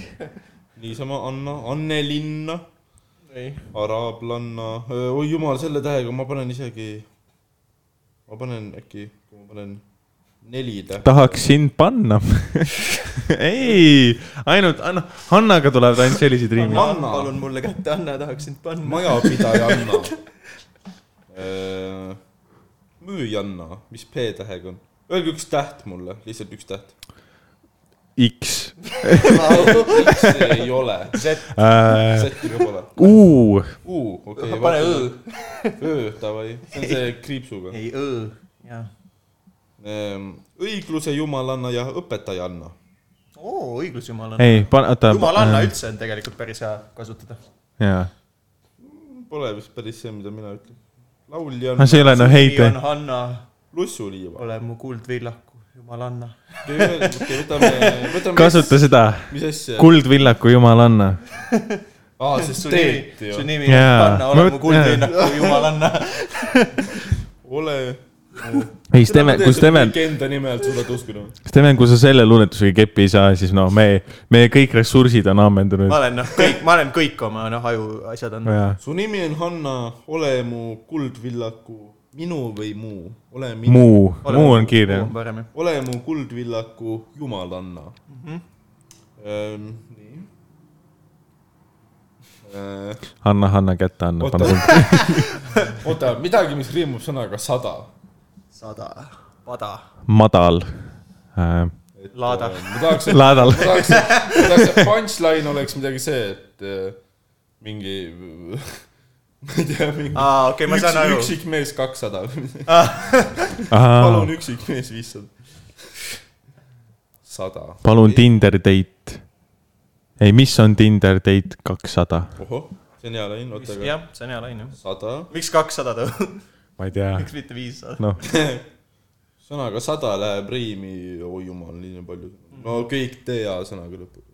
niisama Anna , Annelinna , ei , araablanna , oi jumal , selle tähega ma panen isegi , ma panen äkki , kui ma panen neli tähte . tahaks sind panna . ei , ainult Anna , Hannaga tulevad ainult sellised riimid . Anna. palun mulle kätte , Anna , tahaks sind panna . majapidajanna . müüjanna , Äh, mis P tähega on ? Öelge üks täht mulle , lihtsalt üks täht . X see ei ole , uh, . Z-iga pole . U , U , okei okay, . pane Õ .. Ö , davai , see on see kriipsuga . ei , Õ . jaa . õigluse jumalanna ja õpetajanna . oo , õiglusjumal on . ei , pane , oota . jumalanna . üldse on tegelikult päris hea kasutada . jaa , Pole vist päris see , mida mina ütlen . laulja aga on Ah, see ei ole no nimi heide on . Hanna , Lussuliiva . ole mu kuldvillaku , jumalanna . okei , võtame , võtame . kasuta seda , mis asja ? kuldvillaku jumalanna . aa , see su on Teet nimi , ju su . nimi on Jaa. Hanna , Ma ole mu mõt- kuldvillaku , jumalanna . ole . ei , Steven , kui Steven , enda nime alt suudad uskuda . Steven , kui sa selle luuletusega keppi ei saa , siis noh , me , meie kõik ressursid on ammendunud ma . olen noh , kõik , ma olen kõik oma noh , aju asjad andnud . jaa , su nimi on Hanna , ole mu kuldvillaku , minu või muu , ole minu . muu , muu on kiirem . parem jah . ole mu kuldvillaku jumalanna mm . -hmm. nii . Ehm, anna , anna kätte , anna , oota pane kuld ., oota , midagi , mis riimub sõnaga sada . sada , pada , madal äh, . laada . ma tahaks , et , Laadal . ma tahaks , ma tahaks , et punchline oleks midagi see , et äh, mingi , ma ei tea , mingi aa , Ah, okei , ma saan aru . üksik mees kakssada , palun, palun üksik mees viissada . sada , palun Tinder date . ei , mis on Tinder date kakssada ? ohoh , see on hea lain , oota , aga jah , see on hea lain jah . sada miks kakssada ta , ma ei tea , miks mitte viissada ? noh , sõnaga sada läheb riimi , oi jumal , nii palju . no kõik TA sõnaga lõpuks .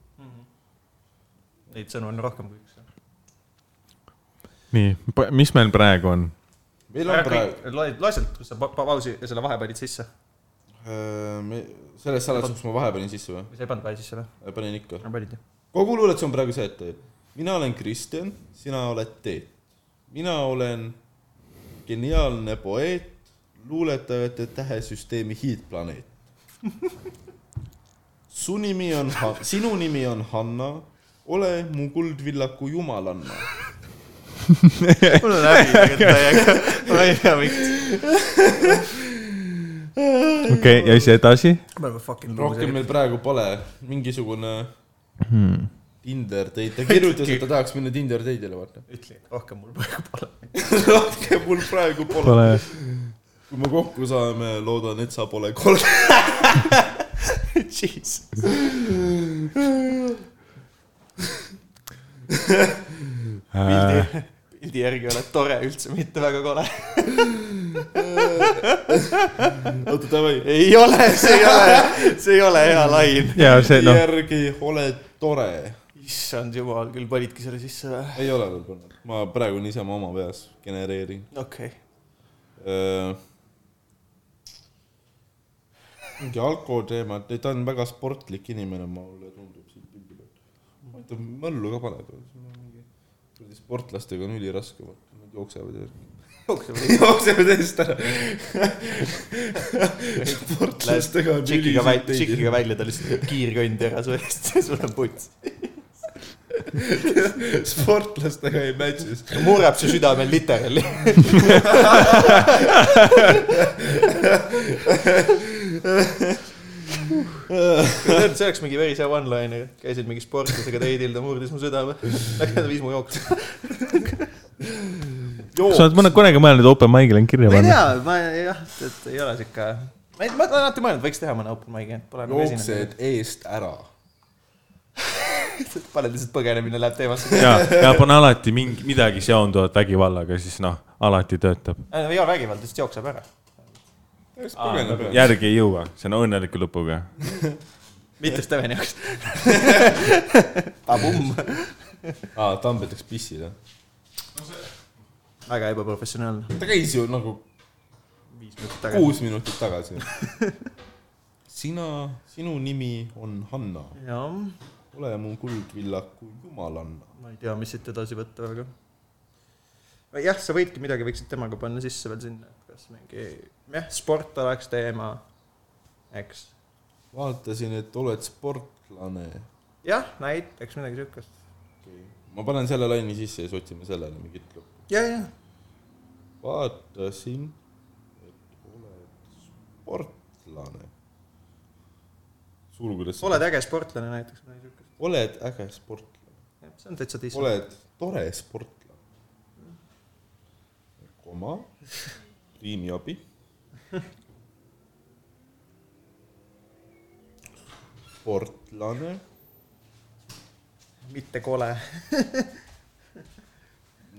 Neid sõnu on rohkem kui üks . nii , mis meil praegu on ? meil on praegu , loe , loe sealt , kus sa pa- pa- pausi ja selle vahe panid sisse . Äh, me , selles salas , kus ma vahe panin sisse või ? või sa ei pannud vahe sisse või ? panin ikka . panid jah ? kogu luuletus on praegu see , et mina olen Kristjan , sina oled Teet . mina olen geniaalne poeet , luuletajate tähesüsteemi hiidplaneet . su nimi on , sinu nimi on Hanna , ole mu kuldvillaku jumalanna mul on häbi tegelikult täiega , ma ei tea miks . okei okay, , ja siis edasi ? me oleme fucking rohkem loser . meil praegu pole mingisugune hmm. Tinder date , ta kirjutas , et ta tahaks minna Tinder date'ile , vaata . ütle , rohkem mul praegu pole . rohkem mul praegu pole . Pole , kui me kokku saame , loodan , et sa pole kolm . Jeez . Äh, pildi , pildi järgi oled tore üldse , mitte väga kole . oota , davai . ei ole , see ei ole , see ei ole hea lain . ja see No. noh , järgi oled tore . issand jumal , küll panidki selle sisse või ? ei ole veel pannud , ma praegu niisama oma peas genereerin . Äh, okei okay. , mingi alkoteema , ta on väga sportlik inimene , mulle tundub siit pildi pealt . ta möllu ka paneb . sportlastega on üliraske , nad jooksevad ja . jookseme teist ära . sportlastega on tšikiga üliselt välja , tšikiga välja , ta lihtsalt teeb kiirkõndi ära su eest , sul on puts . teised. sportlastega ei match'is . murrab su südame literaali . see oleks mingi päris hea one-liner , käisid mingi sportlasega teidil , ta murdis mu südame , ta viis mu jooksma . kas sa oled mõne , kunagi mõelnud open mic'ile end kirja ma ei panna ? tea , ma jah , et ei ole sihuke , ma ei- ma olen alati mõelnud , võiks teha mõne open mic'i , pole nagu esinenud . jooksed eest ära . paned lihtsalt põgenemine läheb teemasse . ja , ja pane alati mingi , midagi seonduvat vägivallaga , siis noh , alati töötab . ei ole vägivald , lihtsalt jookseb ära . järgi ei jõua , see on õnneliku lõpuga . mitte Steveni jaoks . Pabumm . aa , Tambet läks pissile . väga ebaprofessionaalne . ta käis ju nagu kuus minutit tagasi . sina , sinu nimi on Hanna , jah , ole mu kuldvillaku jumalanna . ma ei tea , mis siit edasi võtta , aga . jah , sa võidki midagi , võiksid temaga panna sisse veel sinna , et kas mingi , jah , sport oleks teema , eks . vaatasin , et oled sportlane . jah , näiteks midagi siukest . ma panen selle laine sisse ja siis otsime sellele mingit lõppu . ja , ja , vaatasin , et oled sportlane . sulgudes . oled äge sportlane näiteks , midagi siukest . oled äge sportlane , see on täitsa tiis- . oled tore sportlane . koma , riimiabi . sportlane mitte kole .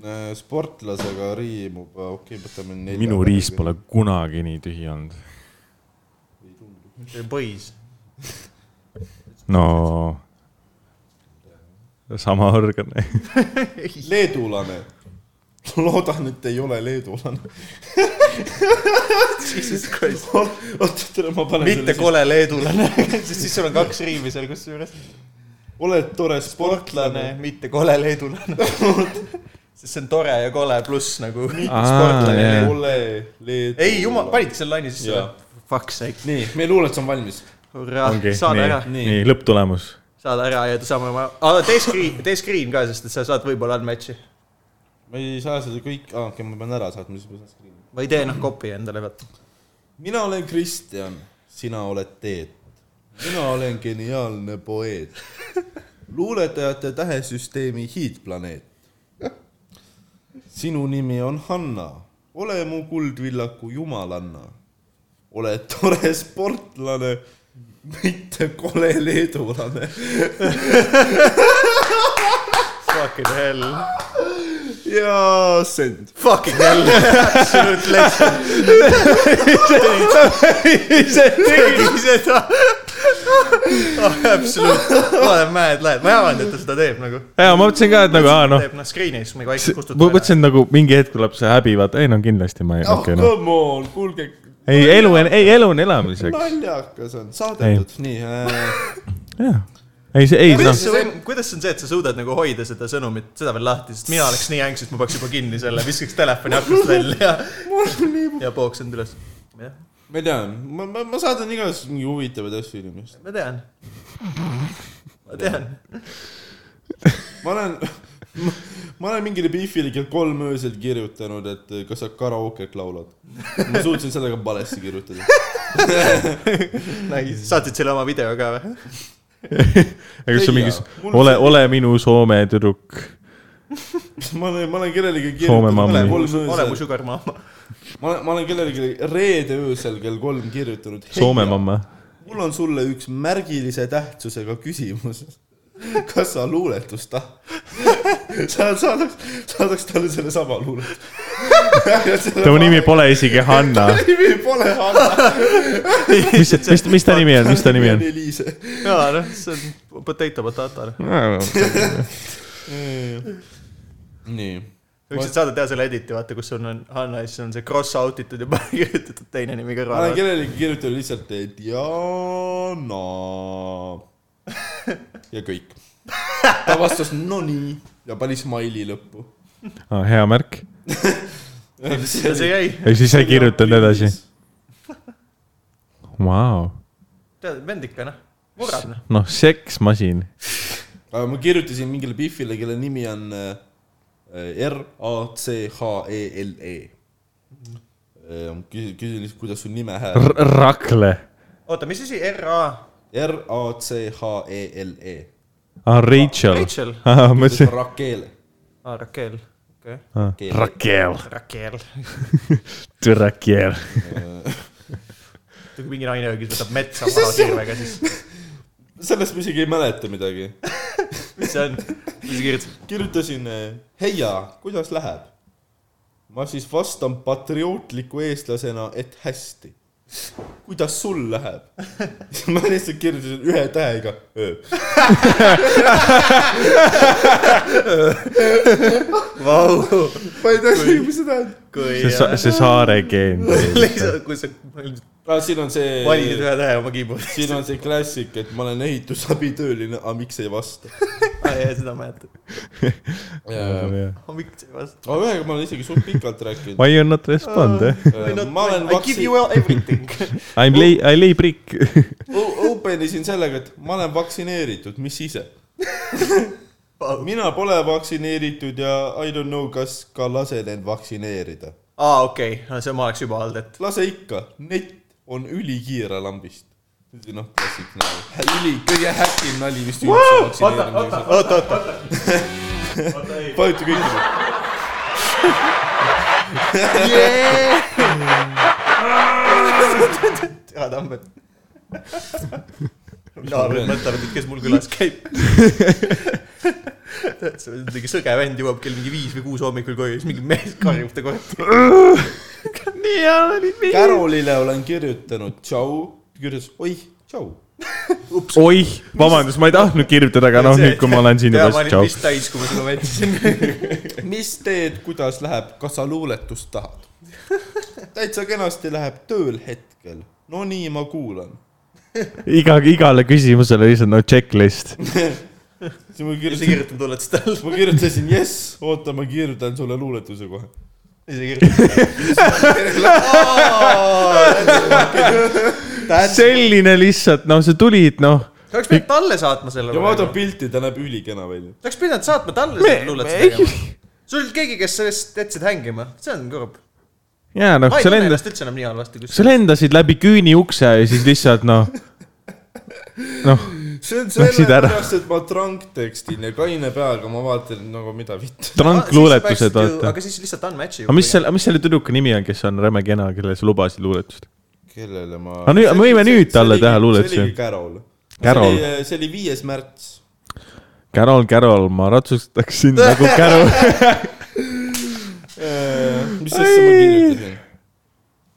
Äh, sportlasega riimub , okei okay, , võtame nelja . minu riis pole kunagi nii tühi olnud . põis . no , sama organ . leedulane . loodan , et ei ole leedulane . Jesus Christ . oota , tere , ma panen mitte selle kole leedulane , sest siis sul on kaks riimi seal kusjuures . sisse . oled tore sportlane sportlane ., mitte kole leedulane . sest see on tore ja kole pluss nagu Aa, sportlane jah. . ole leedulane . ei jumal , panidki selle laine sisse Jaa. või ? Fuck sake . nii , meie luuletus on valmis . hurraa , ongi , Ah, saad ära , nii , nii , lõpptulemus . saad ära ja saame oma , tee screen , tee screen ka , sest et sa saad võib-olla unmatch'i . ma ei saa seda kõik , aa , okei , ma pean ära saatma , siis ma saan screen'i . või tee noh copy endale pealt . mina olen Kristjan , sina oled Teet . mina olen geniaalne poeet . luuletajate tähesüsteemi hiidplaneet . sinu nimi on Hanna , ole mu kuldvillaku jumalanna . ole tore sportlane , mitte kole leedulane . Fucking hell . ja send . Fucking hell . Absolute legend . ise tegi seda . Oh, Absolute , vaata mäed lähed , ma ei avanud , et ta seda teeb nagu . ja ma mõtlesin ka , et nagu , aa noh , teeb noh screen'i , siis me vaikselt ma kustutame . mõtlesin nagu mingi hetk tuleb see häbi , vaata , ei no kindlasti ma ei , ah okei okay, , noh . come on , kuulge , ei , elu , ei elu on elamiseks . naljakas on , saadetud , nii äh, . jah , ei see , ei kuidas noh , see , kuidas see on see , et sa suudad nagu hoida seda sõnumit , seda veel lahti , sest mina oleks nii ängst , et ma peaks juba kinni selle , viskaks telefoni aknast välja ja , ja pooksin üles . jah , ma ei tea , ma , ma , ma saadan igasuguseid mingeid huvitavaid asju inimestele . ma tean . ma tean . ma olen , ma olen mingile Biffile kell kolm öösel kirjutanud , et äh, kas sa karaoke't laulad . ma suutsin sellega valesti kirjutada . Nice. saatsid selle oma video ka või ? ega see on mingi Teia, , mul- ole , ole minu Soome tüdruk . ma olen , ma olen kellelegi Soome kirjutanud mammi. kell kolm ole mu öösel . sugar mama . ma olen , ma olen kellelegi reede öösel kell kolm kirjutanud . Soome . mamma . mul on sulle üks märgilise tähtsusega küsimus . kas sa luuletust tahad ? sa saadaks , saadaks talle sellesama luuletuse . tema nimi pole isegi Hanna . nimi pole Hanna . mis , mis , mis ta nimi on , mis ta nimi on ? Eliise . jaa , noh , see on potato potato . noh. nii . võiksid saada teha selle editi , vaata , kus sul on Hanna ja siis on see cross out itud ja kirjutatud teine nimi ma olen kõrvale . kellelegi kirjutanud lihtsalt Diana . ja kõik . Ah, ta vastas no nii ja pani smiley lõppu . hea märk . ja see jäi . ja siis sa kirjutad edasi . Vau , tead , vendike noh , murrab noh . noh , seksmasin . aga ma kirjutasin mingile Biffile , kelle nimi on äh, E R-A-C-H-E-L-E . küsin , Äh, küsin lihtsalt , kuidas su nime hääl . Rakle , oota , mis asi , RA ? E R-A-C-H-E-L-E . Ah, Rachel . Rachel , ma ütlesin , Rakel . aa Raquel , okei . Rakel , Ah. Raquel . Rakel . kui mingi naine öögis võtab metsa maha sirvega , siis sellest ma isegi ei mäleta midagi . mis see on ? mis sa kirjutasid ? kirjutasin , heia , kuidas läheb ? ma siis vastan patriootliku eestlasena , et hästi . kuidas sul läheb ? ma lihtsalt kirjutasin ühe tähega . Vau , ma ei tea isegi , mis see tähendab . kui see sa- , see saare geen . lihtsalt , kui sa aa , Ah, siin on valisid see , ühe tähe oma keyboard'i . siin on see klassik , et ma olen ehitusabitööline , aga miks ei vasta ? aa jaa , seda mäletan . aga aga miks ei vasta ? ühega ma olen isegi suht pikalt rääkinud . Why you not respond eh? ? ma olen I give vaktsi- you everything . I lay , I lay brick . o- open isin sellega , et ma olen vaktsineeritud , mis ise ? mina pole vaktsineeritud ja I don't know , kas ka lasen end vaktsineerida . aa , okei , no see ma oleks juba olnud , et lase ikka , net on ülikiire lambist . noh , klassik nali . üli , kõige häkim nali vist üldse vaktsineerimisega . oota , oota , vajuta kõikidele . Jaa Tammel . naabrid mõtlevad , et kes mul külas käib . see on mingi sõge vend jõuab kell mingi viis või kuus hommikul koju , siis mingi mees karjub ta kohe . nii hea oli . Carolile olen kirjutanud tšau , kirjutas oih , tšau . oih , vabandust , ma ei tahtnud kirjutada , aga noh , nüüd kui ma olen siin juba , siis siis tšau . vist täis , kui ma seda väitsin . mis teed , kuidas läheb , kas sa luuletust tahad ? täitsa kenasti läheb tööl hetkel . no nii , ma kuulan . iga , igale küsimusele lihtsalt no checklist . siis ma ja sa kirjutasin , kirjutad oled seda all . ma kirjutasin jess , oota , ma kirjutan sulle luuletuse kohe . ja sa kirjutad . selline lihtsalt , noh , sa tulid , noh . sa oleks pidanud talle saatma selle ja vaata . pilti , ta näeb ülikena välja . sa oleks pidanud saatma talle selle luuletuse tegema . sul oli keegi , kes sellest jätsid hängima , see on kurb . ja noh ma , ei sa tunne lendasid , ennast üldse enam nii halvasti , kui sa lendasid läbi küüni ukse ja siis lihtsalt noh , noh , see on Läksid ära. sellepärast , et ma tranktekstin ja kaine peaga ma vaatan nagu mida vitt . trankluuletused , vaata . aga siis lihtsalt unmatch'i . aga mis selle , mis selle tüdruku nimi on , kes on räme kena , kellele sa lubasid luuletust ? kellele ma . Aga Ah, nüüd- me võime nüüd talle teha luuletuse. see oligi Carol . Carol. . see oli viies märts . Carol , Carol , ma ratsustaks sind nagu Carol . Äh, mis asja ma kirjutasin ?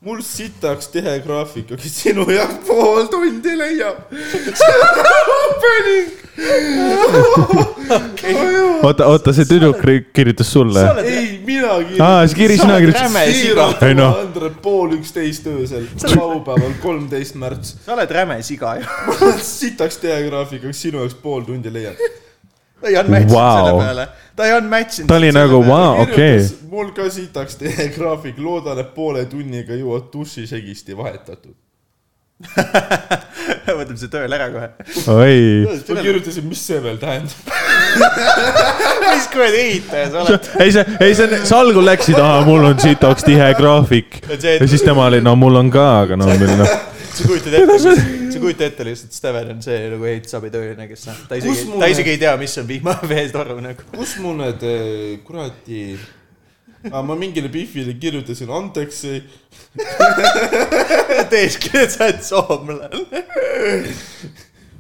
mul sitaks tihe graafik , aga sinu jaoks pool tundi leiab . oota , oota , see tüdruk ri- kirjutas sulle ? ei , mina aa , siis Kiri , sina räme kirjutasid . siiralt Ei noh. , Andre , pool üksteist öösel , laupäeval , kolmteist märts . sa oled räme siga ju . mul sitaks tihe graafik , aga sinu jaoks pool tundi leiab . ta ei unmatch inud Wow. selle peale . ta ei unmatch inud . ta oli nagu , vau , okei . mul ka sitaks tihe graafik , loodan , et poole tunniga jõuad dušisegisti vahetatud . võtame see tööle ära kohe . oi . ma kirjutasin , mis see veel tähendab . mis kuradi ehitaja sa oled ? ei , see , ei see , sa algul läksid , aa , mul on sitaks tihe graafik . ja siis tema oli , no mul on ka , aga no meil noh . sa kujutad ette , sa kujutad ette lihtsalt , Steven on see nagu ehitusabitööline , kes noh , ta Kus isegi , mul ta need- isegi ei tea , mis on vihmaveetoru nagu . kus mul need eh, kuradi , ma mingile Biffile kirjutasin andeks , teeski , et sa oled soomlane .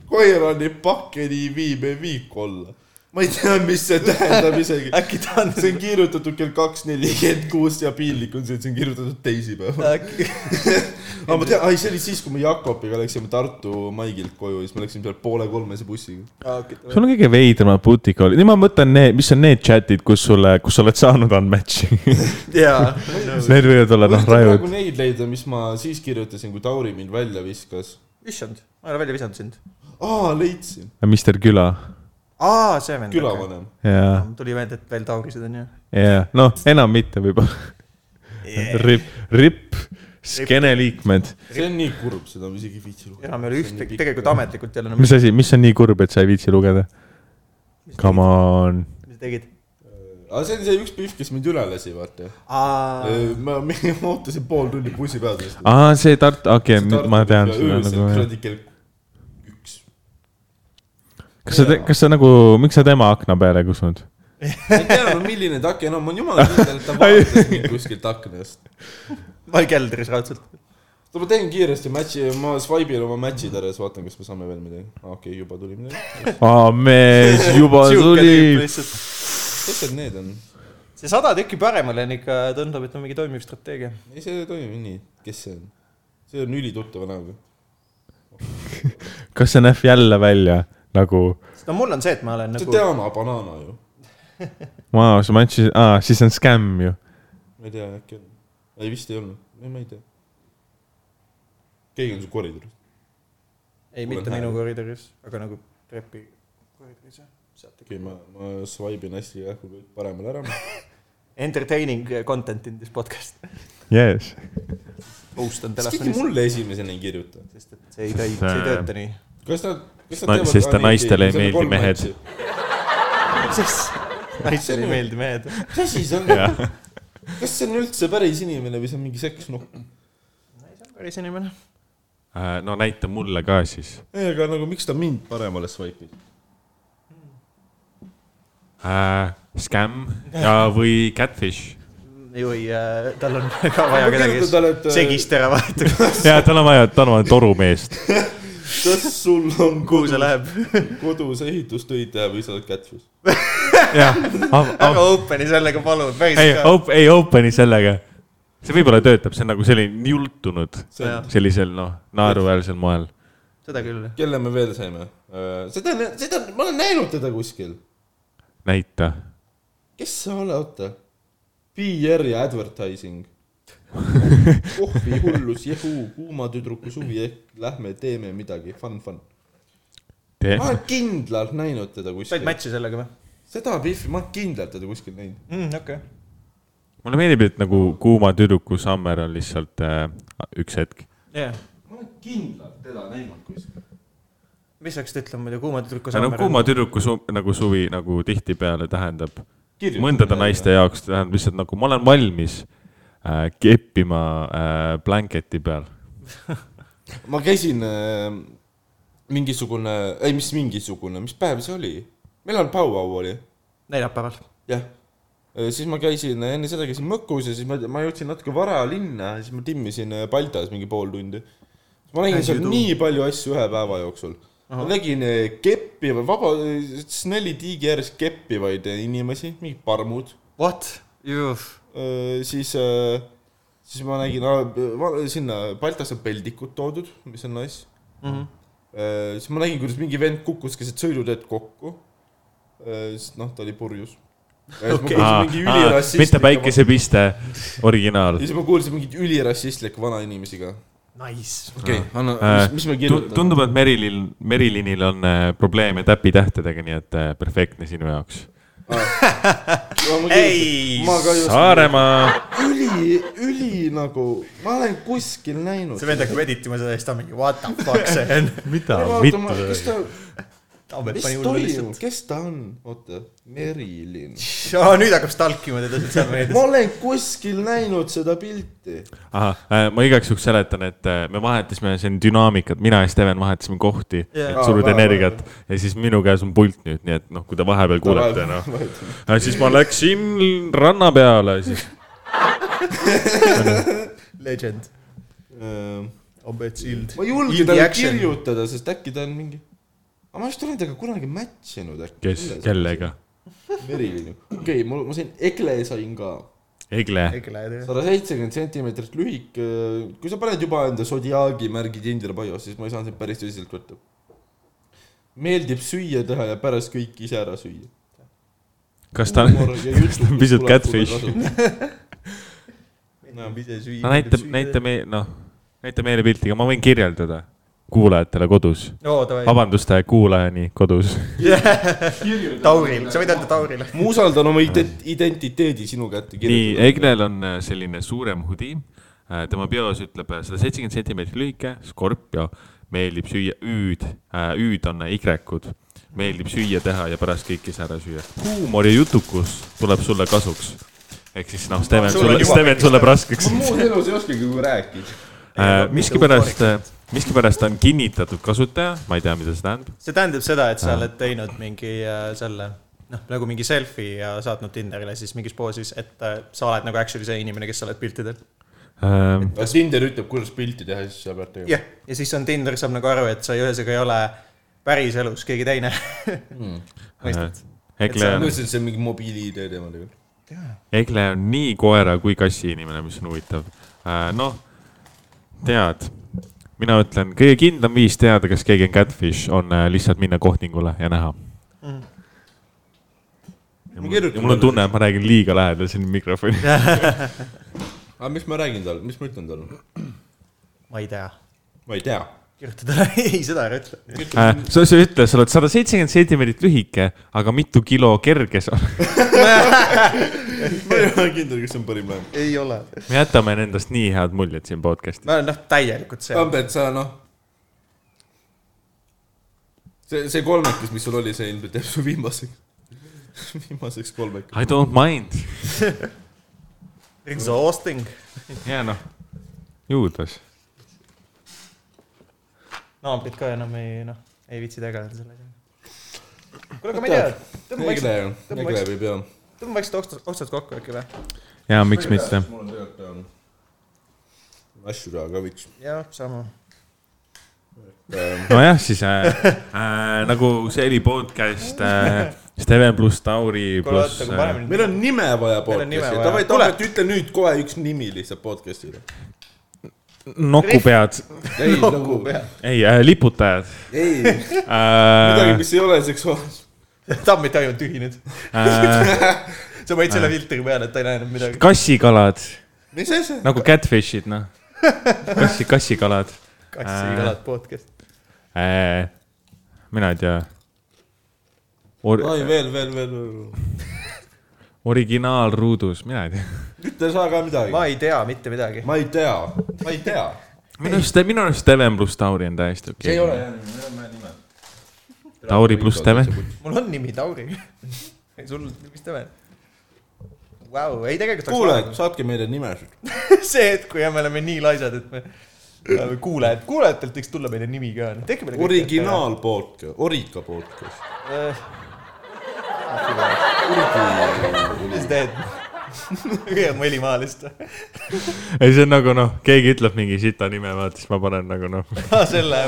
koerani pakeni viime viik olla . ma ei tea , mis see tähendab isegi . äkki ta on see on kirjutatud kell kaks nelikümmend kuus ja piinlik on see , et see on kirjutatud teisipäeval . äkki , aga ma tean , ai see oli siis , kui me Jakobiga läksime Tartu Maigilt koju , siis me läksime seal poole kolmese bussiga . sul on kõige veidramad butikoolid , nüüd ma mõtlen need , mis on need chat'id , kus sulle , kus sa oled saanud unmatch'i . jaa . Need võivad olla noh , praegu rajud . neid leida , mis ma siis kirjutasin , kui Tauri mind välja viskas . issand , ma ei ole välja visanud sind . aa , leidsin , Mister Küla . aa , see vend . külavanem . jaa , tuli meelde , et veel taurisid on ju . jaa , noh , enam mitte võib-olla . RIP , RIP , skeene liikmed . see on nii kurb , seda ma isegi ei viitsi lugeda . enam ei ole ühtegi , tegelikult . ametlikult ei ole enam mis asi , mis on nii kurb , et sa ei viitsi lugeda ? Come on . mis tegid . aga see on see üks pihv , kes mind üle lasi , vaata . ma ma ootasin pool tundi bussi peale . aa , see Tartu , okei , nüüd ma tean seda nagu . kuradi kell üks . kas sa , kas sa nagu , miks sa tema akna peale ei kusunud ? ma ei tea , milline ta aken on , ma olen jumala kindel , et ta vaatas mind kuskilt aknast . ma olin keldris raudselt . oota , ma teen kiiresti match'i , ma swipe in oma match'id ära ja siis vaatan , kas me saame veel midagi . okei okay, , juba tuli midagi . aa , mees , juba tuli . kes need need on ? see sada tükki paremale on ikka , tundub , et on mingi toimiv strateegia . ei , see ei toimi nii . kes see on ? see on ülituttava näoga . kas see näeb jälle välja nagu , no mul on see , et ma olen see nagu on , Diana Banana ju . vau , sa match'isid , aa , siis on skämm ju . ma ei tea , äkki on . ei , vist ei olnud . ei , ma ei tea . keegi on su koridoris . ei , mul mitte on minu hääl. koridoris , aga nagu trepi koridoris jah , sealt ikka . okei okay, , ma , ma swipe in hästi kähku kõik paremale ära . Entertaining content in this podcast . Yes . host on kas keegi telefonis , mulle esimesena ei kirjuta ? sest et see ei toimi , see ei tööta nii . kas nad , kas nad Na- teevad sest ka nii, naistele ei keegi- meeldi kolm mehed. matši? naistele ei meeldi mehed . mis asi see on ? kas see on üldse päris inimene või see on mingi seksnukk ? päris inimene . Äh, no näita mulle ka siis . ei , aga nagu miks ta mind paremale swipe'is ? Scam Äh, ja , või catfish . ju ei , tal on ka vaja Ma kedagi , kirjutan talle, et, kes äh, segist ära vahetab , ja tal on vaja , tal on vaja torumeest . kas sul on kuhu see läheb . kodus ehitustöid teha või sa oled kätsus ? jah , aga open'i sellega palun , ei päris ka . op- , ei open'i sellega . see võib-olla töötab , see on nagu selline jultunud sellisel noh , naeruväärsel moel . seda küll . kelle me veel saime ? seda , seda , ma olen näinud teda kuskil . näita . kes sa oled , oota . PR ja advertising . kohvi , hullus , jehu , kuuma tüdruku suvi , ehk lähme teeme midagi , fun , fun . tee ma olen kindlalt näinud teda said kuskil . match'i sellega või seda pihvi , ma olen kindlalt teda kuskil näinud . mm, ? okei okay. . mulle meeldib , et nagu kuuma tüdruku Summer on lihtsalt äh, üks hetk . Yeah. ma olen kindlalt teda näinud kuskil . mis sa hakkasid ütlema muidu , kuuma tüdruku no kuuma tüdruku su, nagu suvi nagu tihtipeale tähendab Kirjutamine mõndade jälle. naiste jaoks tähendab lihtsalt nagu ma olen valmis äh, keppima äh, blanketi peal . ma käisin äh, mingisugune , ei , mis mingisugune , mis päev see oli ? millal Pauau oli ? neljapäeval . jah . siis ma käisin , enne seda käisin Mõkkus ja siis ma , ma jõudsin natuke vara linna , siis ma timmisin äh, Baltas mingi pool tundi . ma nägin seal nii palju asju ühe päeva jooksul . ma nägin äh, keppi , vaba , Snelli tiigi ääres keppivaid äh, inimesi , mingid parmud . What ? siis , siis ma nägin , sinna Baltas on peldikud toodud , mis on nice . Äh, siis ma nägin , kuidas mingi vend kukkus keset sõiduteed kokku . sest noh , ta oli purjus . Okei. mitte . päikesepiste , originaal ja . siis ma kuulsin mingit ülirassistlikku vanainimesi ka . Nice . okei , anna , Äh, mis , mis me Tu- kirjutame ? tundub , et Merilil , Merilinil on äh, probleeme täpitähtedega , nii et äh, perfektne sinu jaoks . Ei, ma ka just Saaremaa . üli , üli nagu , ma olen kuskil näinud . see vend hakkab editima seda ja siis ta mingi what the fuck see on . mida , kas mitte ? ta , Tambet mis pani hullu toimub lihtsalt ., kes ta on ? oota , Merilin . nüüd hakkab stalkima teda sotsiaalmeedias . ma olen kuskil näinud seda pilti . äh, ma igaks juhuks seletan , et äh, me vahetasime siin dünaamikat , mina ja Steven vahetasime kohti , et Jaa. suruda Aa, väga energiat ja siis minu käes on pult nüüd , nii et noh , kui te vahepeal kuulete , noh . siis ma läksin ranna peale , siis Legend . ma Obed Sild . ei julge talle kirjutada , sest äkki ta on mingi . aga ma just olen temaga kunagi match inud äkki . kes , kellega ? Merilin . okei , mul , ma sain , Egle sain ka . Egle , kirjutada . sada seitsekümmend sentimeetrit lühike . kui sa paned juba enda Zodiagi märgi Tinder bios , siis ma ei saanud sind päris tõsiselt võtta . meeldib süüa teha ja pärast kõik ise ära süüa . kas ta , kas ta on pisut catfish ?. näeb ise süüa . no näita , näita me- , noh , näita meile pilti , aga ma võin kirjeldada . kuulajatele kodus . oo , davai . vabanduste kuulajani kodus . Tauril , sa võid öelda Taurile . ma usaldan oma ident- , identiteedi sinu kätte nii , kirjutada . Egnel on äh, selline suurem hudi , tema bios ütleb äh, sada seitsekümmend sentimeetrit lühike , Scorpio , meeldib süüa üüd , üüd on Y-ud , meeldib süüa teha ja pärast kõik ise ära süüa . huumor ja jutukus tuleb sulle kasuks . ehk siis noh , Steven Sul on sulle , juba Steven kõik sulle raskeks . muud elus ei oskagi kui rääkida . miskipärast , miskipärast on kinnitatud kasutaja , ma ei tea , mida see tähendab . see tähendab seda , et sa oled teinud mingi äh, selle , noh , nagu mingi selfie ja saatnud Tinderile siis mingis poosis , et äh, sa oled nagu actually see inimene , kes sa oled piltidel . Äh, Äh, aga Tinder ütleb , kuidas pilti teha , siis sa pead tegema . jah , ja siis on Tinder saab nagu aru , et sa ühesõnaga ei ole päriselus keegi teine mm. . mõistad ? Egle ma on , mõtlesin , et see on mingi mobiili-ID teema tegelikult . Egle on nii koera kui kassi inimene , mis on huvitav . noh , tead , mina ütlen , kõige kindlam viis teada , kas keegi on catfish , on äh, lihtsalt minna kohtingule ja näha . Ja mul, ja mul on tunne , et ma räägin liiga lähedal siin mikrofoni . aga mis ma räägin talle , mis ma ütlen talle ? ma ei tea . ma ei tea . kirjuta talle , ei seda ära ütle . sa , Äh, sa ütle , sa oled sada seitsekümmend sentimeetrit lühike , aga mitu kilo kerge sa oled . ma ei ole kindel , kas see on parim laen . ei ole . me jätame endast nii head muljet siin podcast'is . ma olen noh , täielikult see . Tambet , sa noh . see , see kolmekes , mis sul oli , see ilmselt jääb su viimaseks , viimaseks kolmekeseks . I don't mind . Exhausting . ja noh , juudas . naabrid ka enam ei , noh , ei viitsi tegeleda sellega . kuule , aga ma ei tea , tõmba Egle vaikselt , ju , tõmba Egle vaikselt- võib ju . tõmba vaikselt otsad , otsad kokku äkki või ? ja miks mitte . mul on tegelikult peal . asju teha ka ähm, võiks . jah , sama . nojah , siis äh, äh, nagu see oli podcast äh, Steven pluss Tauri kuule , oota , pluss kui äh, paremini . meil on nime vaja nime podcast'i , vaja. davai , Tule. Taavet , ütle nüüd kohe üks nimi lihtsalt podcast'ile . nokupead , ei , nagu , ei äh, , liputajad ei , midagi , äh, . mis ei ole seksuaalsus . Tammit ainult tühi nüüd . äh, sa panid selle filtri peale , et ta ei näinud midagi . kassikalad mis asja ? nagu catfish'id , noh . kassi , kassikalad kassikalad podcast . äh, . mina ei tea Or . oi , veel , veel , veel , veel . originaalruudus , mina ei tea . ütle sa ka midagi . ma ei tea mitte midagi . ma ei tea , ma ei tea . minu arust , minu arust Steven pluss Tauri on täiesti okei okay. . ole jah , me oleme nime . Tauri pluss Steven . mul on nimi Tauri . ei sul , mis ta veel ? Vau , ei tegelikult . kuulajad ,. saatke meile nimesid . see hetk , kui me oleme nii laisad , et me oleme kuulajad , kuulajatelt võiks tulla meile nimi ka . tehke meile . originaal . podcast , Orika podcast . Äh. mis sa teed ? püüad mu heli maha lihtsalt . ei , see on nagu noh , keegi ütleb mingi sita nime , vaata siis ma panen nagu noh , selle .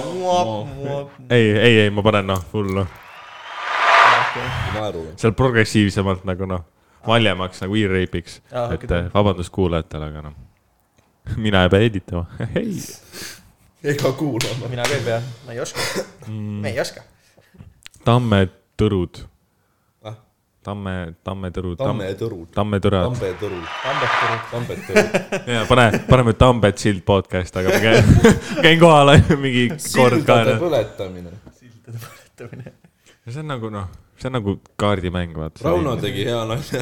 ei , ei , ei , ma panen noh , full noh , naeruga . seal progressiivsemalt nagu noh , valjemaks nagu e-rape'iks Ah, ah, . okei. et okay. vabandust kuulajatele , aga noh , mina ei pea editama , ei . ega kuulama . mina ka ei pea , ma ei oska . me ei oska . Tamme tõrud Ah? . Tamme , Tamme tõrud . Tamme tõrud . Tamme tõrad . Tambe tõrud . Tambekuri . Tambet tõrud . ja pane , paneme Tambet sild podcast , aga ma käin , käin kohal ainult mingi kord ka . sildade põletamine . sildade põletamine . see on nagu noh , see on nagu kaardimäng , vaata . Rauno tegi hea nalja .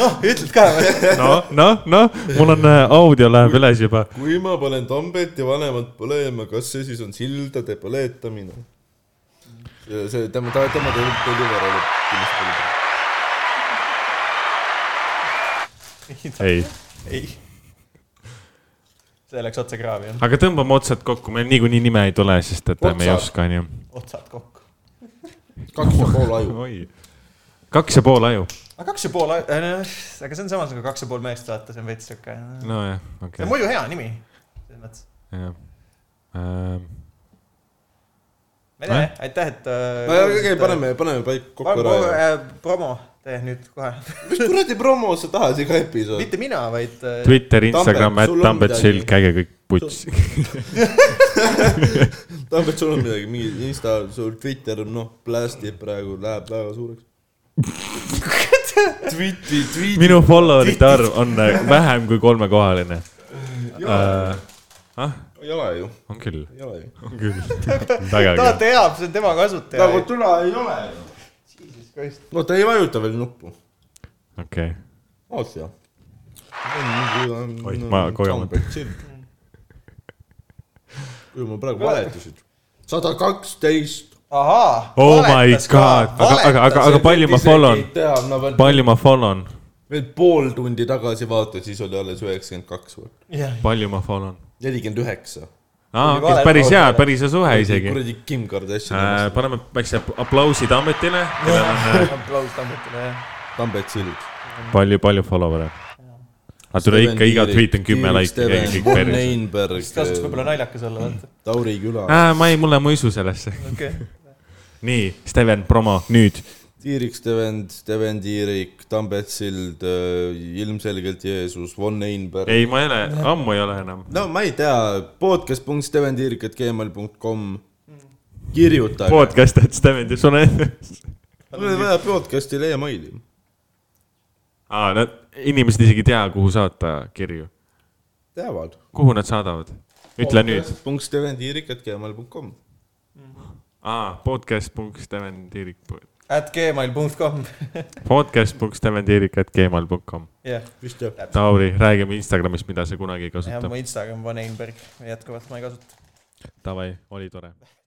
noh , ütled ka või ? noh , noh , noh , mul on äh, audio läheb üles juba . kui ma panen Tambet ja vanemad põlema , kas see siis on sildade põletamine ? see , see tema , ta , tema tegi , tegi ära lõpp . ei , ei . see läks otse kraavi , jah . aga tõmbame otsad kokku , meil niikuinii nime ei tule , sest et äh, me ei Otsad. oska , onju . otsad kokku . kaks ja pool aju . oi , kaks ja pool aju . aga kaks ja pool , aga see on samas nagu kaks ja pool meest , vaata , see on veits sihuke . see nojah , on okei okay. . muidu hea nimi . selles mõttes . Ehm, ma ei tea Eh? jah , aitäh , et . äh, okei , paneme , paneme paik kokku ära . promo , tee nüüd kohe . mis kuradi promo sa tahad iga episood ? mitte mina , vaid . äh, Twitter , Instagram , Tambet, sul et on Tambet midagi? sild , käige kõik putsi . Tambet , sul on midagi , mingi Insta , sul Twitter , noh , plästib praegu , läheb väga suureks . Tweeti , tweeti . minu follower'ite arv on äh, ah? vähem kui kolmekohaline . ei ole ju , on küll , ei ole ju . on küll . väga ta küll . teab , see on tema kasutaja . tula ei ole ju . no ta ei vajuta veel nuppu . okei , oota . Oih, ma koju oma- . kui ma praegu valetasin . sada kaksteist . ahaa . Oh my god. Aga- aga- aga- aga- palju ma follow n? on ? palju ma follow'n , veel pool tundi tagasi vaatasin , siis oli alles üheksakümmend kaks või palju ma follow'n ? nelikümmend üheksa . aa , Oli vale päris hea follow'd. , päris hea suhe isegi . kuradi Kim Kardashian Äh, , paneme väikse aplausid Ametile , kellel on äh, aplaus Tammetile , jah . Tambet Sild . palju , palju follower'e . aga tule ikka , iga tweet on kümme laiki , keegi kõik Von päris . Einberg , siis tasuks võib-olla naljakas olla , vaata . Tauri Küla , Äh, ma ei , mulle , ma ei usu sellesse . okei okay. . nii , Steven , promo nüüd . Tiirik Steven , Steven Tiirik , Tambet Sild , ilmselgelt Jeesus , Von Einberg . ei , ma ei ole , ammu ei ole enam . no ma ei tea , podcast.steventiirik.gmail.com Mm. kirjutage . podcast at Steven , sul on , mul oli vaja podcast'ile emaili . aa , nad , inimesed isegi ei tea , kuhu saata kirju . teavad . kuhu nad saadavad ? ütle nüüd . podcast.steventiirik.gmail.com aa , podcast punkt Steven Tiirik , At gmail.com , podcast punkt Steven Tiirik at gmail punkt kom . jah . vist jah ? Tauri , räägime Instagramist , mida sa kunagi ei ja kasuta mu . Instagram , Van Einberg , jätkuvalt ma ei kasuta . Davai , oli tore